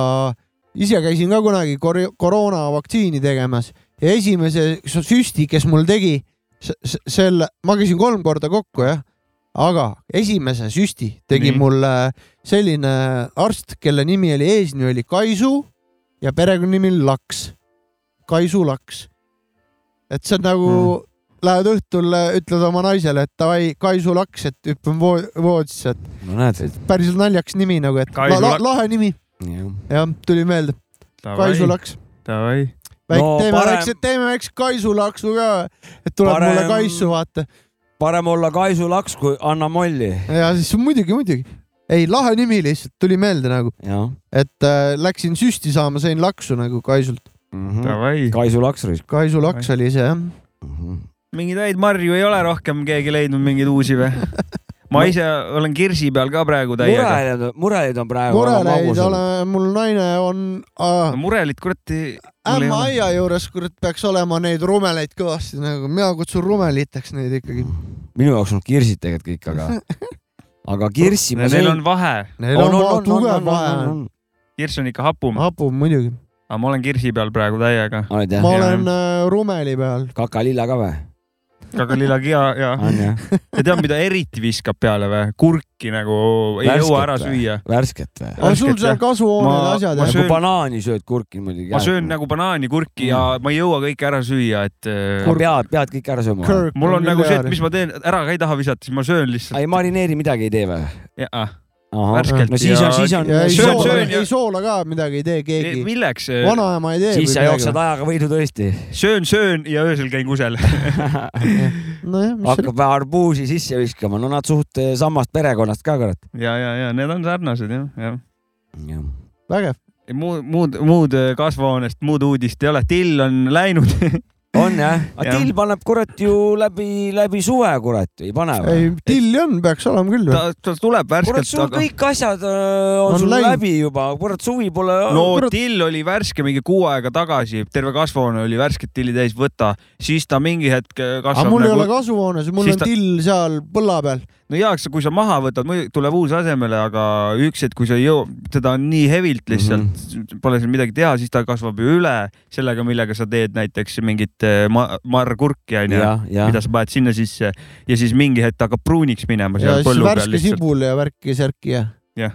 ise käisin ka kunagi kor- koroonavaktsiini tegemas ja esimese s- süsti , kes mul tegi , selle , ma käisin kolm korda kokku jah , aga esimese süsti tegi
Nii.
Nii. mulle selline arst , kelle nimi oli , eesnimi oli Kaisu ja perekonnanimi oli Laks , Kaisu Laks . et see on nagu mm. ,
Hmm.
lähed õhtul , ütled oma naisele , et davai , Kaisu Laks , et hüppan vo- voodisse , et
no näed ,
päriselt naljakas nimi nagu , et
Kaisu
la, la,
Laks.
lahe nimi ,
jah
jah , tuli meelde , Kaisu . Laks .
Davai .
väike
No
no, , teeme
parem-
parem... väikse , teeme väikse kaisulaksu ka , et tuleb parem...
Parem-
mulle kaisu vaata
parem olla Kaisu laks kui Anna Molli .
ja siis muidugi , muidugi . ei , lahe nimi lihtsalt tuli meelde nagu ,
jah
et äh, läksin süsti saama , sain laksu nagu kaisult .
mm -hmm. .
Davai .
Kaisu laks raisk
kaisulaks oli see jah .
mm . -hmm.
mingeid häid marju ei ole rohkem keegi leidnud mingeid uusi või ? ma ise olen kirsi peal ka praegu täiega .
muresid , muresid on praegu .
murele ei ole , mul naine on äh,
murelit kuradi .
ämma aia juures , kurat , peaks olema neid rumeleid kõvasti nagu , mina kutsun rumeliteks neid ikkagi .
minu jaoks on kirsid tegelikult kõik , aga , aga kirssi ma
Neil on vahe ,
Neil on, on, on tugev vahe ,
kirss on ikka hapum ,
hapub muidugi .
aga ma olen kirsi peal praegu täiega .
oled jah
ma ?
jah.
olen äh, rumeli peal ,
kakalilla ka või ?
aga lilla kia ja
on jah ,
ja tead , mida eriti viskab peale või ? kurki nagu ei
Värsket
jõua ära
või?
süüa .
värsket
aga
või ?
sul
Värsket, jah.
seal kasvuhoonel
Ma-
asjad
ma
jah ?
söön-
kui banaani sööd kurki muidugi .
ma söön . nagu banaani ,
Mm.
kurki ja ma ei jõua kõike ära süüa , et äh,
pead , pead kõik ära sööma .
Kirk
mul on nagu see , et
üleääri.
mis ma teen , ära ka ei taha visata , siis ma söön lihtsalt .
ei marineeri midagi ei tee või ?
Värskelt
no siis
ja-
on , siis on
ja . ei
Söön,
soola ,
söön ja-
ei soola ka midagi ei tee keegi .
milleks ?
vanaema ei tee .
siis sa jooksed ajaga võidu tõesti .
söön , söön ja öösel käin kusel .
nojah , mis seal
hakkab arbuusi sisse viskama , no nad suht eh, samast perekonnast ka kurat .
ja , ja , ja need on sarnased jah , jah .
vägev .
muud , muud , muud äh, kasvuhoonest , muud uudist ei ole , till on läinud .
on jah , aga
Jah.
till paneb kurat ju läbi , läbi suve kurat ju , ei pane või ?
ei , tilli on , peaks olema küll .
ta , ta tuleb
kurat ,
värskelt ,
sul
aga
kõik asjad öö, on,
On
on sul
läinud.
läbi juba , kurat suvi pole
no
kurat.
till oli värske mingi kuu aega tagasi , terve kasvuhoone oli värsket tilli täis , võta , siis ta mingi hetk
aga
kasvab
mul ei
nagu
ole kasvuhoones , mul
siis
on
ta-
till seal põlla peal .
no no heaks , kui sa maha võtad , muidu tuleb uus asemele , aga üks hetk , kui sa ei jõua , teda on nii hevilt lihtsalt mm ,
Mhm.
-hmm. pole seal midagi teha , siis ta kasvab ju üle sellega , millega sa teed näiteks mingit eh, ma- , marrkurki onju ,
Jah, jah.
mida sa paned sinna sisse ja siis mingi hetk ta hakkab pruuniks minema
ja
seal
siis
põllu peal
värske
lihtsalt .
sibul ja värki-särki ja .
Jah.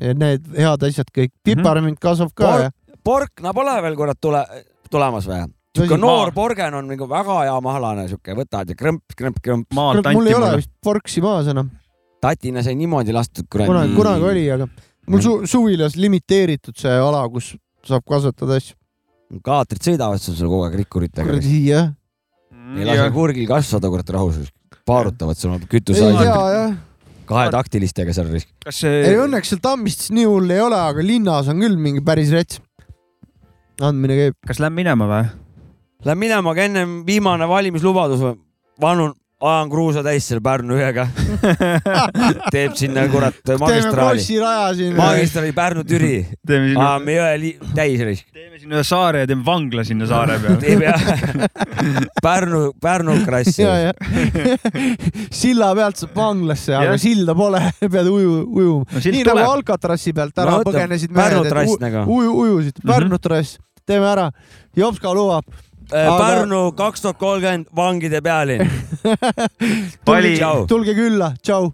ja need head asjad kõik , piparmint kasvab ka ja .
porkna pole veel kurat tule , tulemas või ? sihuke
Tõsi?
noor porgen on nagu väga hea mahlane , sihuke võtad ja krõmp , krõmp , krõmp .
maalt anti
mul ei ole
mulle .
vist porksi maas enam ,
tatina sai niimoodi lastud kuradi .
kunagi , kunagi oli , aga mul su suvilas limiteeritud see ala , kus saab kasvatada asju .
kaatrid sõidavad sul seal kogu aeg rikkuritega .
kuradi jah .
ei lase kurgil kasvada , kurat rahus . paarutavad sul
ei
kütuse
tea jah ,
kahetaktilistega seal risk .
kas see
ei õnneks seal Tammist nii hull ei ole , aga linnas on küll mingi päris rets . andmine käib .
kas läheb minema või ?
Lähen minema , aga ennem viimane valimislubadus , vanun , ajan kruusa täis selle Pärnu ühega . teeb sinna kurat
teeme
magistraali ,
kossiraja siin .
magistraali Pärnu-Türi ,
teeme sinna ,
ajame jõe li- täis risk .
teeme sinna ühe saare ja teeme vangla sinna saare peale .
teeb jah , Pärnu , Pärnu krass .
ja , ja silla pealt saab vanglasse , aga
Jah.
silda pole , pead uju , ujuma
No . sild
nii nagu
tuleb.
Alcatrassi pealt ära
No võta,
põgenesid
Pärnu Mhm.
mehed ,
trass
et
nagu.
u- uju , ujusid , Pärnu trass , teeme ära . Jopska lubab . Aga-
Äh, Pärnu kaks tuhat kolmkümmend vangide pealinn .
Pali-
tšau .
tulge külla , tšau .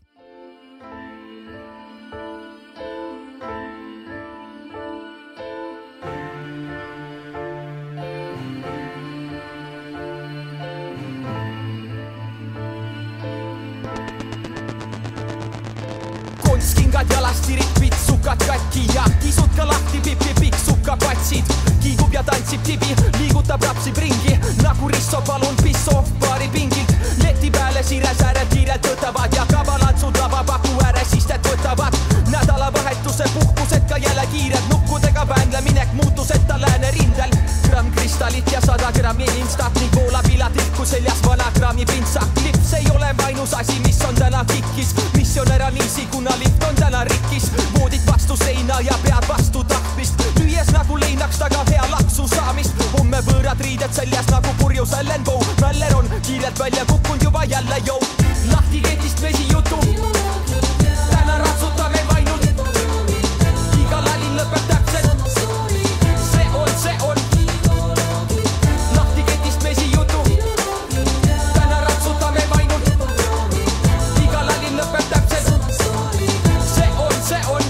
kunstkingad jalast tirid , pitsukad katki ja kisud ka lahti pipi , piksuka patsid . kiigub ja tantsib tibi , liigutab , rapsib ringi nagu Risso , palun pissoov baari pingilt . leti peale sires ääred kiirelt võtavad ja kavalad su tabapaku ääres istet võtavad . nädalavahetuse puhkused ka jälle kiired , nukkudega väänleminek muutus , et ta läänerindel . gramm kristallit ja sada grammi instat , nii voolab ilatilku seljas vana grammi pintsak . lips ei ole ainus asi , mis on täna kikkis , mis on ära niisi , kuna lift on täna rikkis . voodid vastu seina ja pead vastu tapmist , lüües nagu leinaks taga hea laksu saamist . homme võõrad riided seljas nagu purjus Allan Poe , naller on kiirelt välja kukkunud juba jälle jõu . lahti ketist vesi jutu , täna ratsutame ainult , iga lali lõpeb täpselt , see on , see on . lahti ketist vesi jutu , täna ratsutame ainult , iga lali lõpeb täpselt , see on , see on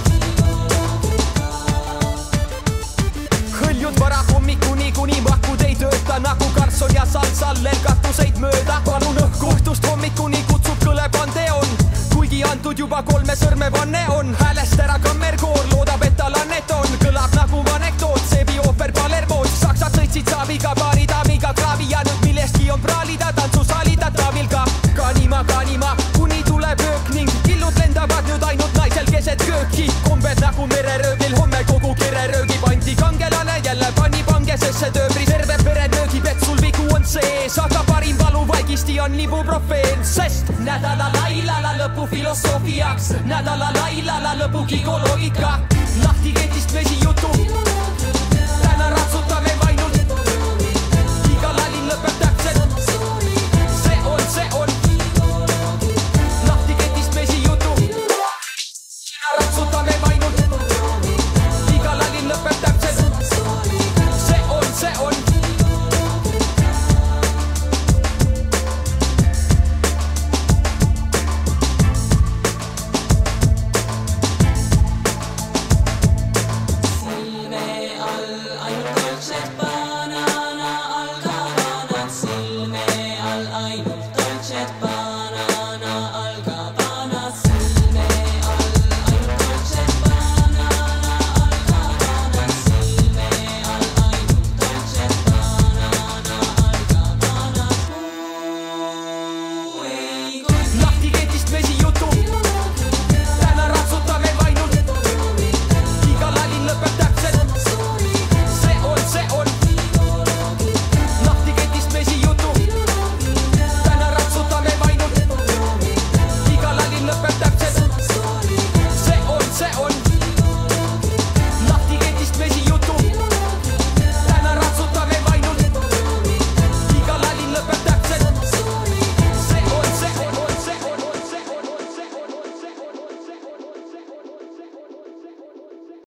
hõljun varahommikuni , kuni mahkud ei tööta nagu Karlsson ja Saltsallel katuseid mööda . palun õhku õhtust hommikuni kutsub kõle Pandeon , kuigi antud juba kolme sõrme vanne on . häälest ära kammerkoor loodab , et tal annet on , kõlab nagu anekdoot , seebi ooper Palermood . saksad sõitsid saaviga , paari daamiga kraavi ja nüüd millestki on praalida , tantsusaali tatravil ka . kanima , kanima , kuni tuleb öök ning killud lendavad nüüd ainult naisel keset kööki . kombed nagu mereröövlil , homme kogu kere röögib anti kange . kangelane jälle pani pangesesse tööbri , terve pere nöögib , et sul vigu on sees , aga parim valuvaigisti on ibuprofeen , sest nädala lailala lõpu filosoofiaks , nädala lailala lõpu gigoloogika .